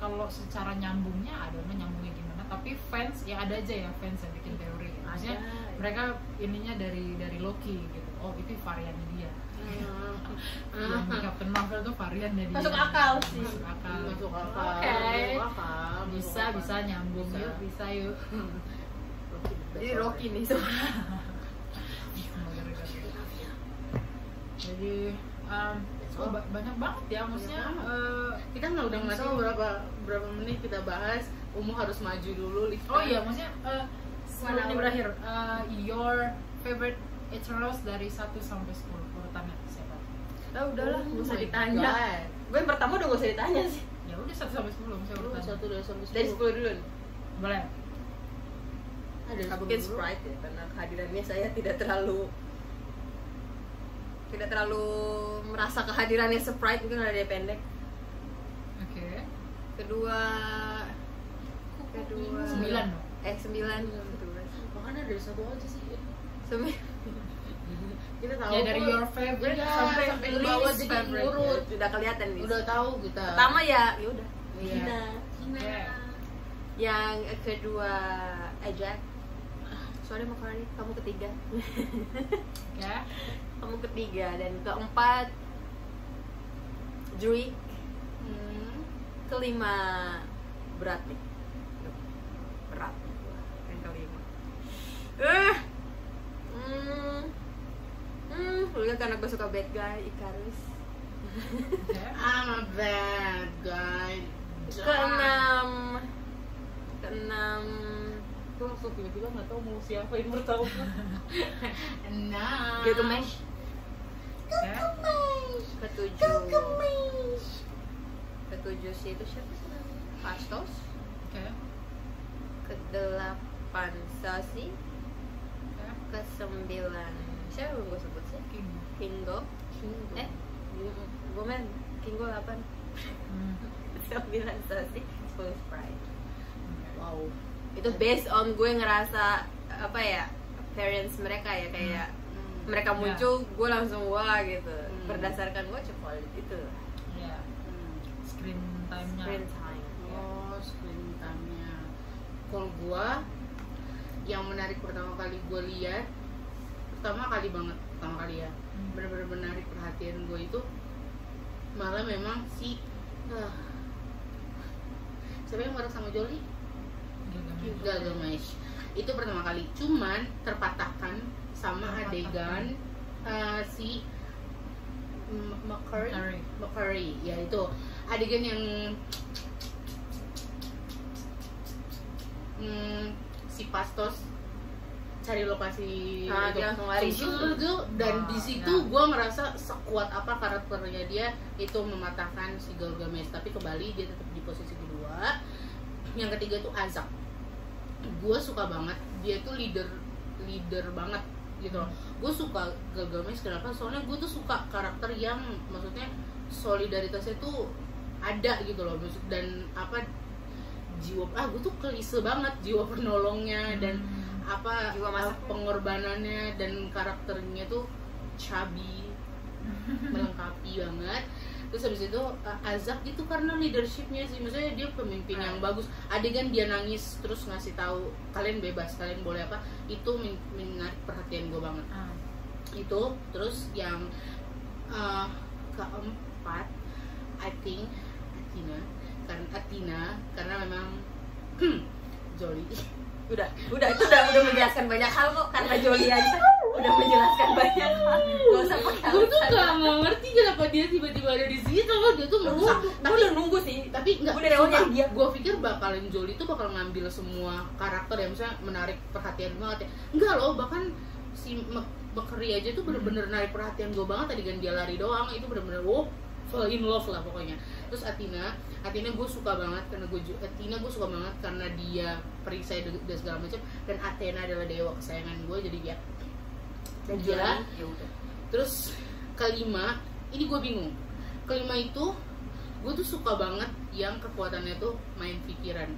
Speaker 3: kalau secara nyambungnya ada nyambungnya gimana, tapi fans ya ada aja ya fans yang bikin teori. Maksudnya mereka ininya dari dari Loki gitu. Oh, itu variannya dia.
Speaker 2: Mm-hmm.
Speaker 3: Yang di Captain Marvel tuh variannya dia.
Speaker 2: Masuk akal sih.
Speaker 3: Masuk akal.
Speaker 1: masuk apa
Speaker 3: Oke.
Speaker 1: apa
Speaker 3: Bisa bisa nyambung
Speaker 1: Bisa.
Speaker 3: yuk, bisa yuk.
Speaker 2: Jadi Rocky nih sebenarnya.
Speaker 3: Jadi um, oh, ba- banyak banget ya maksudnya
Speaker 1: Banyak
Speaker 3: eh,
Speaker 1: kita nggak udah ngasih berapa berapa menit kita bahas umum harus maju dulu Lisa.
Speaker 3: Oh iya, maksudnya eh sebelum
Speaker 2: hour.
Speaker 3: ini berakhir, eh, your favorite Eternals dari 1 sampai 10 urutannya siapa?
Speaker 2: Lah Ya udahlah,
Speaker 1: Oh
Speaker 2: nggak usah
Speaker 1: my
Speaker 2: ditanya.
Speaker 1: God.
Speaker 2: Gue yang pertama udah gak usah ditanya sih.
Speaker 3: Ya udah 1 sampai 10 misalnya
Speaker 1: Lu
Speaker 3: urutan.
Speaker 1: satu dua sampai
Speaker 2: Dari 10
Speaker 1: sepuluh
Speaker 2: dulu.
Speaker 3: Boleh.
Speaker 1: ada
Speaker 2: Nggak
Speaker 1: sepuluh
Speaker 2: mungkin
Speaker 1: dulu.
Speaker 2: Sprite ya, karena kehadirannya saya tidak terlalu tidak terlalu merasa kehadirannya Sprite mungkin ada dia pendek.
Speaker 3: Oke.
Speaker 2: Kedua kedua
Speaker 3: 9 dong.
Speaker 2: Eh, 9 kedua.
Speaker 1: makanya dari satu aja sih
Speaker 2: Sembilan.
Speaker 1: kita tahu
Speaker 3: Ya dari
Speaker 1: kok.
Speaker 3: your favorite
Speaker 1: Iya,
Speaker 3: sampai
Speaker 1: sampai
Speaker 3: least
Speaker 1: bawah jadi
Speaker 3: favorite.
Speaker 1: urut.
Speaker 2: Sudah kelihatan nih.
Speaker 1: udah tahu kita
Speaker 2: Pertama ya, ya udah.
Speaker 1: Iya.
Speaker 2: Gina.
Speaker 3: Iya.
Speaker 2: Yang kedua Ajak. Sorry Makaroni, kamu ketiga.
Speaker 3: Ya.
Speaker 2: Kamu ketiga dan keempat Drake,
Speaker 1: Hmm.
Speaker 2: kelima berat nih. Berat nih gua. Yang kelima. Eh. Hmm. Hmm, lu lihat karena gue suka bad guy, Icarus.
Speaker 3: Oke.
Speaker 1: I'm a bad guy Ah.
Speaker 2: Keenam. Keenam.
Speaker 1: gue langsung tiba-tiba nggak tahu mau siapa yang bertahu nah
Speaker 2: Gilgamesh.
Speaker 3: Oke.
Speaker 2: ketujuh ketujuh sih itu siapa sih namanya? Fastos
Speaker 3: Oke.
Speaker 2: kedelapan Sasi
Speaker 3: Oke.
Speaker 2: kesembilan siapa yang gue sebut sih
Speaker 3: King.
Speaker 2: Kingo
Speaker 1: Hmm.
Speaker 2: eh gue men Kingo delapan *laughs*
Speaker 3: Hmm.
Speaker 2: sembilan Sasi sepuluh Sprite
Speaker 3: Oke.
Speaker 1: wow
Speaker 2: itu based on gue ngerasa apa ya parents mereka ya kayak
Speaker 1: Hmm.
Speaker 2: mereka
Speaker 3: Ya.
Speaker 2: muncul gue langsung wah gitu
Speaker 1: Hmm.
Speaker 2: berdasarkan gue cepol gitu
Speaker 3: Ya. Screen time-nya.
Speaker 2: screen time ya.
Speaker 1: Oh, screen time-nya. Kalau gua yang menarik pertama kali gua lihat pertama kali banget pertama kali ya
Speaker 3: Hmm.
Speaker 1: benar-benar menarik perhatian gue itu malah memang si ah, siapa yang marah sama Jolly
Speaker 3: Gilgamesh.
Speaker 1: Gilgamesh itu pertama kali cuman terpatahkan sama
Speaker 3: Terpatahkan.
Speaker 1: adegan eh, si M- McCurry
Speaker 3: Curry.
Speaker 1: McCurry ya itu adegan yang Hmm, si Pastos cari lokasi
Speaker 2: Ah,
Speaker 1: itu.
Speaker 2: dia langsung lari.
Speaker 1: Terus itu, dan
Speaker 3: Wah,
Speaker 1: di situ
Speaker 3: ya.
Speaker 1: gua ngerasa sekuat apa karakternya dia itu mematahkan si Gilgamesh tapi kembali dia tetap di posisi kedua yang ketiga tuh Azak gue suka banget dia tuh leader leader banget gitu loh gue suka Gilgamesh kenapa soalnya gue tuh suka karakter yang maksudnya solidaritasnya tuh ada gitu loh maksud dan apa jiwa ah gue tuh kelise banget jiwa penolongnya dan
Speaker 3: Hmm.
Speaker 1: apa
Speaker 2: Jiwa masak.
Speaker 1: uh, pengorbanannya dan karakternya tuh chubby melengkapi banget terus habis itu uh, Azak itu karena leadershipnya sih maksudnya dia pemimpin yang bagus adegan dia nangis terus ngasih tahu kalian bebas kalian boleh apa itu men- menarik perhatian gue banget
Speaker 3: Ah,
Speaker 1: itu terus yang uh, keempat I think Athena karena Athena karena memang *clears throat* Jolly
Speaker 2: udah udah itu udah udah menjelaskan banyak hal kok karena Jolie aja udah menjelaskan banyak hal gak usah pakai
Speaker 1: gue tuh
Speaker 2: alasan.
Speaker 1: gak ngerti kenapa dia tiba-tiba ada di situ dia tuh
Speaker 2: Gua-
Speaker 1: merusak
Speaker 2: gua
Speaker 1: tapi
Speaker 2: udah nunggu sih
Speaker 1: tapi nggak
Speaker 2: Nah, Gua dari awal yang dia-
Speaker 1: gue pikir bakalan Jolie tuh bakal ngambil semua karakter yang misalnya menarik perhatian banget ya enggak loh bahkan si Bekeri aja tuh bener-bener
Speaker 2: Hmm.
Speaker 1: narik perhatian gue banget tadi kan dia lari doang itu bener-bener wow fall in love lah pokoknya terus Athena Athena gue suka banget karena gue ju- Athena gue suka banget karena dia perisai dan dan segala macam dan Athena adalah dewa kesayangan gue jadi ya dia dan dia
Speaker 2: ya udah
Speaker 1: Terus kelima, ini gue bingung. Kelima itu gue tuh suka banget yang kekuatannya tuh main pikiran.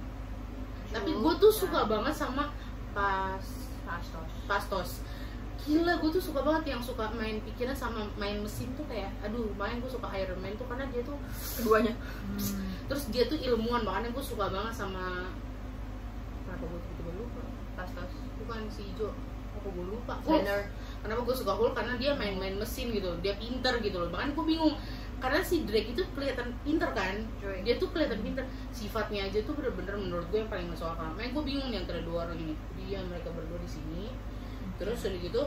Speaker 1: Tapi gue
Speaker 2: Iya.
Speaker 1: tuh suka banget sama pas
Speaker 2: Pastos.
Speaker 1: pastos. Gila, gue tuh suka banget yang suka main pikiran sama main mesin tuh kayak, aduh, main gue suka Iron Man tuh karena dia tuh,
Speaker 2: keduanya
Speaker 3: hmm.
Speaker 1: terus dia tuh ilmuwan makanya gue suka banget sama kenapa gue tiba-tiba lupa?
Speaker 2: Pastos.
Speaker 1: Bukan si Jo, apa gue lupa?
Speaker 2: Leonard
Speaker 1: kenapa gue suka Hulk karena dia main-main mesin gitu dia pinter gitu loh bahkan gue bingung karena si Drake itu kelihatan pinter kan
Speaker 2: Drake.
Speaker 1: dia tuh kelihatan pinter sifatnya aja tuh bener-bener menurut gue yang paling masuk akal makanya gue bingung nih antara dua orang ini dia mereka berdua di sini terus udah gitu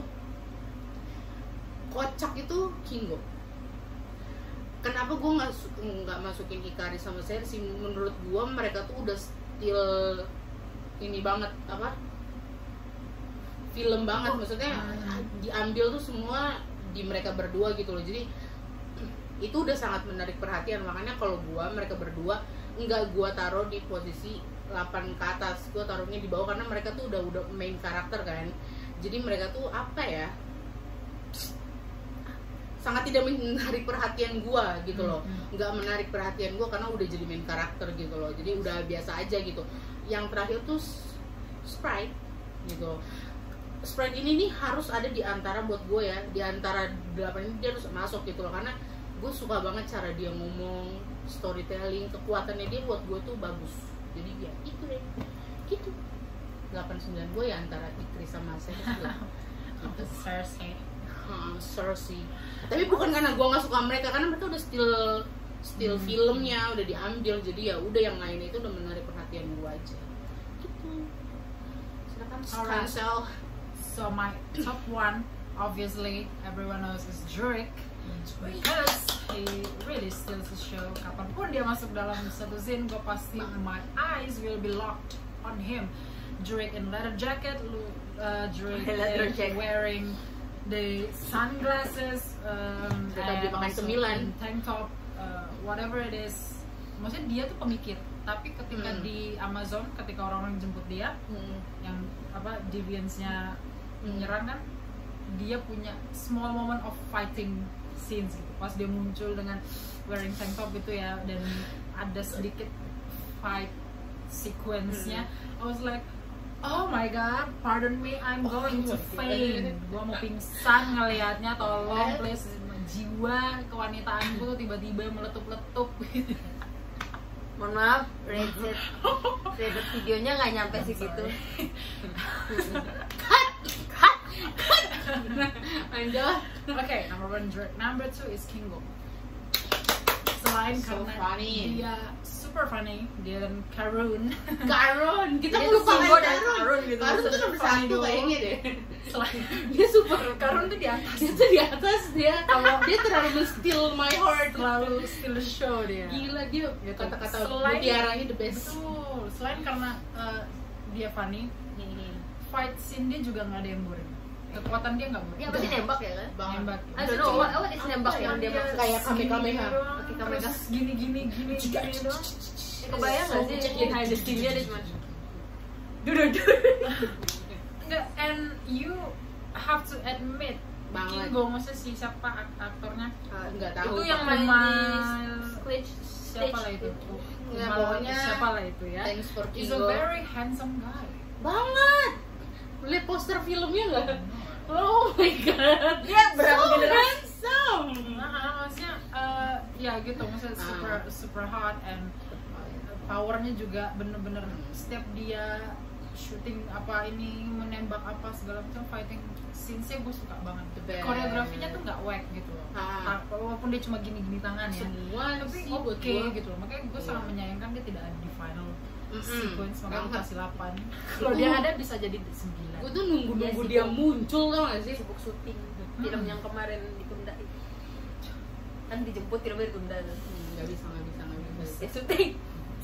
Speaker 1: kocak itu Kingo kenapa gue nggak su- nggak masukin Ikari sama Cersei menurut gue mereka tuh udah still ini banget apa film banget maksudnya diambil tuh semua di mereka berdua gitu loh jadi *clears throat* itu udah sangat menarik perhatian makanya kalau gua mereka berdua nggak gua taruh di posisi 8 ke atas gua taruhnya di bawah karena mereka tuh udah udah main karakter kan jadi mereka tuh apa ya sangat tidak menarik perhatian gua
Speaker 3: Hmm.
Speaker 1: gitu loh nggak menarik perhatian gua karena udah jadi main karakter gitu loh jadi udah biasa aja gitu yang terakhir tuh s- Sprite gitu Sprite ini nih harus ada di antara buat gue ya di antara delapan ini dia harus masuk gitu loh karena gue suka banget cara dia ngomong storytelling kekuatannya dia buat gue tuh bagus jadi ya itu deh gitu 89 gue ya antara Ikri sama Cersei lah
Speaker 3: Apa
Speaker 1: gitu.
Speaker 3: sih, Cersei?
Speaker 1: Ha, Cersei Hmm, tapi bukan karena gue nggak suka mereka karena mereka udah still still
Speaker 3: Hmm.
Speaker 1: filmnya udah diambil jadi ya udah yang lain itu udah menarik perhatian gue aja gitu silakan
Speaker 3: Alright.
Speaker 1: cancel
Speaker 3: So my top one, obviously everyone knows is Drake because he really steals the show. Kapanpun dia masuk dalam satu scene, gue pasti my eyes will be locked on him. Drake in leather jacket, lu- uh,
Speaker 1: *laughs*
Speaker 3: Drake
Speaker 2: Leather
Speaker 3: in-
Speaker 2: jacket.
Speaker 3: wearing the sunglasses, um,
Speaker 1: Dia tadi
Speaker 3: and
Speaker 1: makan
Speaker 3: also
Speaker 1: cemilan.
Speaker 3: in tank top, uh, whatever it is. Maksudnya dia tuh pemikir, tapi ketika
Speaker 1: Hmm.
Speaker 3: di Amazon, ketika orang-orang jemput dia,
Speaker 1: Hmm.
Speaker 3: yang apa deviance-nya menyerang kan dia punya small moment of fighting scenes gitu pas dia muncul dengan wearing tank top gitu ya dan ada sedikit fight sequence-nya I was like oh my god pardon me I'm going to faint gua mau pingsan ngelihatnya tolong please jiwa kewanitaanku tuh tiba-tiba meletup-letup gitu
Speaker 2: mohon maaf rated *laughs* rated videonya nggak nyampe segitu
Speaker 1: gitu.
Speaker 3: *laughs*
Speaker 1: *laughs* Anjay.
Speaker 3: okay, number one Drake. Number two is Kingo. Selain
Speaker 1: So
Speaker 3: karena
Speaker 1: funny.
Speaker 3: dia super funny, dia dan
Speaker 1: *laughs*
Speaker 3: Karun.
Speaker 1: Karun, kita
Speaker 3: Iya,
Speaker 2: Jadi
Speaker 1: melupakan
Speaker 2: Singo dan
Speaker 1: Karun.
Speaker 2: Karun gitu.
Speaker 1: Karun tuh nomor satu
Speaker 3: Funny
Speaker 1: ya.
Speaker 3: doang.
Speaker 1: kayaknya deh.
Speaker 3: Selain
Speaker 1: Dia super
Speaker 3: Karun tuh di atas.
Speaker 1: Dia tuh di atas dia.
Speaker 3: Kalau-
Speaker 1: dia terlalu steal my heart.
Speaker 3: Terlalu still show dia.
Speaker 1: Gila dia
Speaker 3: Gitu.
Speaker 1: kata-kata
Speaker 3: Selain-
Speaker 1: mutiaranya the best.
Speaker 3: Betul. Selain karena eh, dia funny, fight scene dia juga nggak ada yang boring. Kekuatan dia nggak
Speaker 2: dia
Speaker 1: Iya,
Speaker 3: boring. Iya,
Speaker 2: apa sih nembak ya kan
Speaker 1: Banget.
Speaker 3: Nembak.
Speaker 2: I don't know what
Speaker 3: oh,
Speaker 2: what is nembak yang dia maksud
Speaker 1: Kayak kamehameha.
Speaker 2: Pakai kamehameha.
Speaker 3: Terus gini gini gini gini doang.
Speaker 2: kebayang nggak sih behind the scene-nya dia cuma duduk
Speaker 3: Nggak, and you have to admit
Speaker 1: Banget. Oh,
Speaker 3: Kingo maksudnya si siapa ak- aktornya
Speaker 1: Enggak tahu.
Speaker 2: itu yang
Speaker 1: Pak.
Speaker 2: main
Speaker 3: Kumail-
Speaker 2: di stage
Speaker 3: siapa lah itu
Speaker 1: Ya,
Speaker 3: Kumail-
Speaker 1: pokoknya-
Speaker 3: siapa lah itu ya
Speaker 1: Thanks for
Speaker 3: is a
Speaker 1: Kingo.
Speaker 3: very handsome guy
Speaker 1: Banget. Lihat poster filmnya nggak? Oh my god.
Speaker 3: Iya,
Speaker 2: Dia berapa
Speaker 1: so
Speaker 2: generasi?
Speaker 1: handsome.
Speaker 3: Nah, maksudnya eh, ya gitu maksudnya
Speaker 1: Ah.
Speaker 3: super super hot and powernya juga bener-bener setiap dia shooting apa ini menembak apa segala macam fighting scene-nya gue suka banget
Speaker 1: The best.
Speaker 3: koreografinya tuh nggak wack gitu loh
Speaker 1: Ah.
Speaker 3: Ah, walaupun dia cuma gini-gini tangan ya
Speaker 1: Nah, Semua
Speaker 3: tapi
Speaker 1: sih
Speaker 3: oke
Speaker 1: buat gua.
Speaker 3: gitu loh makanya gue sangat menyayangkan dia tidak ada di final
Speaker 1: Mm-mm.
Speaker 3: sequence makanya gue
Speaker 1: Banget.
Speaker 3: kasih 8 kalau dia
Speaker 1: Uh.
Speaker 3: ada bisa jadi 9
Speaker 1: Gue kan, tuh nunggu-nunggu
Speaker 2: Iya sih,
Speaker 1: dia
Speaker 2: gua-
Speaker 1: muncul tau gak sih?
Speaker 2: sibuk syuting film yang kemarin ditunda itu kan dijemput filmnya ditunda tuh.
Speaker 1: Hmm, Gak bisa, gak bisa, gak
Speaker 3: Iya
Speaker 1: bisa.
Speaker 2: ya syuting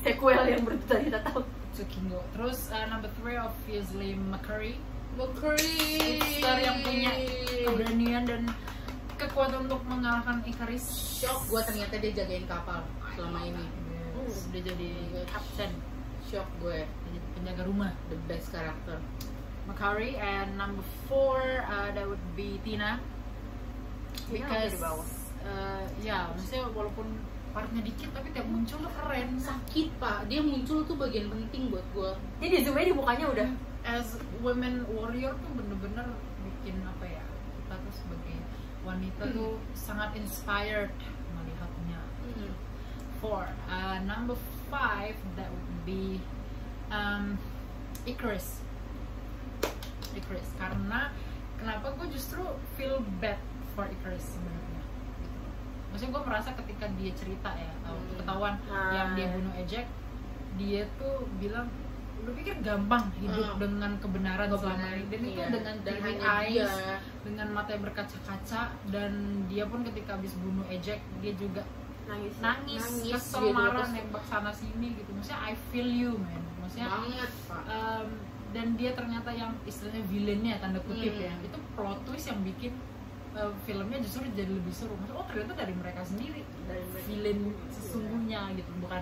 Speaker 2: sequel yang berjuta-juta tahun
Speaker 3: Tsukingo terus uh, number 3 obviously Macquarie
Speaker 1: Mercury.
Speaker 3: Hipster yang punya
Speaker 1: Iya.
Speaker 3: keberanian dan kekuatan untuk mengalahkan Icarus
Speaker 1: Shock gue ternyata dia jagain kapal selama ini.
Speaker 3: Yes. Dia jadi kapten
Speaker 1: Shock gue.
Speaker 3: jadi penjaga rumah
Speaker 1: The best karakter.
Speaker 3: Macquarie and number 4 uh, that would be Tina
Speaker 2: Tina ada di
Speaker 3: because
Speaker 2: bawah.
Speaker 3: uh, ya maksudnya walaupun partnya dikit tapi tiap muncul tuh keren
Speaker 1: Sakit pak, dia muncul tuh bagian penting buat gue.
Speaker 2: jadi zoomnya di mukanya udah
Speaker 3: as women warrior tuh bener-bener bikin apa ya kita tuh sebagai wanita tuh sangat inspired melihatnya
Speaker 1: Hmm.
Speaker 3: four uh, number five that would be um, Icarus Icarus karena kenapa gue justru feel bad for Icarus sebenarnya maksudnya gue merasa ketika dia cerita ya waktu
Speaker 1: Hmm.
Speaker 3: ketahuan
Speaker 2: Ah.
Speaker 3: yang dia bunuh Ejek dia tuh bilang lu pikir gampang
Speaker 1: Ah.
Speaker 3: hidup dengan kebenaran selama ini dan itu
Speaker 1: Iya.
Speaker 3: dengan
Speaker 1: Dan iya,
Speaker 3: teary
Speaker 1: hanya dia.
Speaker 3: eyes dengan mata yang berkaca-kaca dan dia pun ketika habis bunuh Ejek dia juga
Speaker 2: nangis iya,
Speaker 3: nangis,
Speaker 1: Nangis,
Speaker 3: kesel
Speaker 1: dia
Speaker 3: marah
Speaker 1: diutus.
Speaker 3: nembak sana sini gitu maksudnya I feel you man maksudnya
Speaker 1: Banget pak.
Speaker 3: um, dan dia ternyata yang istilahnya villainnya tanda kutip
Speaker 1: Hmm.
Speaker 3: ya itu plot twist yang bikin uh, filmnya justru jadi lebih seru maksudnya oh ternyata dari mereka sendiri
Speaker 2: Dari mereka
Speaker 3: villain
Speaker 2: sendiri.
Speaker 3: sesungguhnya gitu bukan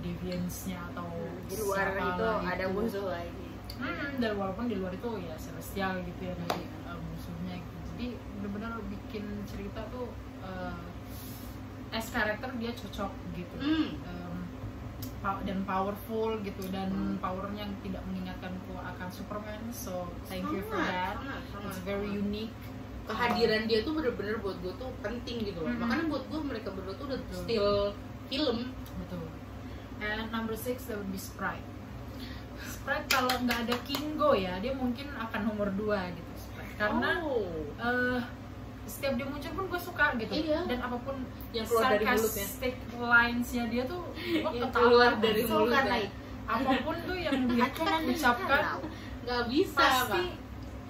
Speaker 3: deviance-nya atau gitu.
Speaker 2: di luar
Speaker 3: siapa
Speaker 2: itu
Speaker 3: lah
Speaker 2: ada
Speaker 3: itu.
Speaker 2: musuh lagi
Speaker 3: Hmm, dan walaupun di luar itu ya celestial gitu ya dari uh, musuhnya gitu. Jadi benar-benar bikin cerita tuh uh, as karakter dia cocok gitu.
Speaker 1: Hmm.
Speaker 3: Um, pow- dan powerful gitu dan
Speaker 1: Hmm.
Speaker 3: powernya yang tidak mengingatkanku akan Superman so thank you for
Speaker 1: Sangat,
Speaker 3: that
Speaker 1: sangat, sangat,
Speaker 3: it's very
Speaker 1: sangat.
Speaker 3: unique
Speaker 1: kehadiran dia tuh bener-bener buat gue tuh penting gitu loh
Speaker 3: Mhm.
Speaker 1: makanya buat gue mereka berdua tuh udah
Speaker 3: Betul.
Speaker 1: still film
Speaker 3: betul and number six that would be Sprite Sprite kalau nggak ada Kingo ya dia mungkin akan nomor dua gitu Sprite karena
Speaker 1: Oh.
Speaker 3: eh setiap dia muncul pun gue suka gitu
Speaker 1: Iya.
Speaker 3: dan apapun
Speaker 1: Yang keluar dari ya. mulutnya.
Speaker 3: sarcastic lines-nya dia tuh gue
Speaker 1: Yang Iya, keluar dari ya.
Speaker 3: kesel
Speaker 1: mulutnya.
Speaker 3: karena gitu. apapun tuh yang
Speaker 1: *laughs*
Speaker 3: dia
Speaker 2: kan
Speaker 3: ucapkan
Speaker 1: nggak bisa
Speaker 3: pasti
Speaker 1: pak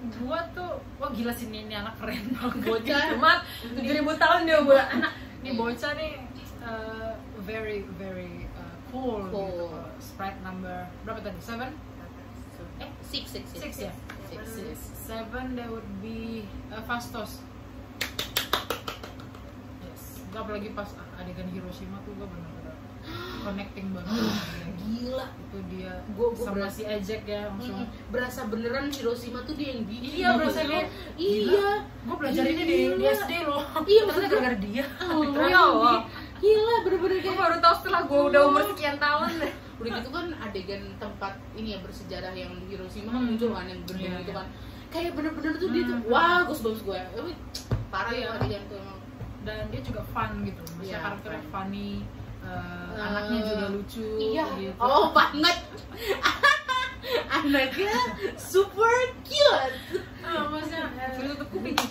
Speaker 3: gue tuh wah gila sih ini, ini anak keren *laughs* banget
Speaker 1: Bocah.
Speaker 3: cuma
Speaker 2: tujuh ribu tahun dia buat anak
Speaker 1: Iya.
Speaker 3: nih bocah nih eh, very very eh,
Speaker 1: Cool.
Speaker 3: cool, gitu spread number berapa tadi seven eh
Speaker 1: six six six,
Speaker 3: six ya
Speaker 1: Six.
Speaker 3: six seven there would be uh, Fastos yes gue apalagi pas adegan Hiroshima tuh gue bener-bener connecting banget Gila.
Speaker 1: gila
Speaker 3: itu dia
Speaker 1: Gua- gua
Speaker 3: sama
Speaker 1: berasa-
Speaker 3: si Ejek ya
Speaker 1: Mm-mm.
Speaker 3: langsung
Speaker 1: berasa beneran Hiroshima tuh dia yang bikin gitu
Speaker 3: Iya, berasa dia.
Speaker 1: iya
Speaker 3: gue belajar ini di, di
Speaker 1: Gila.
Speaker 3: SD loh Iya.
Speaker 1: Iya,
Speaker 3: maksudnya
Speaker 1: maksudnya-
Speaker 3: gara-gara *laughs* dia
Speaker 1: Allah,
Speaker 2: Ya Allah.
Speaker 1: iya. gila bener-bener
Speaker 2: gue
Speaker 1: kayak gitu.
Speaker 2: baru tahu setelah gue udah
Speaker 1: Oh.
Speaker 2: umur sekian tahun
Speaker 1: udah gitu kan adegan tempat ini ya bersejarah yang di Hiroshima
Speaker 3: Hmm.
Speaker 1: muncul kan yang berdiri
Speaker 3: Iya,
Speaker 1: itu
Speaker 3: iya.
Speaker 1: kan kayak bener-bener tuh dia tuh
Speaker 3: Hmm.
Speaker 1: wah gue sebelum gue Tapi, parah
Speaker 3: Iya.
Speaker 1: ya adegan tuh emang
Speaker 3: dan dia juga fun gitu maksudnya
Speaker 1: Iya,
Speaker 3: karakternya
Speaker 1: fun.
Speaker 3: funny eh,
Speaker 1: Eh,
Speaker 3: anaknya juga lucu
Speaker 1: Iya,
Speaker 3: gitu.
Speaker 1: oh banget. *laughs* Anaknya super cute.
Speaker 3: Ah, maksudnya *laughs* tutup kuping Eh,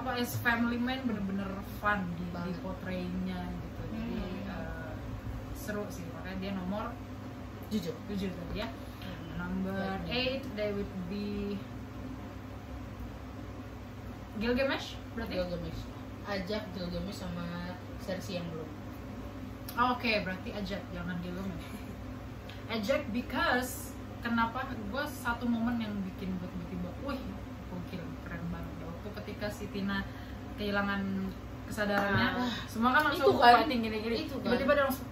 Speaker 3: apa as family man bener-bener fun di, di
Speaker 1: Banget.
Speaker 3: portrayingnya gitu jadi
Speaker 1: Hmm.
Speaker 3: eh, seru sih makanya dia nomor
Speaker 1: Jujur.
Speaker 3: tujuh tadi ya number eight they would be Gilgamesh berarti
Speaker 1: Gilgamesh. Ajak Gilgamesh sama Cersei yang belum.
Speaker 3: Oh, Oke, berarti ajak jangan di lumen. Ajak because kenapa gue satu momen yang bikin gue tiba-tiba, wih, gokil, keren banget. Waktu ketika si Tina kehilangan kesadarannya,
Speaker 2: Ah.
Speaker 3: semua kan langsung
Speaker 1: Itu kan.
Speaker 3: fighting gini-gini.
Speaker 1: Itu kan.
Speaker 3: Tiba-tiba dia langsung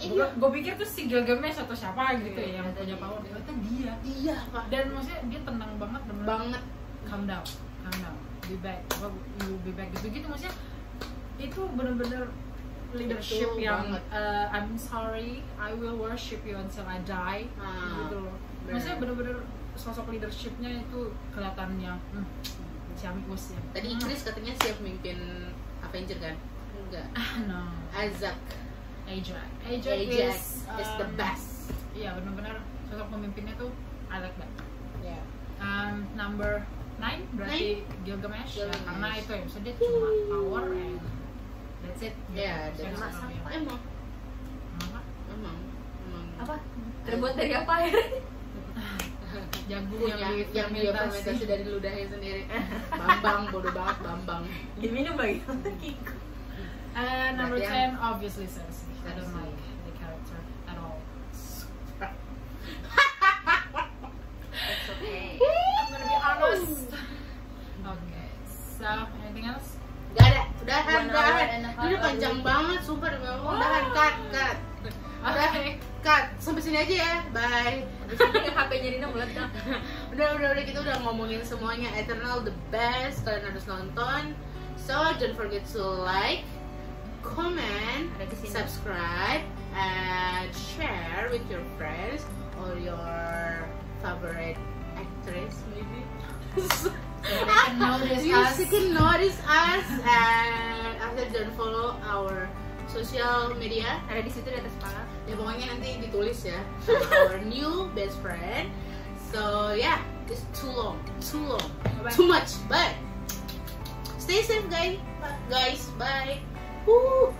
Speaker 1: Iya.
Speaker 3: gue pikir tuh si Gilgamesh atau siapa gitu
Speaker 2: Iya,
Speaker 3: ya yang punya
Speaker 2: ternyata
Speaker 3: power
Speaker 2: dia.
Speaker 3: ternyata dia
Speaker 1: Iya, Pak.
Speaker 3: dan maksudnya dia tenang banget bener
Speaker 1: banget.
Speaker 3: calm down calm down be back Apa, you be back gitu gitu maksudnya itu bener-bener leadership
Speaker 1: Betul
Speaker 3: yang
Speaker 1: banget.
Speaker 3: uh, I'm sorry I will worship you until I die
Speaker 1: Ah,
Speaker 3: gitu loh
Speaker 1: bener.
Speaker 3: maksudnya bener-bener sosok leadershipnya itu kelihatannya hmm, Xiaomi Us ya.
Speaker 1: Tadi
Speaker 3: Hmm.
Speaker 1: Chris katanya siap mimpin Avenger kan? Enggak.
Speaker 3: Ah, *laughs* no.
Speaker 1: Isaac.
Speaker 3: Ajax.
Speaker 1: Ajax is, the
Speaker 3: um,
Speaker 1: best.
Speaker 3: Iya benar-benar sosok pemimpinnya tuh I like that.
Speaker 1: Ya.
Speaker 3: Um, number 9 berarti Gilgamesh, ya,
Speaker 1: Gilgamesh.
Speaker 3: karena itu ya maksudnya dia cuma power and that's it.
Speaker 1: Ya, dan
Speaker 3: Gitu. Saya
Speaker 1: mak
Speaker 3: suka
Speaker 1: sama
Speaker 3: dia.
Speaker 1: emang.
Speaker 3: Apa?
Speaker 1: Emang. Emang.
Speaker 2: apa terbuat dari apa ya? air
Speaker 3: Jagung
Speaker 1: Punya
Speaker 3: yang
Speaker 1: yang dia
Speaker 3: difermentasi.
Speaker 1: fermentasi dari ludahnya sendiri. Bambang bodoh banget Bambang.
Speaker 2: diminum lagi
Speaker 3: Uh, number
Speaker 1: Berarti
Speaker 3: 10 obviously Cersei. I don't
Speaker 1: Cersei.
Speaker 3: like the character at all.
Speaker 2: It's okay
Speaker 3: I'm gonna be honest. *laughs* Okay. So, anything else?
Speaker 1: Gak ada. Udahan,
Speaker 2: One hour
Speaker 1: udahan.
Speaker 2: and a half
Speaker 1: Ini udah panjang
Speaker 2: hour.
Speaker 1: banget, super. Udahan, cut, cut.
Speaker 3: *laughs*
Speaker 1: Udah, cut. Sampai sini aja ya. Bye.
Speaker 2: HP-nya Dina meledak
Speaker 1: udah udah udah kita udah ngomongin semuanya Eternal the best kalian harus nonton so don't forget to like comment
Speaker 2: Ada kesini.
Speaker 1: subscribe and share with your friends or your favorite actress maybe
Speaker 3: They
Speaker 1: *laughs*
Speaker 3: can notice
Speaker 1: you
Speaker 3: us.
Speaker 1: can notice us and after don't follow our social media
Speaker 2: ada di situ di atas kepala
Speaker 1: ya pokoknya nanti ditulis ya our new best friend so yeah it's too long too long
Speaker 3: Bye-bye.
Speaker 1: too much but stay safe guys guys bye Woo.